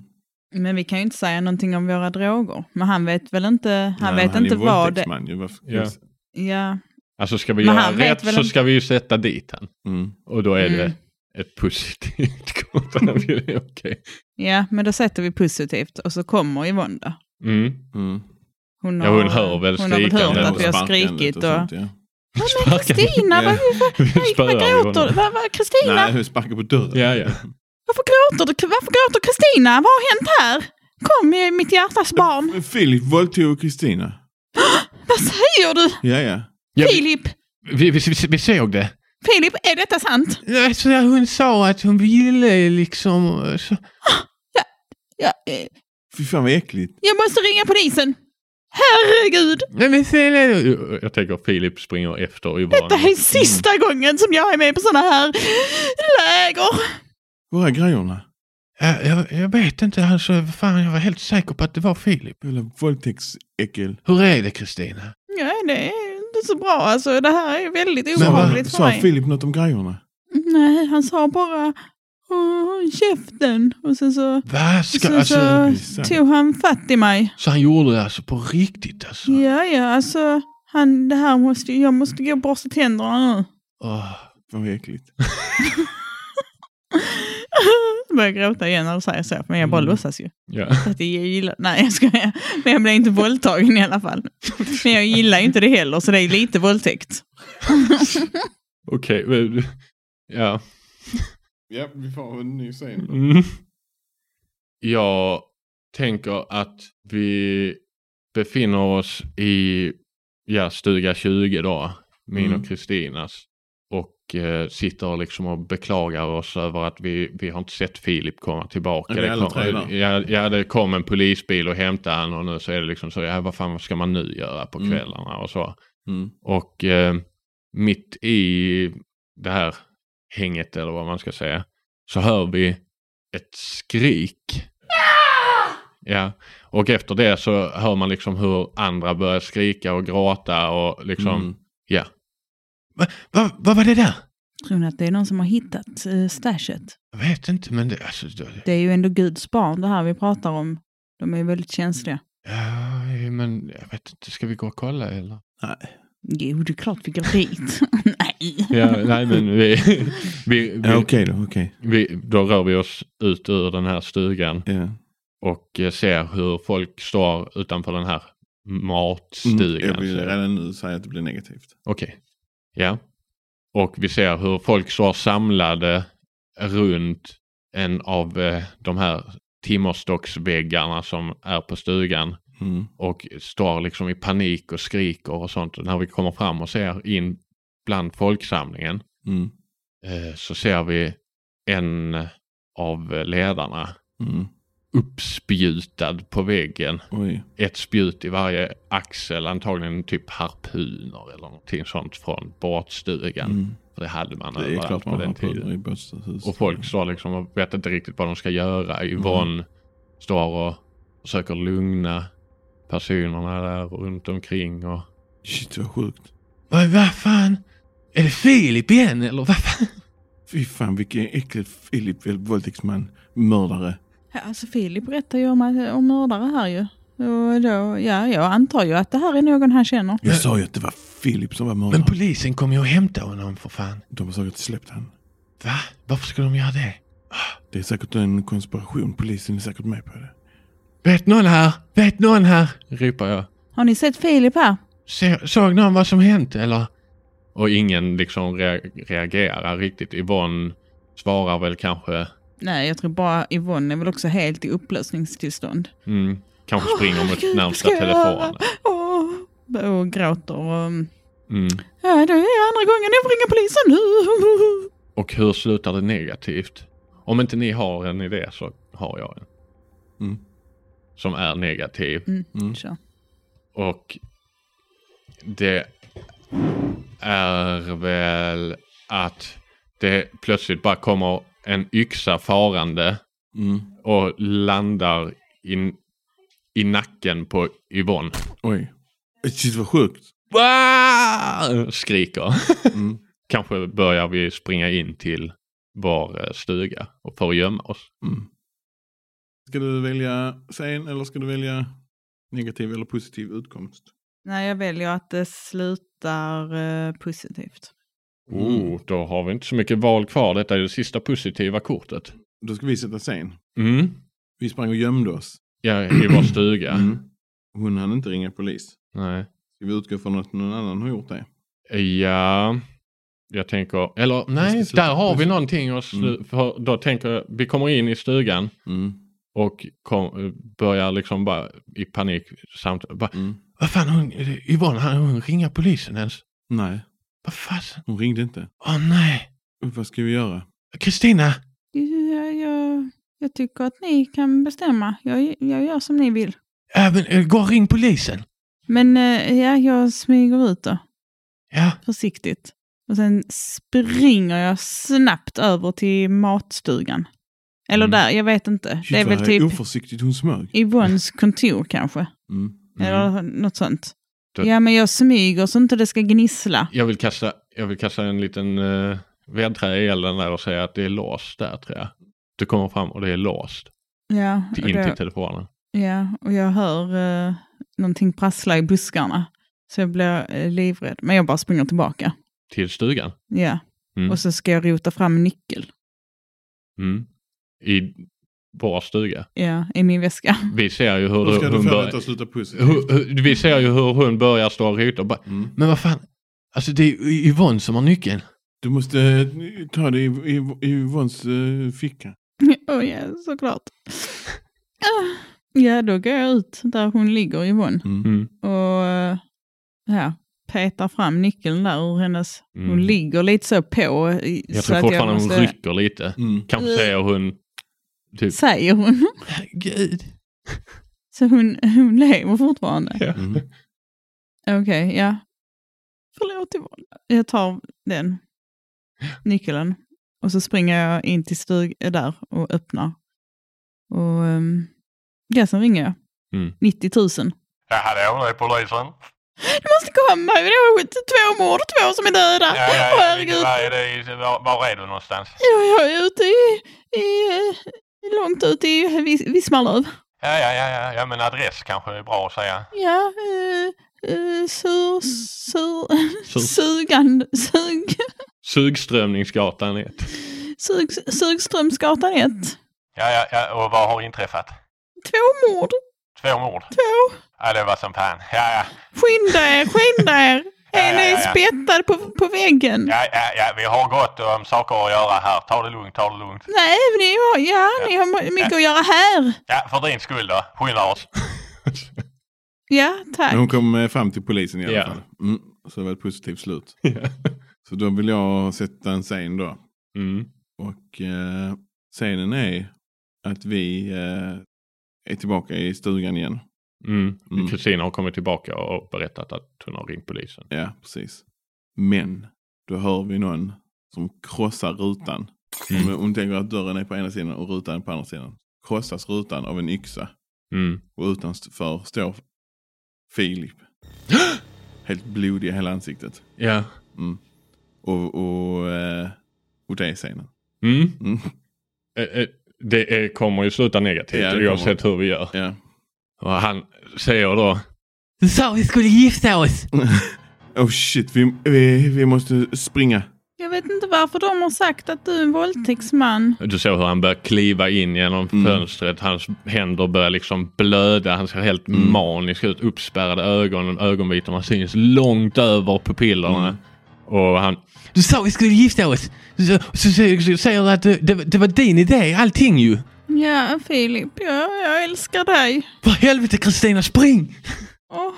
[SPEAKER 3] Men vi kan ju inte säga någonting om våra droger. Men han vet väl inte, han
[SPEAKER 1] Nej,
[SPEAKER 3] vet
[SPEAKER 1] han
[SPEAKER 3] inte
[SPEAKER 1] är
[SPEAKER 3] vad det...
[SPEAKER 1] våldtäktsman ju. Varför-
[SPEAKER 2] Ja.
[SPEAKER 3] Ja.
[SPEAKER 2] Alltså ska vi
[SPEAKER 3] Men
[SPEAKER 2] göra
[SPEAKER 3] han vet
[SPEAKER 2] rätt
[SPEAKER 3] väl
[SPEAKER 2] så
[SPEAKER 3] om-
[SPEAKER 2] ska vi ju sätta dit han.
[SPEAKER 1] Mm.
[SPEAKER 2] Och då är
[SPEAKER 3] Mm.
[SPEAKER 2] det ett positivt
[SPEAKER 1] Mm.
[SPEAKER 2] kontrabud. Okej.
[SPEAKER 3] ja, men då sätter vi positivt och så kommer Yvonne då.
[SPEAKER 2] Mm.
[SPEAKER 1] Mm.
[SPEAKER 3] Hon
[SPEAKER 2] Ja, hon hör väl
[SPEAKER 3] hon har väl hört
[SPEAKER 2] skrikandet
[SPEAKER 3] att vi har
[SPEAKER 1] Sparkandet
[SPEAKER 3] skrikit och...
[SPEAKER 1] sånt, ja.
[SPEAKER 3] Men Kristina,
[SPEAKER 1] Ja.
[SPEAKER 3] varför,
[SPEAKER 2] Spöar
[SPEAKER 3] varför
[SPEAKER 2] vi
[SPEAKER 3] gråter
[SPEAKER 2] honom?
[SPEAKER 3] du? Var- var- Kristina,
[SPEAKER 1] Nej, vi sparkar på dörren.
[SPEAKER 2] Ja, ja.
[SPEAKER 3] varför gråter du? Varför gråter Kristina? Vad har hänt här? Kom, eh, mitt hjärtas barn.
[SPEAKER 1] Men Filip våldtog Kristina.
[SPEAKER 3] Vad säger du?
[SPEAKER 1] Ja, ja.
[SPEAKER 2] Ja, vi,
[SPEAKER 3] Filip,
[SPEAKER 4] Vi, vi, vi, vi såg det.
[SPEAKER 3] Filip, är detta sant?
[SPEAKER 4] Alltså när hon sa att hon ville liksom... Så,
[SPEAKER 3] Jag, eh,
[SPEAKER 1] Fy fan vad äckligt.
[SPEAKER 3] jag måste ringa polisen. Herregud,
[SPEAKER 4] nej men sen är det...
[SPEAKER 2] jag tänker Filip springer efter
[SPEAKER 3] det här
[SPEAKER 2] Yvonne.
[SPEAKER 3] är sista gången som jag är med på sådana här läger.
[SPEAKER 1] Var är grejerna?
[SPEAKER 4] Jag, jag, jag vet inte alltså, fan jag var helt säker på att det var Filip.
[SPEAKER 1] Jävla våldtäktsäckel.
[SPEAKER 4] Hur är det Kristina?
[SPEAKER 3] Ja, det är inte så bra alltså. Det här är väldigt
[SPEAKER 1] Men vad,
[SPEAKER 3] obehagligt för
[SPEAKER 1] sa
[SPEAKER 3] mig.
[SPEAKER 1] Filip något om grejerna?
[SPEAKER 3] Nej, han sa bara Åh, käften. Och sen så,
[SPEAKER 4] Vad
[SPEAKER 3] sen
[SPEAKER 4] ska... Alltså,
[SPEAKER 3] så
[SPEAKER 1] vissa.
[SPEAKER 3] tog han fatt i mig.
[SPEAKER 4] så han gjorde det alltså på riktigt alltså?
[SPEAKER 3] Ja, ja, alltså. Han, det här måste, jag måste gå och borsta tänderna nu.
[SPEAKER 4] Åh.
[SPEAKER 1] Fan vad äckligt.
[SPEAKER 3] Jag börjar gråta igen när du säger så, men jag bara låtsas ju.
[SPEAKER 2] Ja.
[SPEAKER 3] Så Att jag gillar, nej, jag skojar. Men jag blev inte våldtagen i alla fall. Men jag gillar ju inte det heller, så det är lite våldtäkt.
[SPEAKER 2] Okej. men- Ja.
[SPEAKER 1] Ja, vi får en ny scen.
[SPEAKER 2] Mm. Jag tänker att vi befinner oss i ja, stuga 20 då, min
[SPEAKER 1] Mm.
[SPEAKER 2] och Kristinas. Och eh, sitter liksom och beklagar oss över att vi, vi har inte sett Filip komma tillbaka.
[SPEAKER 1] Är vi alla tre
[SPEAKER 2] kom,
[SPEAKER 1] där?
[SPEAKER 2] ja, ja, det kom en polisbil och hämtade han och nu så är det liksom så, ja, vad fan ska man nu göra på
[SPEAKER 1] Mm.
[SPEAKER 2] kvällarna och så.
[SPEAKER 1] Mm.
[SPEAKER 2] Och eh, mitt i det här hänget eller vad man ska säga så hör vi ett skrik. Ja, och efter det så hör man liksom hur andra börjar skrika och gråta och liksom,
[SPEAKER 1] Mm.
[SPEAKER 2] ja.
[SPEAKER 4] Va- va- Vad var det där?
[SPEAKER 3] Tror ni att det är någon som har hittat eh, stashet?
[SPEAKER 4] Jag vet inte men det... Alltså, det
[SPEAKER 3] Det är ju ändå Guds barn det här vi pratar om. De är väldigt känsliga.
[SPEAKER 4] ja, men jag vet inte, ska vi gå och kolla eller?
[SPEAKER 3] Jo, det är klart vi går dit. nej.
[SPEAKER 2] ja nej men vi, vi, vi,
[SPEAKER 1] Ja, okej då, okej.
[SPEAKER 2] vi, då rör vi oss ut ur den här stugan
[SPEAKER 1] Ja. Mm.
[SPEAKER 2] och eh, ser hur folk står utanför den här
[SPEAKER 1] Mm.
[SPEAKER 2] matstugan.
[SPEAKER 1] Jag vill
[SPEAKER 2] så-
[SPEAKER 1] redan nu säga att det blir negativt.
[SPEAKER 2] Okej. Ja. Och vi ser hur folk står samlade runt en av eh, de här timmerstocksväggarna som är på stugan
[SPEAKER 1] Mm.
[SPEAKER 2] och står liksom i panik och skriker och sånt. Och när vi kommer fram och ser in bland folksamlingen
[SPEAKER 1] Mm.
[SPEAKER 2] eh, så ser vi en av ledarna
[SPEAKER 1] Mm.
[SPEAKER 2] uppspjutad på väggen.
[SPEAKER 1] Oj.
[SPEAKER 2] Ett spjut i varje axel, antagligen typ harpuner eller någonting sånt från båtstugan.
[SPEAKER 1] Mm.
[SPEAKER 2] För det hade man
[SPEAKER 1] Det är
[SPEAKER 2] överallt
[SPEAKER 1] klart
[SPEAKER 2] på
[SPEAKER 1] man
[SPEAKER 2] den
[SPEAKER 1] har
[SPEAKER 2] tiden.
[SPEAKER 1] pulver i bostadshus.
[SPEAKER 2] Och folk står liksom och vet inte riktigt vad de ska göra.
[SPEAKER 4] Mm.
[SPEAKER 2] Yvonne står och försöker lugna personerna där runt omkring. Och
[SPEAKER 1] Shit vad sjukt.
[SPEAKER 4] Vad, vad fan? Är det Filip igen eller vad fan?
[SPEAKER 1] Fy fan vilken äcklig Filip, våldtäktsman, mördare.
[SPEAKER 3] Ja, alltså Filip berättar ju om, att- om mördare här ju. Och då, ja, jag antar ju att det här är någon han känner.
[SPEAKER 1] Jag
[SPEAKER 4] Men-
[SPEAKER 1] sa ju att det var Filip som var mördare.
[SPEAKER 4] Men polisen kommer ju och hämta honom för fan.
[SPEAKER 1] De har säkert släppt han.
[SPEAKER 4] Va? Varför skulle de göra det?
[SPEAKER 1] Det är säkert en konspiration. Polisen är säkert med på det.
[SPEAKER 4] Vet någon här? Vet någon här?
[SPEAKER 2] ropar jag.
[SPEAKER 3] Har ni sett Filip här?
[SPEAKER 4] Se, såg någon vad som hänt eller?
[SPEAKER 2] Och ingen liksom rea- reagerar riktigt. Yvonne svarar väl kanske.
[SPEAKER 3] Nej, jag tror bara Yvonne är väl också helt i upplösningstillstånd.
[SPEAKER 2] Mm, kanske
[SPEAKER 3] Åh,
[SPEAKER 2] springer mot
[SPEAKER 3] herregud,
[SPEAKER 2] närmsta
[SPEAKER 3] vad ska jag
[SPEAKER 2] telefonen.
[SPEAKER 3] Åh, och gråter och...
[SPEAKER 2] Mm.
[SPEAKER 3] Ja, det är andra gången jag får ringa polisen nu.
[SPEAKER 2] Och hur slutar det negativt? Om inte ni har en idé så har jag en.
[SPEAKER 1] Mm.
[SPEAKER 2] Som är negativ.
[SPEAKER 1] Mm.
[SPEAKER 3] Kör.
[SPEAKER 2] Och det är väl att det plötsligt bara kommer en yxa farande
[SPEAKER 1] Mm.
[SPEAKER 2] och landar i, i nacken på Yvonne.
[SPEAKER 1] Oj. Shit vad sjukt.
[SPEAKER 2] Wow! Skriker.
[SPEAKER 1] Mm.
[SPEAKER 2] Kanske börjar vi springa in till vår eh, stuga och för att gömma oss.
[SPEAKER 1] Mm. Ska du välja scen eller ska du välja negativ eller positiv utkomst?
[SPEAKER 3] Nej, jag väljer att det slutar eh, positivt.
[SPEAKER 2] Oh, då har vi inte så mycket val kvar. Detta är det sista positiva kortet.
[SPEAKER 1] Då ska vi sätta scen.
[SPEAKER 2] Mm.
[SPEAKER 1] Vi sprang och gömde oss.
[SPEAKER 2] Ja, i vår stuga.
[SPEAKER 1] Mm. Hon hann inte ringa polis.
[SPEAKER 2] Nej.
[SPEAKER 1] Ska vi utgå från att någon annan har gjort det?
[SPEAKER 2] Ja, jag tänker, eller nej,
[SPEAKER 1] sluta
[SPEAKER 2] där har vi
[SPEAKER 1] pussla.
[SPEAKER 2] någonting att slu-
[SPEAKER 4] Mm.
[SPEAKER 2] för då tänker jag, vi kommer in i stugan
[SPEAKER 1] Mm.
[SPEAKER 2] och kom, börjar liksom bara i panik samt, bara,
[SPEAKER 1] Mm.
[SPEAKER 4] Vad fan hon, Yvonne, han- hon ringer polisen ens?
[SPEAKER 1] Nej,
[SPEAKER 4] Vad fasen?
[SPEAKER 1] hon ringde inte.
[SPEAKER 4] Åh nej!
[SPEAKER 1] Vad ska vi göra?
[SPEAKER 4] Kristina!
[SPEAKER 3] Jag, jag, jag tycker att ni kan bestämma. Jag, jag gör som ni vill.
[SPEAKER 4] Ja, men, eh, gå och ring polisen!
[SPEAKER 3] Men eh, ja, jag smyger ut då,
[SPEAKER 4] Ja,
[SPEAKER 3] försiktigt. Och sen springer jag snabbt över till matstugan. Eller
[SPEAKER 2] Mm.
[SPEAKER 3] där, jag vet inte.
[SPEAKER 1] Shit,
[SPEAKER 3] Det är väl
[SPEAKER 1] vad
[SPEAKER 3] typ
[SPEAKER 1] oförsiktigt hon smög.
[SPEAKER 3] Yvonnes kontor kanske.
[SPEAKER 1] Mm.
[SPEAKER 3] Eller något sånt.
[SPEAKER 2] Då-
[SPEAKER 3] Ja, men jag smyger så inte det ska gnissla.
[SPEAKER 2] jag vill kasta, jag vill kasta en liten uh, vedträ i elden där och säga att det är låst där tror jag. Du kommer fram och det är låst
[SPEAKER 3] Ja,
[SPEAKER 2] till,
[SPEAKER 3] och
[SPEAKER 2] in
[SPEAKER 3] då-
[SPEAKER 2] till telefonen.
[SPEAKER 3] Ja, och jag hör eh, någonting prassla i buskarna. Så jag blir eh, livrädd. Men jag bara springer tillbaka.
[SPEAKER 2] Till stugan.
[SPEAKER 3] Ja.
[SPEAKER 2] Mm.
[SPEAKER 3] Och så ska jag rota fram en nyckel
[SPEAKER 2] Mm. I vår stuga.
[SPEAKER 3] ja, i min väska.
[SPEAKER 2] Vi ser ju hur,
[SPEAKER 1] Då ska
[SPEAKER 2] hur
[SPEAKER 1] du
[SPEAKER 2] hon
[SPEAKER 1] få detta
[SPEAKER 2] börjar,
[SPEAKER 1] att sluta positivt.
[SPEAKER 2] hur, hur, vi ser ju hur hon börjar stå och rota. och bara,
[SPEAKER 1] Mm.
[SPEAKER 4] men vad fan? Alltså det är ju Yvonne som har nyckeln.
[SPEAKER 1] Du måste eh, ta det i, i, i Yvonnes eh, ficka.
[SPEAKER 3] oh, ja, såklart. Ah. ja, då går jag ut där hon ligger, Yvonne.
[SPEAKER 2] Mm.
[SPEAKER 3] Och eh, ja, petar fram nyckeln där ur hennes...
[SPEAKER 2] Mm.
[SPEAKER 3] Hon ligger lite så på. i-
[SPEAKER 2] Jag
[SPEAKER 3] så
[SPEAKER 2] tror
[SPEAKER 3] att
[SPEAKER 2] fortfarande
[SPEAKER 3] måste-
[SPEAKER 2] hon rycker lite.
[SPEAKER 1] Mm.
[SPEAKER 2] Kanske säger hon typ.
[SPEAKER 3] Säger hon.
[SPEAKER 4] Herregud.
[SPEAKER 3] Så hon, hon lever fortfarande.
[SPEAKER 2] Ja.
[SPEAKER 1] Mm.
[SPEAKER 3] Okej, ja. Förlåt Yvonne. Jag tar den nyckeln och så springer jag in till stugan där och öppnar. Och um, ja, sen ringer jag.
[SPEAKER 2] Mm.
[SPEAKER 3] 90 000. Du
[SPEAKER 5] Ja, hallå, det är polisen.
[SPEAKER 3] måste komma, det är två mord, två som är döda.
[SPEAKER 5] Ja, ja,
[SPEAKER 3] Åh,
[SPEAKER 5] ja,
[SPEAKER 3] herregud.
[SPEAKER 5] Var, är det, var, var är du någonstans?
[SPEAKER 3] Ja, jag är ute i, i eh, långt ut i Vis- Vismarlöv.
[SPEAKER 5] Ja, ja, ja, ja, ja, men adress kanske är bra att säga.
[SPEAKER 3] Ja, uh, uh, sur, sur,
[SPEAKER 2] Sur.
[SPEAKER 3] sugande, sug,
[SPEAKER 2] Sugströmningsgatan 1.
[SPEAKER 3] sug, Sugströmsgatan 1.
[SPEAKER 5] Ja, ja, ja, och vad har inträffat?
[SPEAKER 3] Två mord.
[SPEAKER 5] Två mord?
[SPEAKER 3] Två.
[SPEAKER 5] Ja, det var som fan. Ja, ja,
[SPEAKER 3] Skynda er, skynda er! En är spettad på, på väggen.
[SPEAKER 5] ja, ja, ja, vi har gott om saker att göra här. Ta det lugnt, ta det lugnt.
[SPEAKER 3] Nej, men ni har, ja, ni har mycket att göra här.
[SPEAKER 5] Ja, för din skull då. Skynda oss.
[SPEAKER 3] Ja, tack.
[SPEAKER 1] Men hon kom eh, fram till polisen i alla
[SPEAKER 2] Ja.
[SPEAKER 1] fall. Mm. Så det var ett positivt slut. Så då vill jag sätta en scen då.
[SPEAKER 2] Mm.
[SPEAKER 1] Och eh, scenen är att vi eh, är tillbaka i stugan igen.
[SPEAKER 2] Mm.
[SPEAKER 1] Mm.
[SPEAKER 2] Kristina har kommit tillbaka och berättat att hon har ringt polisen.
[SPEAKER 1] Ja, precis. Men då hör vi någon som krossar rutan.
[SPEAKER 2] Mm.
[SPEAKER 1] Om hon tänker att dörren är på ena sidan och rutan är på andra sidan. Krossas rutan av en yxa
[SPEAKER 2] Mm.
[SPEAKER 1] och utanför står Filip. Helt blodig i hela ansiktet.
[SPEAKER 2] Ja.
[SPEAKER 1] Och, och, eh, och det är scenen.
[SPEAKER 2] Mm.
[SPEAKER 1] Mm.
[SPEAKER 2] Eh, eh, Det eh, kommer ju sluta negativt
[SPEAKER 1] Ja, det kommer.
[SPEAKER 2] oavsett hur vi gör.
[SPEAKER 1] Ja.
[SPEAKER 2] Och han säger då
[SPEAKER 4] Du sa vi skulle gifta oss!
[SPEAKER 1] Oh shit, vi, vi, vi måste springa.
[SPEAKER 3] Jag vet inte varför de har sagt att du är en våldtäktsman.
[SPEAKER 2] Du såg hur han börjar kliva in genom
[SPEAKER 1] Mm.
[SPEAKER 2] fönstret. Hans händer börjar liksom blöda. Han ser helt
[SPEAKER 1] Mm.
[SPEAKER 2] manisk ut. Uppspärrade ögon. Ögonvitorna syns långt över pupillerna.
[SPEAKER 1] Mm.
[SPEAKER 2] Och han...
[SPEAKER 4] Du sa vi skulle gifta oss! Så, så, så, så säger du att eh, det, det, det var din idé, allting ju!
[SPEAKER 3] Ja, Filip, ja, jag älskar dig.
[SPEAKER 4] För helvete Kristina, spring!
[SPEAKER 3] Åh,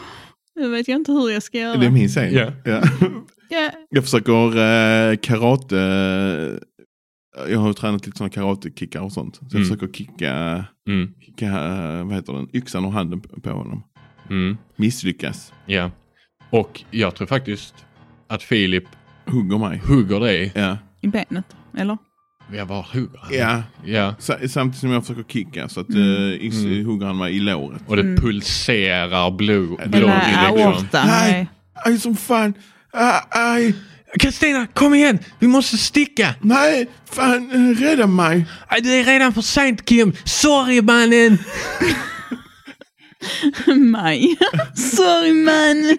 [SPEAKER 3] nu vet jag inte hur jag ska göra.
[SPEAKER 1] Det är min scen.
[SPEAKER 2] Ja.
[SPEAKER 1] Ja.
[SPEAKER 3] Ja,
[SPEAKER 1] Jag försöker eh, karate. eh, Jag har ju tränat lite sådana karatekickar och sånt. Så jag
[SPEAKER 2] Mm.
[SPEAKER 1] försöker kicka,
[SPEAKER 2] Mm,
[SPEAKER 1] kicka eh, vad heter den, yxan och handen på på honom.
[SPEAKER 2] mm,
[SPEAKER 1] Misslyckas.
[SPEAKER 2] ja. Och jag tror faktiskt att Filip
[SPEAKER 1] Hugger mig.
[SPEAKER 2] hugger dig.
[SPEAKER 1] Ja.
[SPEAKER 3] I benet, eller?
[SPEAKER 2] Ja, var hugger han?
[SPEAKER 1] ja.
[SPEAKER 2] Ja.
[SPEAKER 1] Sa- Samtidigt som jag försöker kicka så att eh, yx,
[SPEAKER 2] Mm.
[SPEAKER 1] hugger han mig i låret.
[SPEAKER 2] Och det pulserar blod.
[SPEAKER 1] Eller
[SPEAKER 2] blod i
[SPEAKER 3] Eller
[SPEAKER 1] Blodinjektion.
[SPEAKER 2] liksom.
[SPEAKER 3] aorta.
[SPEAKER 1] Nej.
[SPEAKER 3] Nej.
[SPEAKER 1] Aj som fan. Ah, Aj.
[SPEAKER 4] Kristina, kom igen! Vi måste sticka!
[SPEAKER 1] Nej. Fan. eh, Rädda mig.
[SPEAKER 4] Aj, Det är redan för sent Kim! Sorry mannen!
[SPEAKER 3] Maj. Sorry man.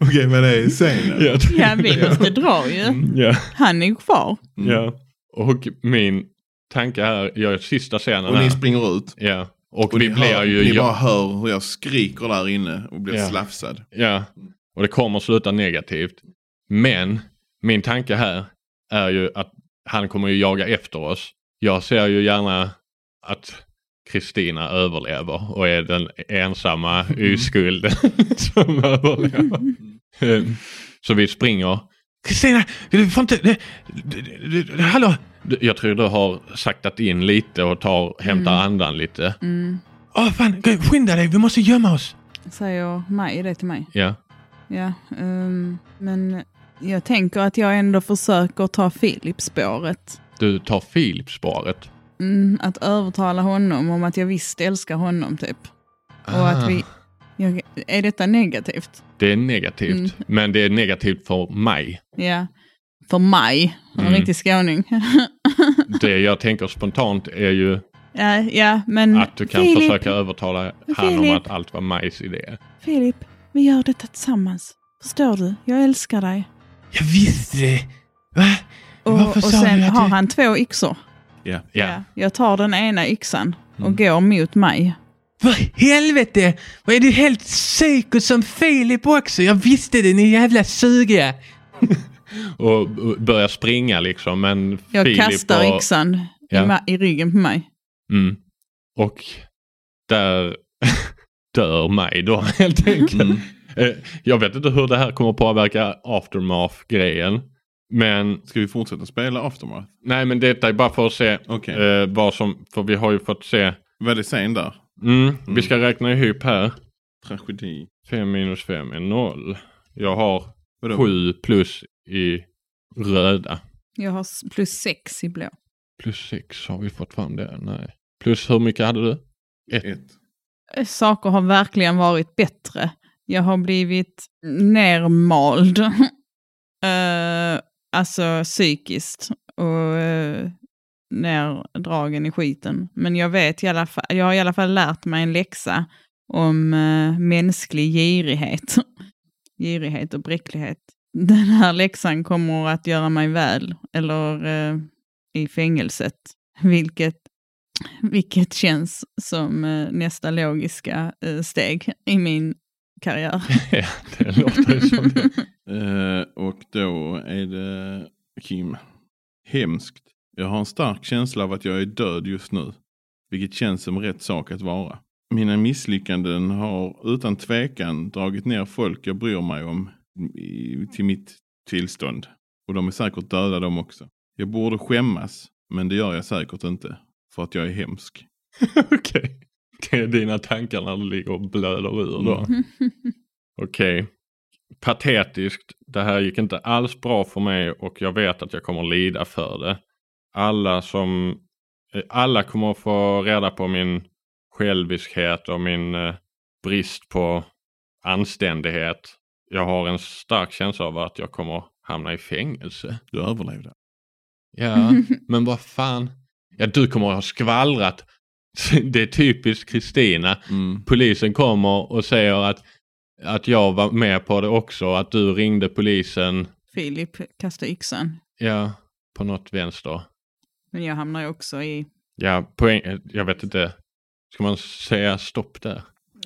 [SPEAKER 1] Okej men det är scenen.
[SPEAKER 2] Ja,
[SPEAKER 3] Ja, vi måste dra
[SPEAKER 1] Mm.
[SPEAKER 3] ju.
[SPEAKER 2] ja,
[SPEAKER 3] Han är ju kvar.
[SPEAKER 2] ja. Och min tanke här, jag är sista scenen
[SPEAKER 1] Och
[SPEAKER 2] här.
[SPEAKER 1] ni springer ut.
[SPEAKER 2] Ja, och,
[SPEAKER 1] Och
[SPEAKER 2] vi
[SPEAKER 1] ni
[SPEAKER 2] blir
[SPEAKER 1] hör,
[SPEAKER 2] ju...
[SPEAKER 1] ni
[SPEAKER 2] ja,
[SPEAKER 1] bara hör hur jag skriker där inne och blir
[SPEAKER 2] Ja.
[SPEAKER 1] slafsad.
[SPEAKER 2] ja, och det kommer sluta negativt. Men min tanke här är ju att han kommer ju jaga efter oss. Jag ser ju gärna att Kristina överlever och är den ensamma
[SPEAKER 1] Mm.
[SPEAKER 2] oskulden som överlever. Eh, Så vi springer.
[SPEAKER 4] Kristina, du får inte... Du, du, du, du, hallå!
[SPEAKER 2] Du- Jag tror du har saktat in lite och tar, hämtar andan lite.
[SPEAKER 3] Mm.
[SPEAKER 4] Åh fan, gå- skynda dig, vi måste gömma oss!
[SPEAKER 3] Säger Maj det till mig.
[SPEAKER 2] Ja.
[SPEAKER 3] Ja, ehm, men jag tänker att jag ändå försöker ta Filip-spåret.
[SPEAKER 2] Du tar Filip-spåret.
[SPEAKER 3] Mm, att övertala honom om att jag visst älskar honom, typ. Och
[SPEAKER 2] Ah.
[SPEAKER 3] att vi... Jag, är detta negativt?
[SPEAKER 2] Det är negativt.
[SPEAKER 3] Mm.
[SPEAKER 2] Men det är negativt för mig.
[SPEAKER 3] Ja. För mig, en
[SPEAKER 2] Mm.
[SPEAKER 3] riktig skåning.
[SPEAKER 2] Det jag tänker spontant är ju
[SPEAKER 3] ja, ja, men...
[SPEAKER 2] att du kan
[SPEAKER 3] Mm. Filip,
[SPEAKER 2] försöka övertala han om
[SPEAKER 3] Filip.
[SPEAKER 2] att allt var Majs idé.
[SPEAKER 3] Filip, vi gör detta tillsammans. Förstår du? Jag älskar dig.
[SPEAKER 4] Jag visste det! Va?
[SPEAKER 3] Och,
[SPEAKER 4] Varför
[SPEAKER 3] och
[SPEAKER 4] sa
[SPEAKER 3] sen
[SPEAKER 4] du att
[SPEAKER 3] har
[SPEAKER 4] du-
[SPEAKER 3] han två yxor.
[SPEAKER 1] Ja.
[SPEAKER 2] Ja. Mm.
[SPEAKER 3] Jag tar den ena yxan och går mot mig.
[SPEAKER 4] För helvete! Vad är du helt psyko som Filip också? Jag visste det, ni jävla sugiga!
[SPEAKER 2] Och b- börja springa liksom. Men
[SPEAKER 3] Jag
[SPEAKER 2] Filip
[SPEAKER 3] kastar
[SPEAKER 2] och,
[SPEAKER 3] yxan
[SPEAKER 2] Ja.
[SPEAKER 3] i, ma- i ryggen på mig.
[SPEAKER 2] Mm. Och där dör mig då helt enkelt.
[SPEAKER 1] Mm.
[SPEAKER 2] Eh, Jag vet inte hur det här kommer påverka aftermath-grejen. Men
[SPEAKER 1] Ska vi fortsätta spela Aftermath?
[SPEAKER 2] nej men detta är bara för att se
[SPEAKER 1] Okej.
[SPEAKER 2] eh, vad som, för vi har ju fått se.
[SPEAKER 1] Vad är det scen där?
[SPEAKER 2] Mm, Vi ska räkna ihop här.
[SPEAKER 1] Tragedi.
[SPEAKER 2] 5 minus 5 är 0. Jag har
[SPEAKER 1] Vadå?
[SPEAKER 2] 7 plus i röda.
[SPEAKER 3] Jag har s- plus sex i blå.
[SPEAKER 2] Plus 6 har vi fått fram det. Nej. Plus hur mycket hade du?
[SPEAKER 1] Ett.
[SPEAKER 3] Saker har verkligen varit bättre. Jag har blivit nermald. Eh, alltså psykiskt. Och eh, nerdragen i skiten. Men jag vet i alla fall, jag har i alla fall lärt mig en läxa om eh, mänsklig girighet. girighet och bräcklighet. Den här läxan kommer att göra mig väl, eller eh, i fängelset. Vilket vilket känns som eh, nästa logiska eh, steg i min karriär.
[SPEAKER 2] ja, det låter ju som det.
[SPEAKER 1] Eh, och då är det Kim. Hemskt. Jag har en stark känsla av att jag är död just nu. Vilket känns som rätt sak att vara. Mina misslyckanden har utan tvekan dragit ner folk jag bryr mig om i, till mitt tillstånd. Och de är säkert döda de också. Jag borde skämmas, men det gör jag säkert inte. För att jag är hemsk.
[SPEAKER 2] Okej. Det är dina tankar när du ligger och blöder ur då. Okej. patetiskt. Det här gick inte alls bra för mig och jag vet att jag kommer lida för det. Alla som eh, alla kommer att få reda på min själviskhet och min eh, brist på anständighet. Jag har en stark känsla av att jag kommer hamna i fängelse.
[SPEAKER 1] Du överlevde.
[SPEAKER 2] Ja, men vad fan. Ja, du kommer att ha skvallrat. Det är typiskt Kristina
[SPEAKER 1] Mm.
[SPEAKER 2] polisen kommer och säger att, att jag var med på det också, att du ringde polisen,
[SPEAKER 3] Filip kastar yxan.
[SPEAKER 2] ja, på något vänster.
[SPEAKER 3] Men jag hamnar ju också i...
[SPEAKER 2] Ja, poäng, jag vet inte. Ska man säga stopp där?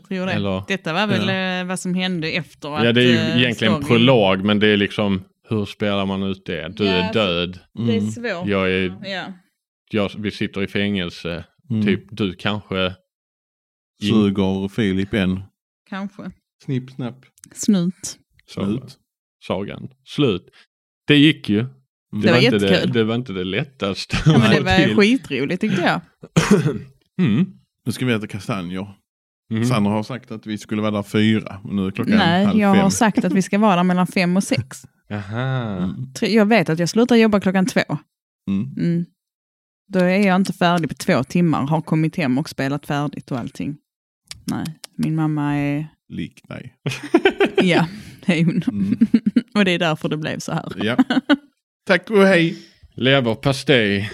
[SPEAKER 3] Tror det.
[SPEAKER 2] Eller-
[SPEAKER 3] Detta var väl eh, vad som hände efter att...
[SPEAKER 2] ja, det är ju
[SPEAKER 3] eh,
[SPEAKER 2] egentligen
[SPEAKER 3] storyn-
[SPEAKER 2] prolog, men det är liksom, hur spelar man ut det? Du
[SPEAKER 3] Ja,
[SPEAKER 2] är
[SPEAKER 3] alltså-
[SPEAKER 2] död,
[SPEAKER 3] Det är
[SPEAKER 1] Mm.
[SPEAKER 3] svårt.
[SPEAKER 2] jag är,
[SPEAKER 3] Ja.
[SPEAKER 2] jag, vi sitter i fängelse,
[SPEAKER 1] Mm.
[SPEAKER 2] typ du kanske...
[SPEAKER 1] Suger Filip en.
[SPEAKER 3] Kanske.
[SPEAKER 1] Snipp, snapp,
[SPEAKER 3] Snut.
[SPEAKER 2] Så-
[SPEAKER 1] slut.
[SPEAKER 2] Sagan. Slut. Det gick ju.
[SPEAKER 3] Det var
[SPEAKER 2] inte det,
[SPEAKER 3] jättekul.
[SPEAKER 2] det var inte det lättaste
[SPEAKER 3] Ja, men
[SPEAKER 2] att
[SPEAKER 3] det
[SPEAKER 2] få
[SPEAKER 3] var
[SPEAKER 2] till.
[SPEAKER 3] skitroligt tyckte jag.
[SPEAKER 2] Mm.
[SPEAKER 1] Nu ska vi äta kastanjer.
[SPEAKER 2] Mm.
[SPEAKER 1] Sandra har sagt att vi skulle vara där fyra. Och nu är klockan halv
[SPEAKER 3] Nej, jag
[SPEAKER 1] fem.
[SPEAKER 3] har sagt att vi ska vara där mellan fem och sex.
[SPEAKER 2] Aha.
[SPEAKER 1] Mm.
[SPEAKER 3] Tre- Jag vet att jag slutar jobba klockan två.
[SPEAKER 1] Mm.
[SPEAKER 3] Mm. Då är jag inte färdig på två timmar, har kommit hem och spelat färdigt och allting. Nej, min mamma är...
[SPEAKER 1] Lik dig.
[SPEAKER 3] Ja, det är hon.
[SPEAKER 1] Mm.
[SPEAKER 3] Och det är därför det blev så här.
[SPEAKER 1] Ja. Tack och hej.
[SPEAKER 2] Leverpastej.